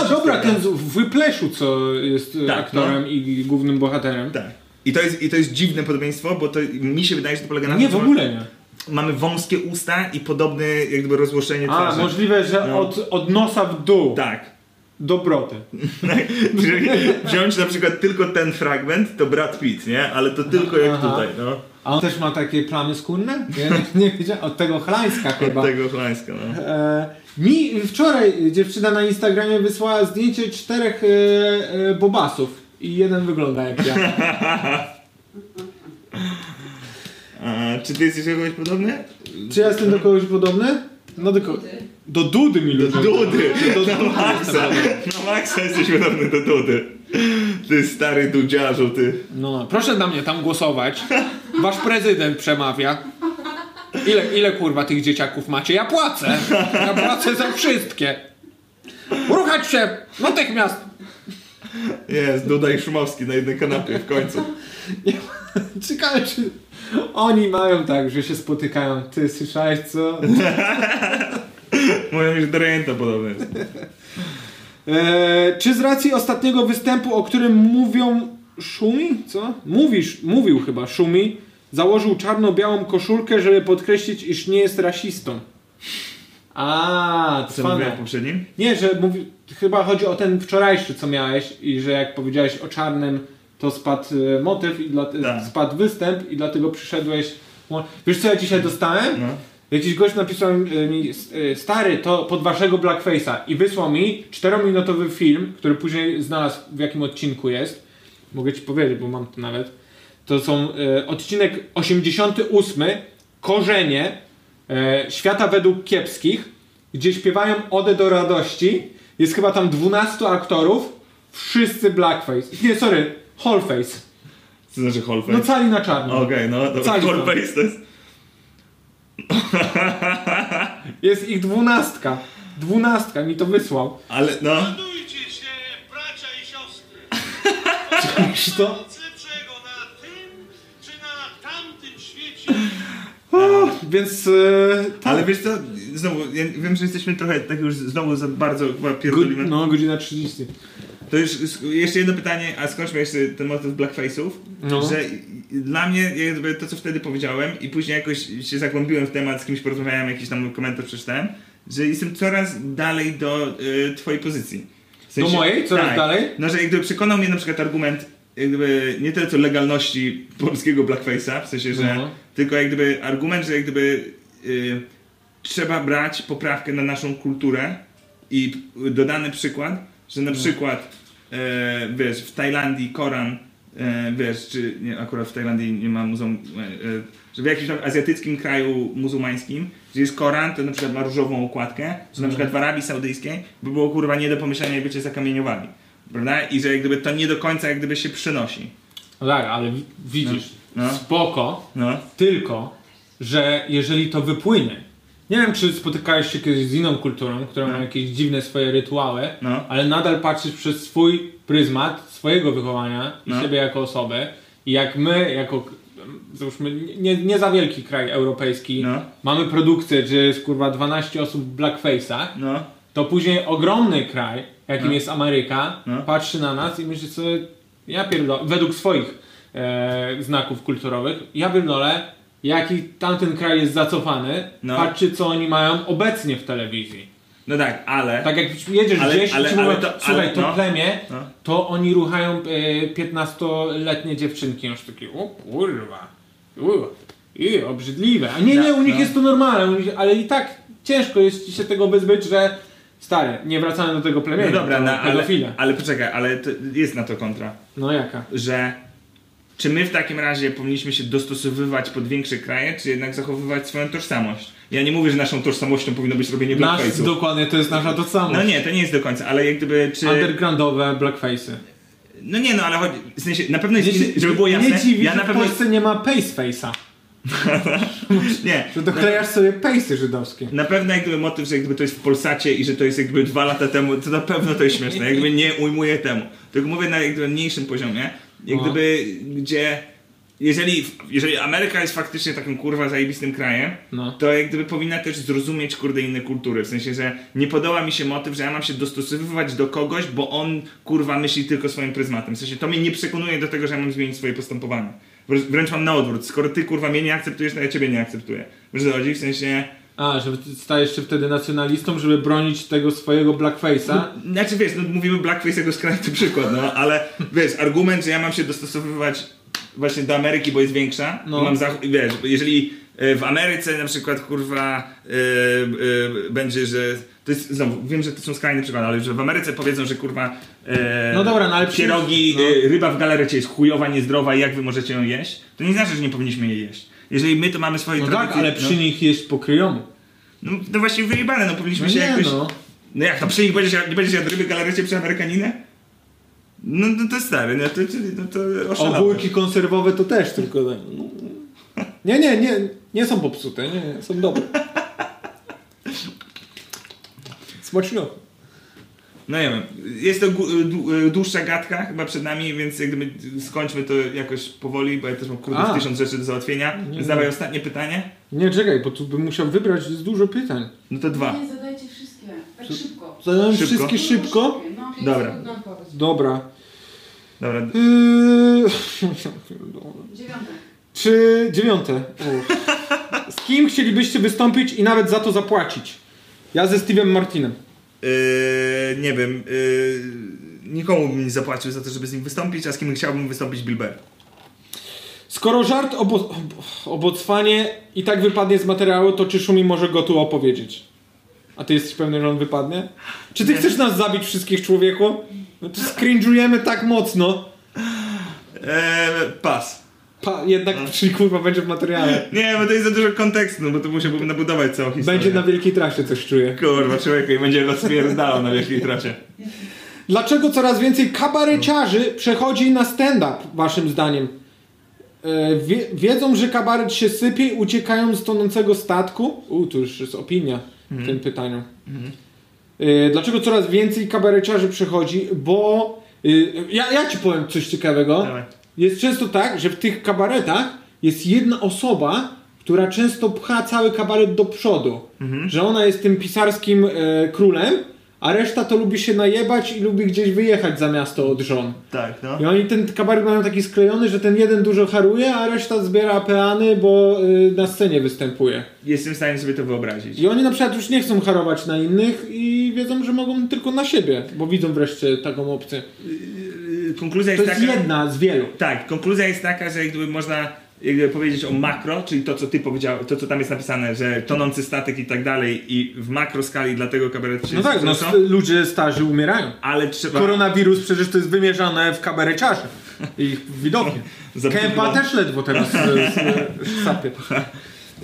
A, dobra, ten z w Wypleszu, co jest e, Tak, aktorem i głównym bohaterem. Tak. I to, jest, I to jest dziwne podobieństwo, bo to mi się wydaje, że to polega na tym, Nie, w że ogóle nie. mamy wąskie usta i podobne jak gdyby rozłożenie A, twarzy. możliwe, że No. od, od nosa w dół. Tak. Dobroty. *laughs* Czyli wziąć na przykład tylko ten fragment, to Brad Pitt, nie? Ale to tylko jak Aha. tutaj, no. A on też ma takie plamy skórne? Nie, nie wiedziałem. Od tego chlańska chyba. Od tego Cholańska, no. E, mi wczoraj dziewczyna na Instagramie wysłała zdjęcie czterech e, e, bobasów i jeden wygląda jak ja. *laughs* A, czy ty jesteś do kogoś podobny? Czy ja jestem do kogoś podobny? No do ko- Do Dudy mi Do ludzie. Dudy! Do Dudy. Na Maxa! Na Maxa jesteś podobny do Dudy. Ty stary dudziarzu, ty. No, proszę na mnie tam głosować. Wasz prezydent przemawia. Ile, ile kurwa tych dzieciaków macie? Ja płacę. Ja płacę za wszystkie. Ruchać się natychmiast. Jest, Duda i Szumowski na jednej kanapie w końcu. Ciekawe, czy oni mają tak, że się spotykają. Ty słyszałeś co? Mówią, że do Rejenta podobny jest. Eee, czy z racji ostatniego występu, o którym mówią Szumi? Co? Mówisz, mówił chyba Szumi. Założył czarno-białą koszulkę, żeby podkreślić, iż nie jest rasistą. A, Co mówiłem w poprzednim? Nie, że mówi, chyba chodzi o ten wczorajszy, co miałeś i że jak powiedziałeś o czarnym, to spadł e, motyw i dla, Tak. spadł występ i dlatego przyszedłeś. Mo- Wiesz co ja dzisiaj dostałem? No. Jakiś gość napisał e, mi, s- e, stary, to pod waszego blackface'a i wysłał mi czterominutowy film, który później znalazł w jakim odcinku jest. Mogę ci powiedzieć, bo mam to nawet. To są e, odcinek 88, Korzenie, e, Świata według kiepskich, gdzie śpiewają Odę do radości. Jest chyba tam 12 aktorów, wszyscy blackface. Nie, sorry, wholeface. Co znaczy Holfej? No cali na czarno. Okej, no to Cali Holfej to jest... Jest ich dwunastka. Dwunastka mi to wysłał. Ale, no... Radujcie się, bracia i siostry! Czy to? Nic lepszego na tym czy na tamtym świecie O, więc e, tak. Ale wiesz co, znowu, ja wiem, że jesteśmy trochę tak już znowu za bardzo chyba Go, pierdolimy. no, godzina 30. To już sk- jeszcze jedno pytanie, a skończmy jeszcze ten motyw blackface'ów, No. że i- i- dla mnie jakby to, co wtedy powiedziałem i później jakoś się zagłębiłem w temat, z kimś porozmawiałem, jakiś tam komentarz przeczytałem, że jestem coraz dalej do y, twojej pozycji. W Do mojej? Coraz dalej? No, że jakby przekonał mnie na przykład argument jakby nie tyle co legalności polskiego blackface'a, w sensie, że No. tylko jakby argument, że jakby y, trzeba brać poprawkę na naszą kulturę i p- dodany przykład, że na przykład e, wiesz, w Tajlandii Koran e, wiesz, czy nie, akurat w Tajlandii nie ma muzeum, e, e, że w jakimś tam azjatyckim kraju muzułmańskim, gdzie jest Koran, to na przykład ma różową okładkę, co na przykład w Arabii Saudyjskiej by było kurwa nie do pomyślenia, jakby cię zakamieniowali. Prawda? I że jak gdyby to nie do końca jak gdyby się przynosi. No tak, ale wi- widzisz, No. No. spoko, No. tylko, że jeżeli to wypłynie, Nie wiem, czy spotykałeś się kiedyś z inną kulturą, która ma jakieś dziwne swoje rytuały, No. ale nadal patrzysz przez swój pryzmat, swojego wychowania i No. siebie jako osobę. I jak my, jako, załóżmy, nie, nie za wielki kraj europejski, No. mamy produkcję, gdzie jest kurwa 12 osób w blackface'ach, No. to później ogromny kraj, jakim jest Ameryka, No. patrzy na nas i myśli sobie, ja pierdolę, według swoich e, znaków kulturowych, ja pierdolę, jaki tamten kraj jest zacofany, No. patrzy co oni mają obecnie w telewizji. No tak, ale... Tak jak jedziesz Ale- gdzieś ale- i ci mówią, ale to- słuchaj, ale- to no. plemię, No. to oni ruchają e, 15-letnie dziewczynki. Już takie, o kurwa, u, i, obrzydliwe. A nie, nie, u nich No. jest to normalne, u nich, ale i tak ciężko jest ci się tego wyzbyć, że stary, nie wracamy do tego plemienia, No dobra, to no, ale, pedofile. ale poczekaj, ale to jest na to kontra, No jaka? że czy my w takim razie powinniśmy się dostosowywać pod większe kraje, czy jednak zachowywać swoją tożsamość? Ja nie mówię, że naszą tożsamością powinno być robienie Nasz, blackface'u. dokładnie, to jest nasza tożsamość. No nie, to nie jest do końca, ale jak gdyby, czy... Undergroundowe blackface'y. No nie, no ale chodzi, w sensie, na pewno Nie jest, ci- inny, żeby było jasne, Nie dziwi, ja że na pewno... w Polsce nie ma paceface'a. *laughs* Nie, Że doklejasz No. sobie pejsy żydowskie. Na pewno jak gdyby motyw, że jak gdyby to jest w Polsacie i że to jest jak gdyby dwa lata temu, to na pewno to jest śmieszne, jak gdyby nie ujmuję temu. Tylko mówię na jak gdyby mniejszym poziomie, jak No. gdyby gdzie, jeżeli, jeżeli Ameryka jest faktycznie takim kurwa zajebistym krajem, No. to jak gdyby powinna też zrozumieć kurde inne kultury, w sensie, że nie podoba mi się motyw, że ja mam się dostosowywać do kogoś, bo on kurwa myśli tylko swoim pryzmatem, w sensie to mnie nie przekonuje do tego, że ja mam zmienić swoje postępowanie. Wrę- Wręcz mam na odwrót, skoro ty kurwa mnie nie akceptujesz, to ja ciebie nie akceptuję. Wiesz o co chodzi? W sensie... A, że stajesz się wtedy nacjonalistą, żeby bronić tego swojego blackface'a? Znaczy wiesz, no mówimy blackface jako skrajny przykład, no ale wiesz, argument, że ja mam się dostosowywać właśnie do Ameryki, bo jest większa, No. no. mam zach- wiesz, bo jeżeli e, w Ameryce na przykład kurwa e, e, będzie, że to jest, znowu, wiem, że to są skrajne przykłady, ale że w Ameryce powiedzą, że kurwa e, No dobra, no ale przecież- pierogi, no. e, ryba w galarecie jest chujowa, niezdrowa i jak wy możecie ją jeść, to nie znaczy, że nie powinniśmy jej jeść. Jeżeli my to mamy swoje No tak, tradycje... ale przy nich jeść po kryjomu. no, no, no właśnie wyjebane, no powinniśmy No się nie jakoś... no. No jak, no przy nich będziesz, nie będziesz jadł ryby galarecie przy Amerykaninę? No, no to stary, no to, no to oszalałeś. Ogórki konserwowe to też tylko... tak, no. Nie, nie, nie, nie są popsute, nie, nie, są dobre. Smaczno. No nie wiem, jest to gó- dłu- dłuższa gadka chyba przed nami, więc jak gdyby skończmy to jakoś powoli, bo ja też mam kurde A. z tysiąc rzeczy do załatwienia. Nie. Zadawaj ostatnie pytanie, Nie, czekaj, bo tu bym musiał wybrać z dużo pytań. no to dwa. Nie zadajcie wszystkie, tak szybko. Zadałem Szybko. wszystkie szybko? No, Dobra. Trudna odpowiedź. Dobra. *laughs* Dobra, Yy... Dziewiąte. Czy dziewiąte? O. Z kim chcielibyście wystąpić i nawet za to zapłacić? Ja ze Steve'em Martinem. yy, nie wiem, yy, nikomu bym nie zapłacił za to, żeby z nim wystąpić, a z kim chciałbym wystąpić Bilber. Skoro żart o, bo- o Botswanie i tak wypadnie z materiału, to czy Szumi może go tu opowiedzieć? A ty jesteś pewny, że on wypadnie? Czy ty chcesz nas zabić wszystkich, człowieku? No to skrinżujemy tak mocno. Eee, pas. Pa, jednak, czyli kurwa, będzie w materiale. *laughs* Nie, bo to jest za dużo kontekstu, bo to musiałbym nabudować całą historię. Będzie na wielkiej trasie, coś czuję. Kurwa, człowieku, i będzie rozpierdalał na wielkiej trasie. Dlaczego coraz więcej kabareciarzy przechodzi na stand-up, waszym zdaniem? E, Wie, wiedzą, że kabaret się sypie i uciekają z tonącego statku? U, tu już jest opinia w tym pytaniu. E, Dlaczego coraz więcej kabareciarzy przechodzi? Bo e, ja, ja ci powiem coś ciekawego. Dawaj. Jest często tak, że w tych kabaretach jest jedna osoba, która często pcha cały kabaret do przodu. Że ona jest tym pisarskim e, królem, a reszta to lubi się najebać i lubi gdzieś wyjechać za miasto od żon. Tak, no. I oni ten kabaret mają taki sklejony, że ten jeden dużo haruje, a reszta zbiera peany, bo y, na scenie występuje. Jestem w stanie sobie to wyobrazić. I oni na przykład już nie chcą harować na innych i wiedzą, że mogą tylko na siebie, bo widzą wreszcie taką opcję. Yy, Konkluzja To jest, jest taka... jedna z wielu. Tak, konkluzja jest taka, że jakby można jakby powiedzieć o makro, czyli to, co ty powiedział, to, co tam jest napisane, że tonący statek i tak dalej i w makroskali dla tego kabaretu się No tak, no, Tak. wzrosną, st- ludzie starzy umierają. ale trzeba... Koronawirus przecież to jest wymierzane w kabareciarzy. I ich *laughs* widoki. Zabrzydło. Kępa też ledwo teraz e, s- sapie.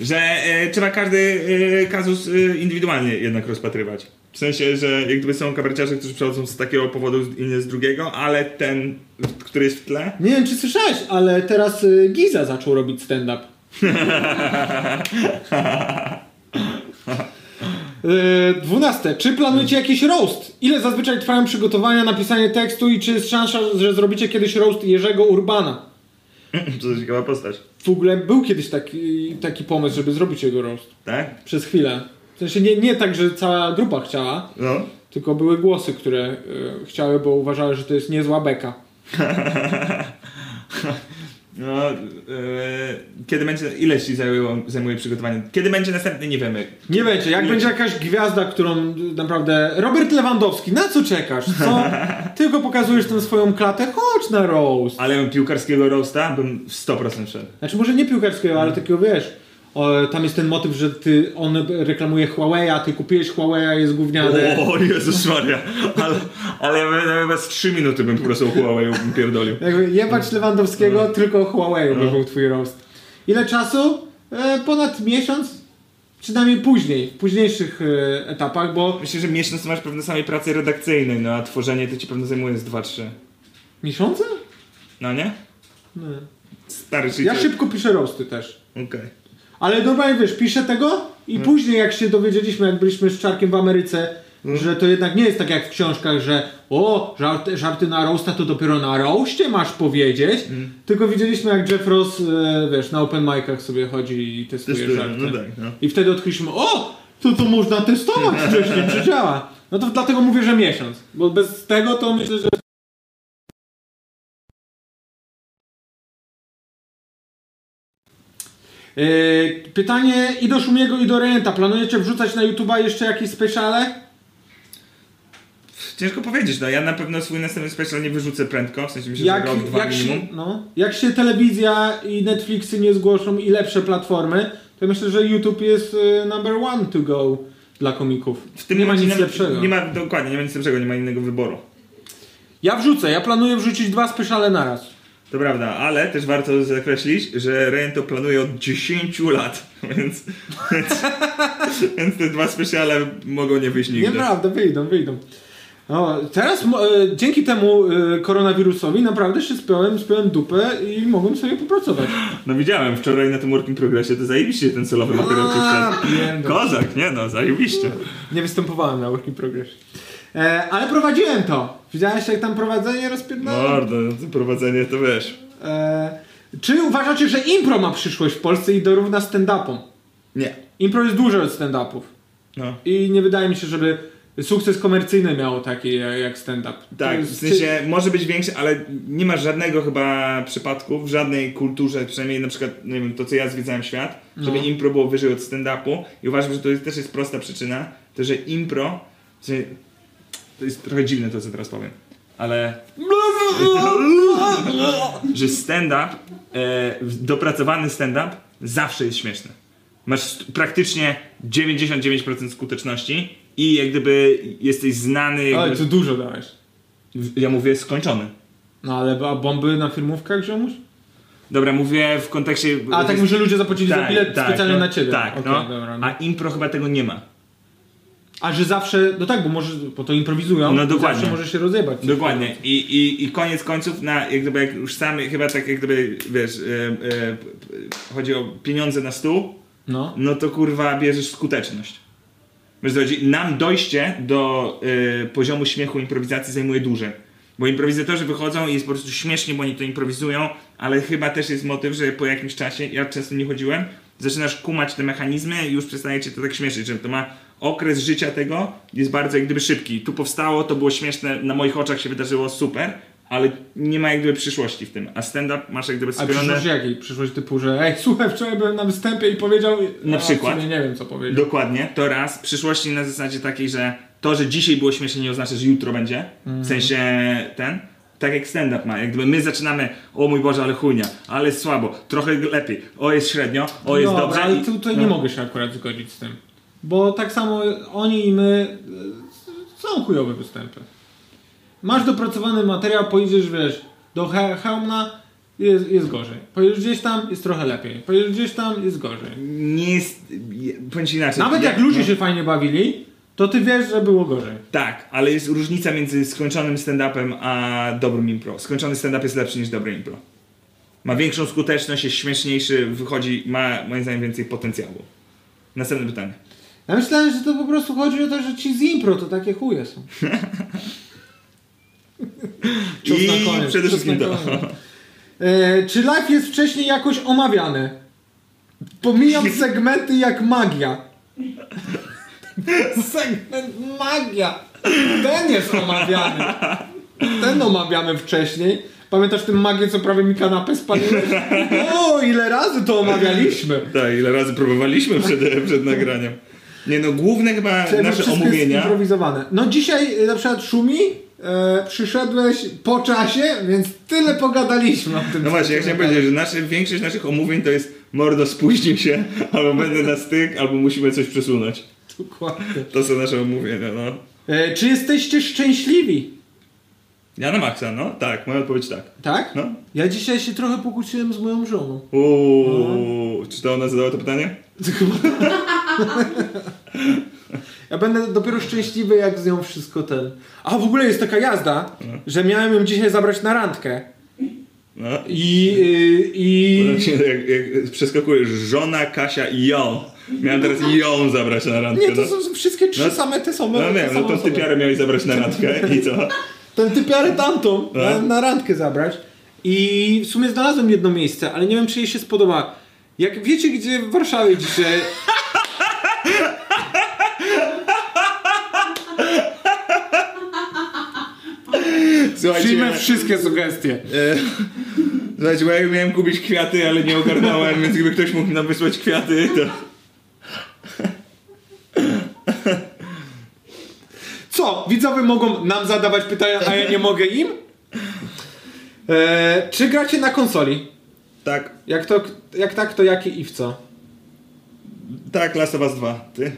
Że e, trzeba każdy e, kazus e, indywidualnie jednak rozpatrywać. W sensie, że jak gdyby są kabareciarze, którzy przechodzą z takiego powodu, inny z drugiego, ale ten, który jest w tle, *laughs* Nie wiem, czy słyszałeś, ale teraz y, Giza zaczął robić stand-up. Yy, dwunaste. Czy planujecie jakiś roast? Ile zazwyczaj trwają przygotowania, napisanie tekstu i czy jest szansa, że zrobicie kiedyś roast Jerzego Urbana? To jest ciekawa postać. W ogóle był kiedyś taki, taki pomysł, żeby zrobić jego roast. Tak? Przez chwilę. W sensie nie, nie tak, że cała grupa chciała, No. tylko były głosy, które yy, chciały, bo uważały, że to jest niezła beka. No, e, kiedy będzie, ile ci zajęło, zajmuje przygotowanie? Kiedy będzie następny, nie wiemy. Nie będzie, jak będzie jakaś gwiazda, którą naprawdę. Robert Lewandowski, na co czekasz? Co? Tylko pokazujesz tę swoją klatę, chodź na roast. Ale piłkarskiego roasta bym w 100% szedł. Znaczy, może nie piłkarskiego, ale takiego wiesz. O, tam jest ten motyw, że ty, on reklamuje Huawei, a ty kupiłeś Huawei, jest gówniany. O Jezus Maria, ale, ale ja bym- ja bym was 3 minuty bym po prostu uchłał i bym pierdolił. Jakby jebać Lewandowskiego, tylko Huawei by był twój roast. Ile czasu? E, ponad miesiąc? Czy najmniej później, w późniejszych e, etapach, bo Myślę, że miesiąc masz pewno samej pracy redakcyjnej, no a tworzenie to ci pewno zajmuje z 2-3. miesiące? No nie? No. Stary czyli Ja to- szybko piszę roasty też. Okej. Ale normalnie wiesz, piszę tego i Hmm. później jak się dowiedzieliśmy, jak byliśmy z Czarkiem w Ameryce, Hmm. że to jednak nie jest tak jak w książkach, że o, żarty, żarty na roasta to dopiero na roście masz powiedzieć, Hmm. tylko widzieliśmy jak Jeff Ross, e, wiesz, na open micach sobie chodzi i testuje Testuję, żarty. no tak, no. I wtedy odkryliśmy, o, to to można testować *laughs* wcześniej, czy działa. No to dlatego mówię, że miesiąc, bo bez tego to myślę, że Yy, pytanie i do Szumiego, i do Rejenta. Planujecie wrzucać na YouTube'a jeszcze jakieś speciale? Ciężko powiedzieć, no ja na pewno swój następny special nie wyrzucę prędko, w sensie myślę, że rok, dwa jak, się, minimum. no, jak się telewizja i Netflixy nie zgłoszą i lepsze platformy, to myślę, że YouTube jest y, number one to go dla komików. W tym nie ma nic momencie nawet- lepszego. Nie ma, dokładnie, nie ma nic lepszego, nie ma innego wyboru. Ja wrzucę, ja planuję wrzucić dwa speciale naraz. To prawda, ale też warto zakreślić, że Ryan to planuje od 10 lat, *laughs* więc, więc, więc te dwa specjale mogą nie wyjść nigdy. Nieprawda, wyjdą, wyjdą. No, teraz mo- e, dzięki temu e, koronawirusowi naprawdę się spiąłem, spiąłem dupę i mogłem sobie popracować. No widziałem wczoraj na tym Working Progressie, to zajebiście ten celowy materiał ci wszedł. pierdol. Kozak, nie no, zajebiście. Nie występowałem na Work in Progress. E, ale prowadziłem to. Widziałeś jak tam prowadzenie rozpierdolone? Mordo, no to prowadzenie to wiesz. E, czy uważacie, że impro ma przyszłość w Polsce i dorówna stand-upom? Nie. Impro jest duże od stand-upów. No. I nie wydaje mi się, żeby sukces komercyjny miało taki e, jak stand-up. To Tak, jest- w sensie może być większy, ale nie ma żadnego chyba przypadku w żadnej kulturze, przynajmniej na przykład, nie wiem, to co ja zwiedzałem świat, No. żeby impro było wyżej od stand-upu i uważam, że to jest, też jest prosta przyczyna, to że impro, w sensie, to jest trochę dziwne to, co teraz powiem, ale *laughs* że stand-up, e, dopracowany stand-up zawsze jest śmieszny. Masz st- praktycznie 99% skuteczności i jak gdyby jesteś znany, jak Ale gdyby- ty dużo dałeś. w- Ja mówię skończony. No ale a bomby na filmówkach, ziomuś? Dobra, mówię w kontekście. A tak mówię, że ludzie zapłacili za bilet specjalnie no, na ciebie. Tak, Okej, no. dobra. A impro chyba tego nie ma. A że zawsze, no tak, bo może, bo to improwizują, No i dokładnie. zawsze może się rozjebać. Dokładnie. I, i, I koniec końców, na, jak gdyby jak już sami, chyba tak jak gdyby, wiesz, e, e, p- p- chodzi o pieniądze na stół, No. no to kurwa bierzesz skuteczność. Wiesz, co chodzi? nam dojście do e, poziomu śmiechu improwizacji zajmuje dłużej. Bo improwizatorzy wychodzą i jest po prostu śmiesznie, bo oni to improwizują, ale chyba też jest motyw, że po jakimś czasie, ja często nie chodziłem, zaczynasz kumać te mechanizmy i już przestaje cię to tak śmieszyć, że to ma okres życia tego jest bardzo jak gdyby szybki. Tu powstało, to było śmieszne, na moich oczach się wydarzyło, super, ale nie ma jak gdyby przyszłości w tym. A stand-up masz jak gdyby A spione... przyszłość jakiej? Przyszłość typu, że ej, słuchaj, wczoraj byłem na występie i powiedział... Na a, w przykład. sumie Nie wiem, co powiedział. Dokładnie, to raz. Przyszłości na zasadzie takiej, że to, że dzisiaj było śmiesznie, nie oznacza, że jutro będzie. Mm. W sensie ten. Tak jak stand-up ma. Jak gdyby my zaczynamy, o mój Boże, ale chujnia, ale słabo, trochę lepiej, o jest średnio, o jest Dobra, dobrze. ale i- tu- tutaj no. nie mogę się akurat zgodzić z tym. Bo tak samo oni i my e, są chujowe występy. Masz dopracowany materiał, pojedziesz, wiesz, do he- hełmna, jest, jest gorzej. Pojedziesz gdzieś tam, jest trochę lepiej. Pojedziesz gdzieś tam, jest gorzej. Nie jest. je- Powiem ci inaczej. Nawet jak ja- ludzie no. się fajnie bawili, to ty wiesz, że było gorzej. Tak, ale jest różnica między skończonym stand-upem a dobrym impro. Skończony stand-up jest lepszy niż dobry impro. Ma większą skuteczność, jest śmieszniejszy, wychodzi, ma moim zdaniem więcej potencjału. Następne pytanie. Ja myślałem, że to po prostu chodzi o to, że ci z impro to takie chuje są. Cios I na koniec, przede cios wszystkim na to. koniec. E, czy live jest wcześniej jakoś omawiany? *laughs* Pomijam segmenty jak magia. Segment magia. Ten jest omawiany. Ten omawiamy wcześniej. Pamiętasz tę magię, co prawie mi kanapę *laughs* spaliłeś? O, ile razy to omawialiśmy. *laughs* Tak, ile razy próbowaliśmy przed, przed nagraniem. Nie no, główne chyba Jakby nasze wszystko omówienia. Jest improwizowane. No dzisiaj y, na przykład Szumi e, przyszedłeś po czasie, więc tyle pogadaliśmy o tym. No właśnie, ja chciałem powiedzieć, że nasze, większość naszych omówień to jest mordo spóźnił się, *laughs* albo będę na styk, albo musimy coś przesunąć. Dokładnie. To są nasze omówienia, no. E, czy jesteście szczęśliwi? Ja na maksa, no? Tak, moja odpowiedź tak. Tak? No. Ja dzisiaj się trochę pokłóciłem z moją żoną. *laughs* Uuu, czy to ona zadała to pytanie? Ja będę dopiero szczęśliwy, jak z nią wszystko ten. A w ogóle jest taka jazda, że miałem ją dzisiaj zabrać na randkę. No. I. y, I... i... *laughs* Jak, jak przeskakujesz, żona, Kasia i ją. Miałem teraz ją zabrać na randkę. No Nie, to no. są wszystkie trzy No. same te same. No te wiem, same no to osoby. typiarę miałeś zabrać na randkę i *laughs* co? Ten typiarę tamtą No. na, na randkę zabrać. I w sumie znalazłem jedno miejsce, ale nie wiem, czy jej się spodoba. Jak wiecie, gdzie w Warszawie dzisiaj... Przyjmę Słuchajcie, wszystkie sugestie. słuchajcie, bo ja miałem kupić kwiaty, ale nie ogarnąłem, więc gdyby ktoś mógł nam wysłać kwiaty, to... Co? Widzowie mogą nam zadawać pytania, a ja nie mogę im? Eee, czy gracie na konsoli? Tak, Jak, to, jak tak, to jaki i w co? tak, Last of Us 2. Ty?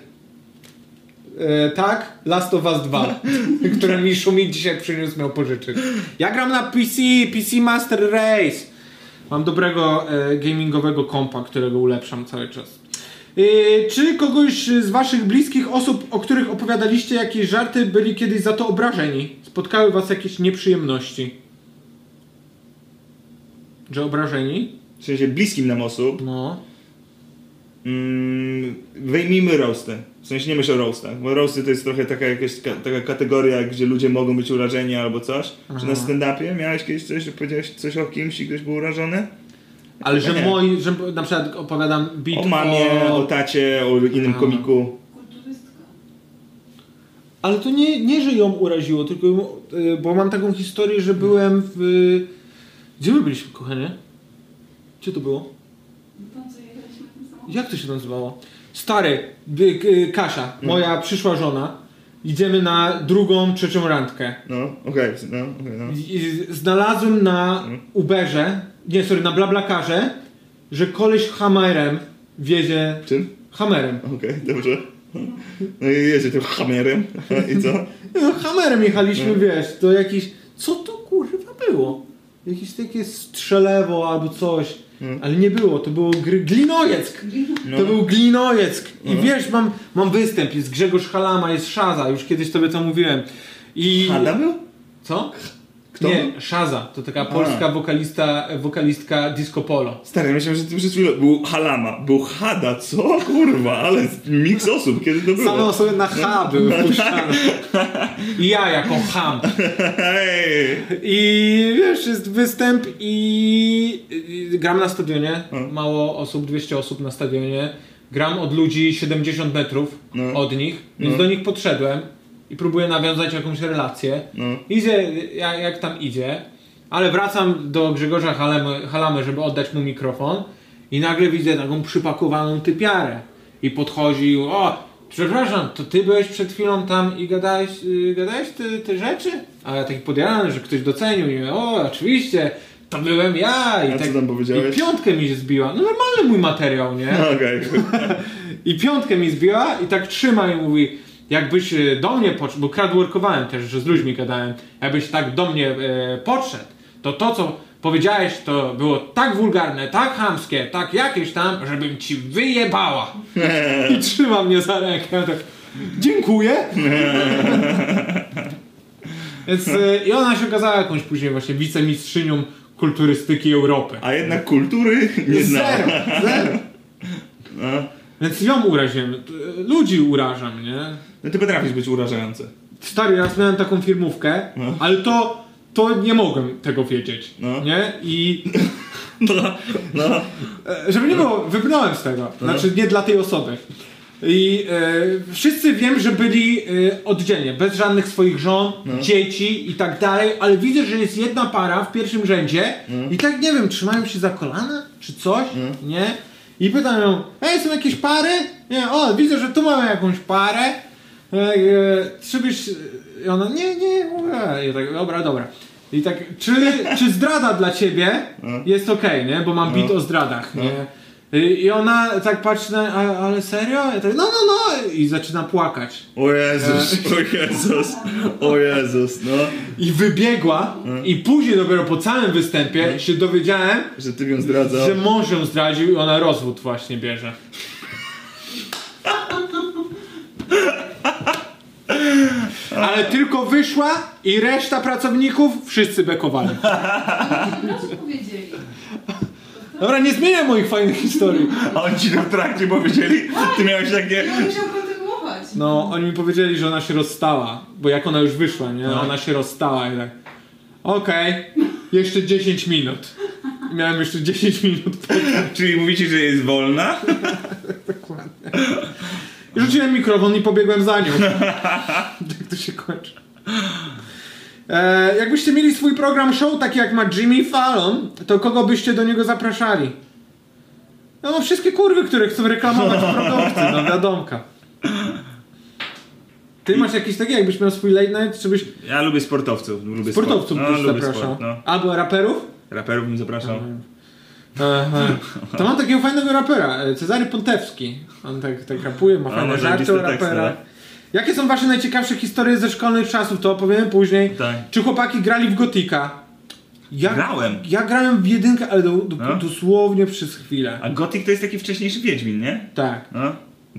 E, tak, Last of Us 2, które mi Szumi dzisiaj przyniósł, miał pożyczyć. Ja gram na PC, PC Master Race. Mam dobrego e, gamingowego kompa, którego ulepszam cały czas. E, czy kogoś z waszych bliskich osób, o których opowiadaliście jakieś żarty, byli kiedyś za to obrażeni? Spotkały was jakieś nieprzyjemności? Że obrażeni? W sensie bliskim nam osób. No. Mm, wyjmijmy roasty. W sensie nie myślę o roastach, bo roasty to jest trochę taka jakaś ka- taka kategoria, gdzie ludzie mogą być urażeni albo coś. Czy na stand-upie miałeś kiedyś coś, że powiedziałeś coś o kimś i ktoś był urażony? Ale że Nie. moi, że na przykład opowiadam bit O mamie, o tacie, o innym A. komiku. Kulturystka. Ale to nie, nie, że ją uraziło, tylko ją, y, bo mam taką historię, że byłem w... Gdzie my byliśmy, kochanie? Gdzie to było? Pan No co jechaliśmy tym samochodem? Jak to się nazywało? Stary, y, k- y, Kasia, moja przyszła żona. Idziemy na drugą, trzecią randkę. No, okej, no, okej, no. I- i Znalazłem na Uberze, nie, sorry, na Blablakarze, że koleś Hammerem wiezie... Czym? Hammerem. Okej, dobrze. No i jedzie tym hamerem. I co? No, hamerem jechaliśmy, wiesz, to jakiś. Co to kurwa było? Jakieś takie strzelewo albo coś. Ale nie było, to było gry... Glinojeck! To był Glinojeck! I wiesz, mam, mam występ, jest Grzegorz Halama, jest Szaza, już kiedyś tobie to mówiłem. I... Hada był? Co? Kto? Nie, Szaza, to taka polska wokalista, wokalistka disco polo. Stary, myślałem, że ty przed chwilą był halama, był hada, co? Kurwa, ale miks osób, kiedy to Same było? osoby na H były puszczane. I ja jako ham. Hej! I wiesz, jest występ i, i gram na stadionie. Mm. Mało osób, 200 osób na stadionie. Gram od ludzi 70 metrów No. od nich, więc do nich podszedłem i próbuję nawiązać jakąś relację. No. Idzie jak, jak tam idzie, ale wracam do Grzegorza Halamy, Halamy, żeby oddać mu mikrofon i nagle widzę taką przypakowaną typiarę i podchodzi o, przepraszam, to ty byłeś przed chwilą tam i gadałeś, y, gadałeś te, te rzeczy? A ja taki podjarany, że ktoś docenił i mówię, o, oczywiście, to byłem ja i A co tak, tam powiedziałeś? No, i piątkę mi się zbiła, no normalny mój materiał, nie? Okej. I piątkę mi zbiła i tak trzyma i mówi, jakbyś e, do mnie podszedł, bo crowdworkowałem też, że z ludźmi gadałem, jakbyś tak do mnie e, podszedł, to to, co powiedziałeś, to było tak wulgarne, tak chamskie, tak jakieś tam, żebym ci wyjebała. I trzyma mnie za rękę, ja tak, dziękuję. Więc, e, I ona się okazała jakąś później właśnie wicemistrzynią kulturystyki Europy. A jednak kultury nie znałem. Zero, zero. No. Więc ją uraziłem. t- Ludzi urażam, nie? No ty potrafisz być urażający. Stary, raz miałem taką firmówkę, No. ale to, to nie mogłem tego wiedzieć, No. nie? I No, no. E, Żeby nie było, wybrnąłem z tego. Znaczy nie dla tej osoby. I e, wszyscy wiem, że byli e, oddzielnie, bez żadnych swoich żon, dzieci i tak dalej, ale widzę, że jest jedna para w pierwszym rzędzie i tak nie wiem, trzymają się za kolana czy coś, nie? I pytam ją, ej, są jakieś pary? Nie, o, widzę, że tu mamy jakąś parę. E, e, czy byś... I ona, nie, nie, e, ja tak, dobra, dobra. I tak, czy, czy zdrada dla ciebie jest okej, nie? Bo mam bit o zdradach, nie? I i ona tak patrzy na, a, ale serio? Ja tak, no, no, no! I zaczyna płakać. O Jezus, o Jezus, o Jezus, no. I wybiegła i później dopiero po całym występie się dowiedziałem, Że ty ją zdradzał. że mąż ją zdradził i ona rozwód właśnie bierze. Ale tylko wyszła i reszta pracowników wszyscy bekowali. Nas powiedzieli. Dobra, nie zmieniam moich fajnych historii. A oni ci to w trakcie powiedzieli, ty miałeś I takie... on musiał kontynuować. No, oni mi powiedzieli, że ona się rozstała, bo jak ona już wyszła, nie? Ona się rozstała i tak. Okej, jeszcze 10 minut. I Miałem jeszcze 10 minut. Czyli mówicie, że jest wolna? I Rzuciłem mikrofon i pobiegłem za *laughs* nią. tak to się kończy. E, jakbyście mieli swój program show, taki jak ma Jimmy Fallon, to kogo byście do niego zapraszali? No, no wszystkie kurwy, które chcą reklamować produkty, no wiadomka. Ty masz jakiś taki, jakbyś miał swój late night, czy byś Ja lubię sportowców, lubię Sportowców sport. też Tak. no, lubię zapraszał. sport, no. Albo raperów? Raperów bym zapraszał. Aha. To mam takiego fajnego rapera, e, Cezary Pontewski. On tak, tak rapuje, ma A, fajne może żarty listy o tekstu, rapera. tak? Jakie są wasze najciekawsze historie ze szkolnych czasów, to opowiemy później. Tak. Czy chłopaki grali w Gotika? Ja, Grałem. Ja grałem w jedynkę, ale do, do, No. dosłownie przez chwilę. A Gothic to jest taki wcześniejszy Wiedźmin, nie? Tak. No.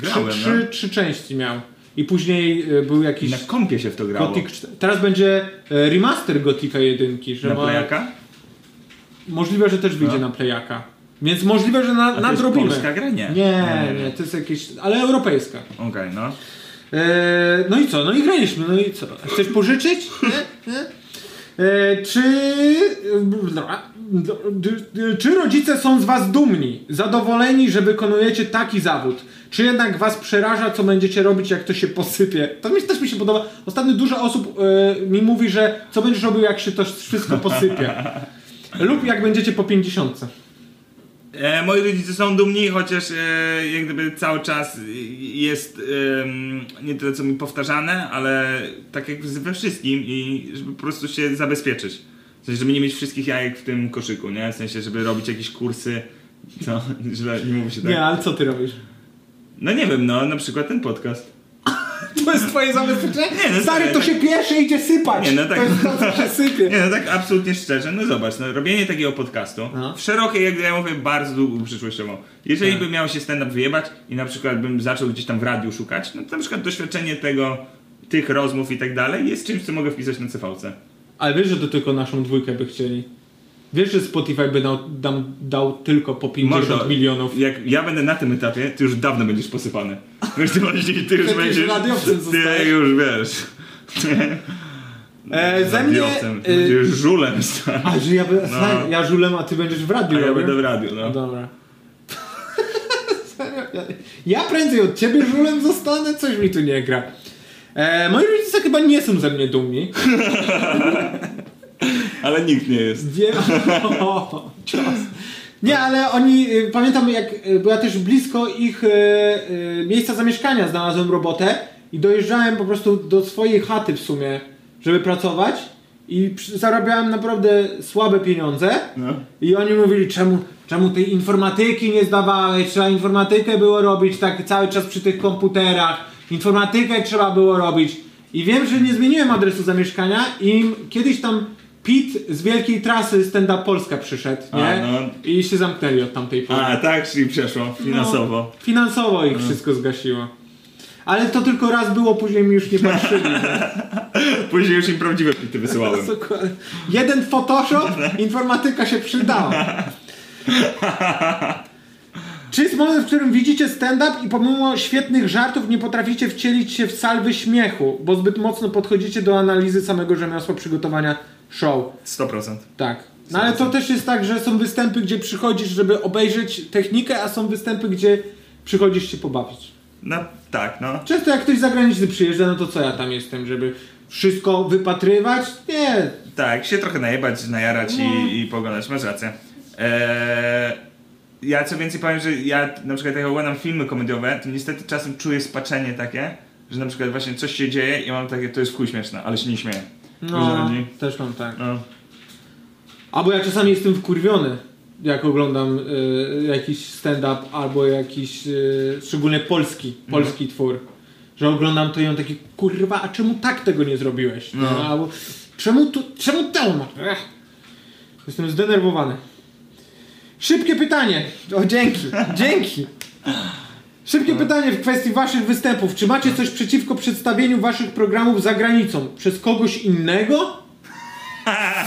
Trzy, Grałem, trzy, trzy części miał. I później e, był no. jakiś Na kompie się w to grało. Gothic 4. Teraz będzie e, remaster Gotika jedynki, że Na ma playaka? Możliwe, że też wyjdzie No. na playaka. Więc możliwe, że na, to nadrobimy. jest polska gra? Nie. Nie, Nie, nie. nie, to jest jakieś. Ale europejska. Okej, no. Eee, no i co? No i graliśmy, no i co? A Chcesz pożyczyć? Nie? Nie? Eee, czy. Czy rodzice są z was dumni? Zadowoleni, że wykonujecie taki zawód? Czy jednak was przeraża, co będziecie robić, jak to się posypie? To mi też mi się podoba. Ostatnio dużo osób e, mi mówi, że co będziesz robił, jak się to wszystko posypie. Lub jak będziecie po 50. E, moi rodzice są dumni, chociaż e, jak gdyby cały czas y, jest ym, nie tyle co mi powtarzane, ale tak jak we wszystkim i żeby po prostu się zabezpieczyć. W sensie, żeby nie mieć wszystkich jajek w tym koszyku, nie? W sensie, żeby robić jakieś kursy, co? *laughs* Źle, nie mówi się tak. Nie, ale co ty robisz? No nie wiem, no na przykład ten podcast. To jest twoje zabezpieczenie? Nie, no Stary, tak, to tak. się pieszy idzie sypać. Nie, no tak. To jest to, co się sypie. Nie no tak absolutnie szczerze, no zobacz, no, robienie takiego podcastu No. Tak. w szerokiej, jak ja mówię, bardzo długą przyszłościowo. Jeżeli bym miał się stand-up wyjebać i na przykład bym zaczął gdzieś tam w radiu szukać, no to na przykład doświadczenie tego, tych rozmów i tak dalej jest czymś, co mogę wpisać na CVC. Ale wiesz, że to tylko naszą dwójkę by chcieli. Wiesz, że Spotify by dał, dam, dał tylko po 50 Mordo, milionów. Jak ja będę na tym etapie, ty już dawno będziesz *laughs* posypany. Wiesz, ty, bardziej, ty już Przecież będziesz... radiowcem Ty zostajesz. już wiesz. E, ze mnie... Radiowcem, ty E, będziesz żulem stary. a, że ja, by, no. ja żulem, a ty będziesz w radiu A ja robił? będę w radiu, no. Dobra. *laughs* Serio? Ja- ja prędzej od ciebie żulem zostanę, coś mi tu nie gra. E, moi rodzice chyba nie są ze mnie dumni. *laughs* Ale nikt nie jest. *laughs* Wiem. O, cios. Nie, ale oni, y, pamiętam jak y, była też blisko ich y, y, miejsca zamieszkania, znalazłem robotę i dojeżdżałem po prostu do swojej chaty w sumie, żeby pracować i przy- zarabiałem naprawdę słabe pieniądze No. i oni mówili, czemu, czemu tej informatyki nie zdawałeś, trzeba informatykę było robić tak cały czas przy tych komputerach, informatykę trzeba było robić i wiem, że nie zmieniłem adresu zamieszkania i kiedyś tam Pit z wielkiej trasy Stand Up Polska przyszedł, nie? A, no. I się zamknęli od tamtej pory. No, A, tak, czyli przeszło finansowo. No. Finansowo ich wszystko zgasiło. Ale to tylko raz było, później mi już nie *laughs* patrzyli. No, Później już im prawdziwe plity *laughs* wysyłałem. Dokładnie. Jeden Photoshop, informatyka się przydała. Czy jest moment, w którym widzicie stand-up i pomimo świetnych żartów nie potraficie wcielić się w salwy śmiechu, bo zbyt mocno podchodzicie do analizy samego rzemiosła przygotowania show? 100%. Tak. No ale to też jest tak, że są występy, gdzie przychodzisz, żeby obejrzeć technikę, a są występy, gdzie przychodzisz się pobawić. No tak, no. Często jak ktoś z zagranicy przyjeżdża, no to co ja tam jestem, żeby wszystko wypatrywać? Nie. Tak, się trochę najebać, najarać No. i, i pogadać, masz rację. Eee, ja co więcej powiem, że ja na przykład jak oglądam filmy komediowe, to niestety czasem czuję spaczenie takie, że na przykład właśnie coś się dzieje i mam takie, to jest w chuj śmieszne, ale się nie śmieję. Wiesz, co No, chodzi? też mam tak. no. Albo ja czasami jestem wkurwiony, jak oglądam y, jakiś stand-up albo jakiś, y, szczególnie polski, polski twór. Że oglądam to i mam taki, kurwa, a czemu tak tego nie zrobiłeś? No. Albo, czemu tu, czemu temu? Ech. Jestem zdenerwowany. Szybkie pytanie. O, dzięki, dzięki. Szybkie pytanie w kwestii waszych występów. Czy macie coś przeciwko przedstawieniu waszych programów za granicą? Przez kogoś innego?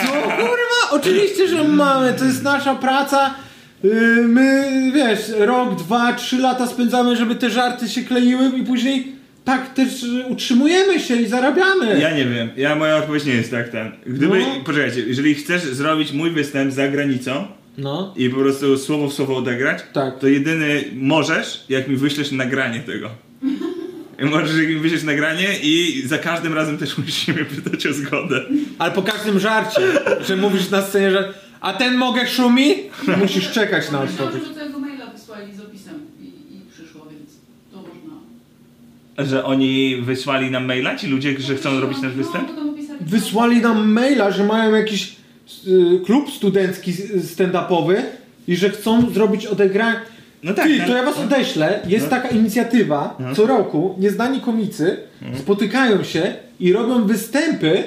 No kurwa, oczywiście, że mamy, to jest nasza praca. Yy, My, wiesz, rok, dwa, trzy lata spędzamy, żeby te żarty się kleiły i później tak też y, utrzymujemy się i zarabiamy. Ja nie wiem, ja moja odpowiedź nie jest tak ten. Gdyby, No. poczekajcie, jeżeli chcesz zrobić mój występ za granicą No. i po prostu słowo w słowo odegrać, Tak. to jedyny możesz, jak mi wyślesz nagranie tego. I możesz, jak mi wyślesz nagranie i za każdym razem też musisz mnie pytać o zgodę. Ale po każdym żarcie, że mówisz na scenie, że a ten mogę szumi? Musisz czekać na Myślałam, odpowiedź. że do tego maila wysłali z opisem i, i przyszło, więc to można... Że oni wysłali nam maila ci ludzie, że chcą zrobić nasz występ? No, potem opisali- Wysłali nam maila, że mają jakiś y, klub studencki y, stand-upowy i że chcą zrobić odegranie. No tak. Ty, no. to ja was odeślę. Jest taka inicjatywa, co roku nieznani komicy Mhm. spotykają się i robią występy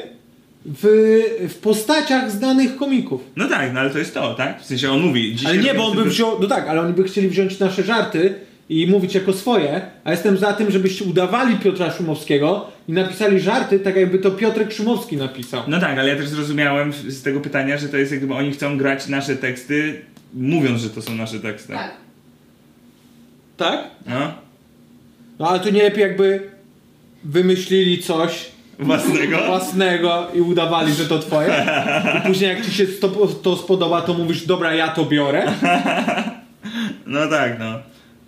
w, w postaciach znanych komików. No tak, no ale to jest to, tak? W sensie on mówi. dzisiaj Ale nie, robimy bo on by sobie- wziął, no tak, ale oni by chcieli wziąć nasze żarty i mówić jako swoje, a jestem za tym, żebyście udawali Piotra Szumowskiego i napisali żarty tak, jakby to Piotrek Szumowski napisał. No tak, ale ja też zrozumiałem w- z tego pytania, że to jest jakby oni chcą grać nasze teksty, mówiąc, że to są nasze teksty. Tak. Tak? No, No ale to nie lepiej jakby wymyślili coś *laughs* własnego. własnego i udawali, że to twoje. I później jak ci się to, to spodoba, to mówisz, dobra, ja to biorę. No tak, no.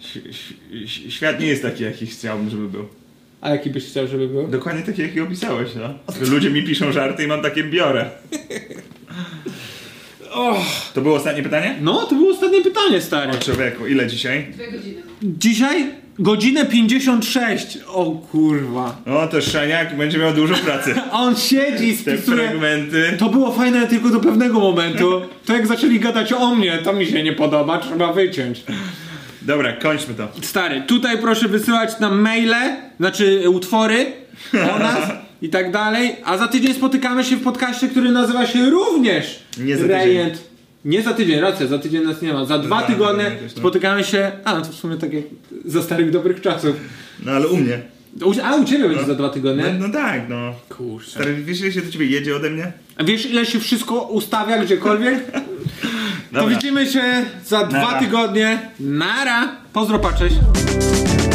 Ś- ś- ś- Świat nie jest taki, jaki chciałbym, żeby był. A jaki byś chciał, żeby był? Dokładnie taki, jaki opisałeś, no. Że Ludzie mi piszą żarty i mam takie *laughs* biorę. To było ostatnie pytanie? No, to było ostatnie pytanie, stary. O człowieku, ile dzisiaj? Dwie godziny. Dzisiaj godzinę 56. O kurwa. O, to Szaniak będzie miał dużo pracy. *laughs* A on siedzi i Te spisuje. fragmenty. To było fajne tylko do pewnego momentu. To jak zaczęli gadać o mnie, to mi się nie podoba, trzeba wyciąć. Dobra, kończmy to. Stary, tutaj proszę wysyłać nam maile, znaczy e, utwory o nas i tak dalej. A za tydzień spotykamy się w podcaście, który nazywa się również Nie za tydzień. Rejent. Nie za tydzień, racja, za tydzień nas nie ma. Za dwa Za- tygodnie jakoś, no. spotykamy się. A, no to w sumie tak jak za starych dobrych czasów. No ale u mnie. U- A u ciebie będzie za dwa tygodnie. No, no tak, no. Kurczę. Stary, wiesz ile się do ciebie jedzie ode mnie? A wiesz ile się wszystko ustawia gdziekolwiek? To Dobra. widzimy się za dwa Nara. tygodnie. Nara! Pozdro, pa, cześć.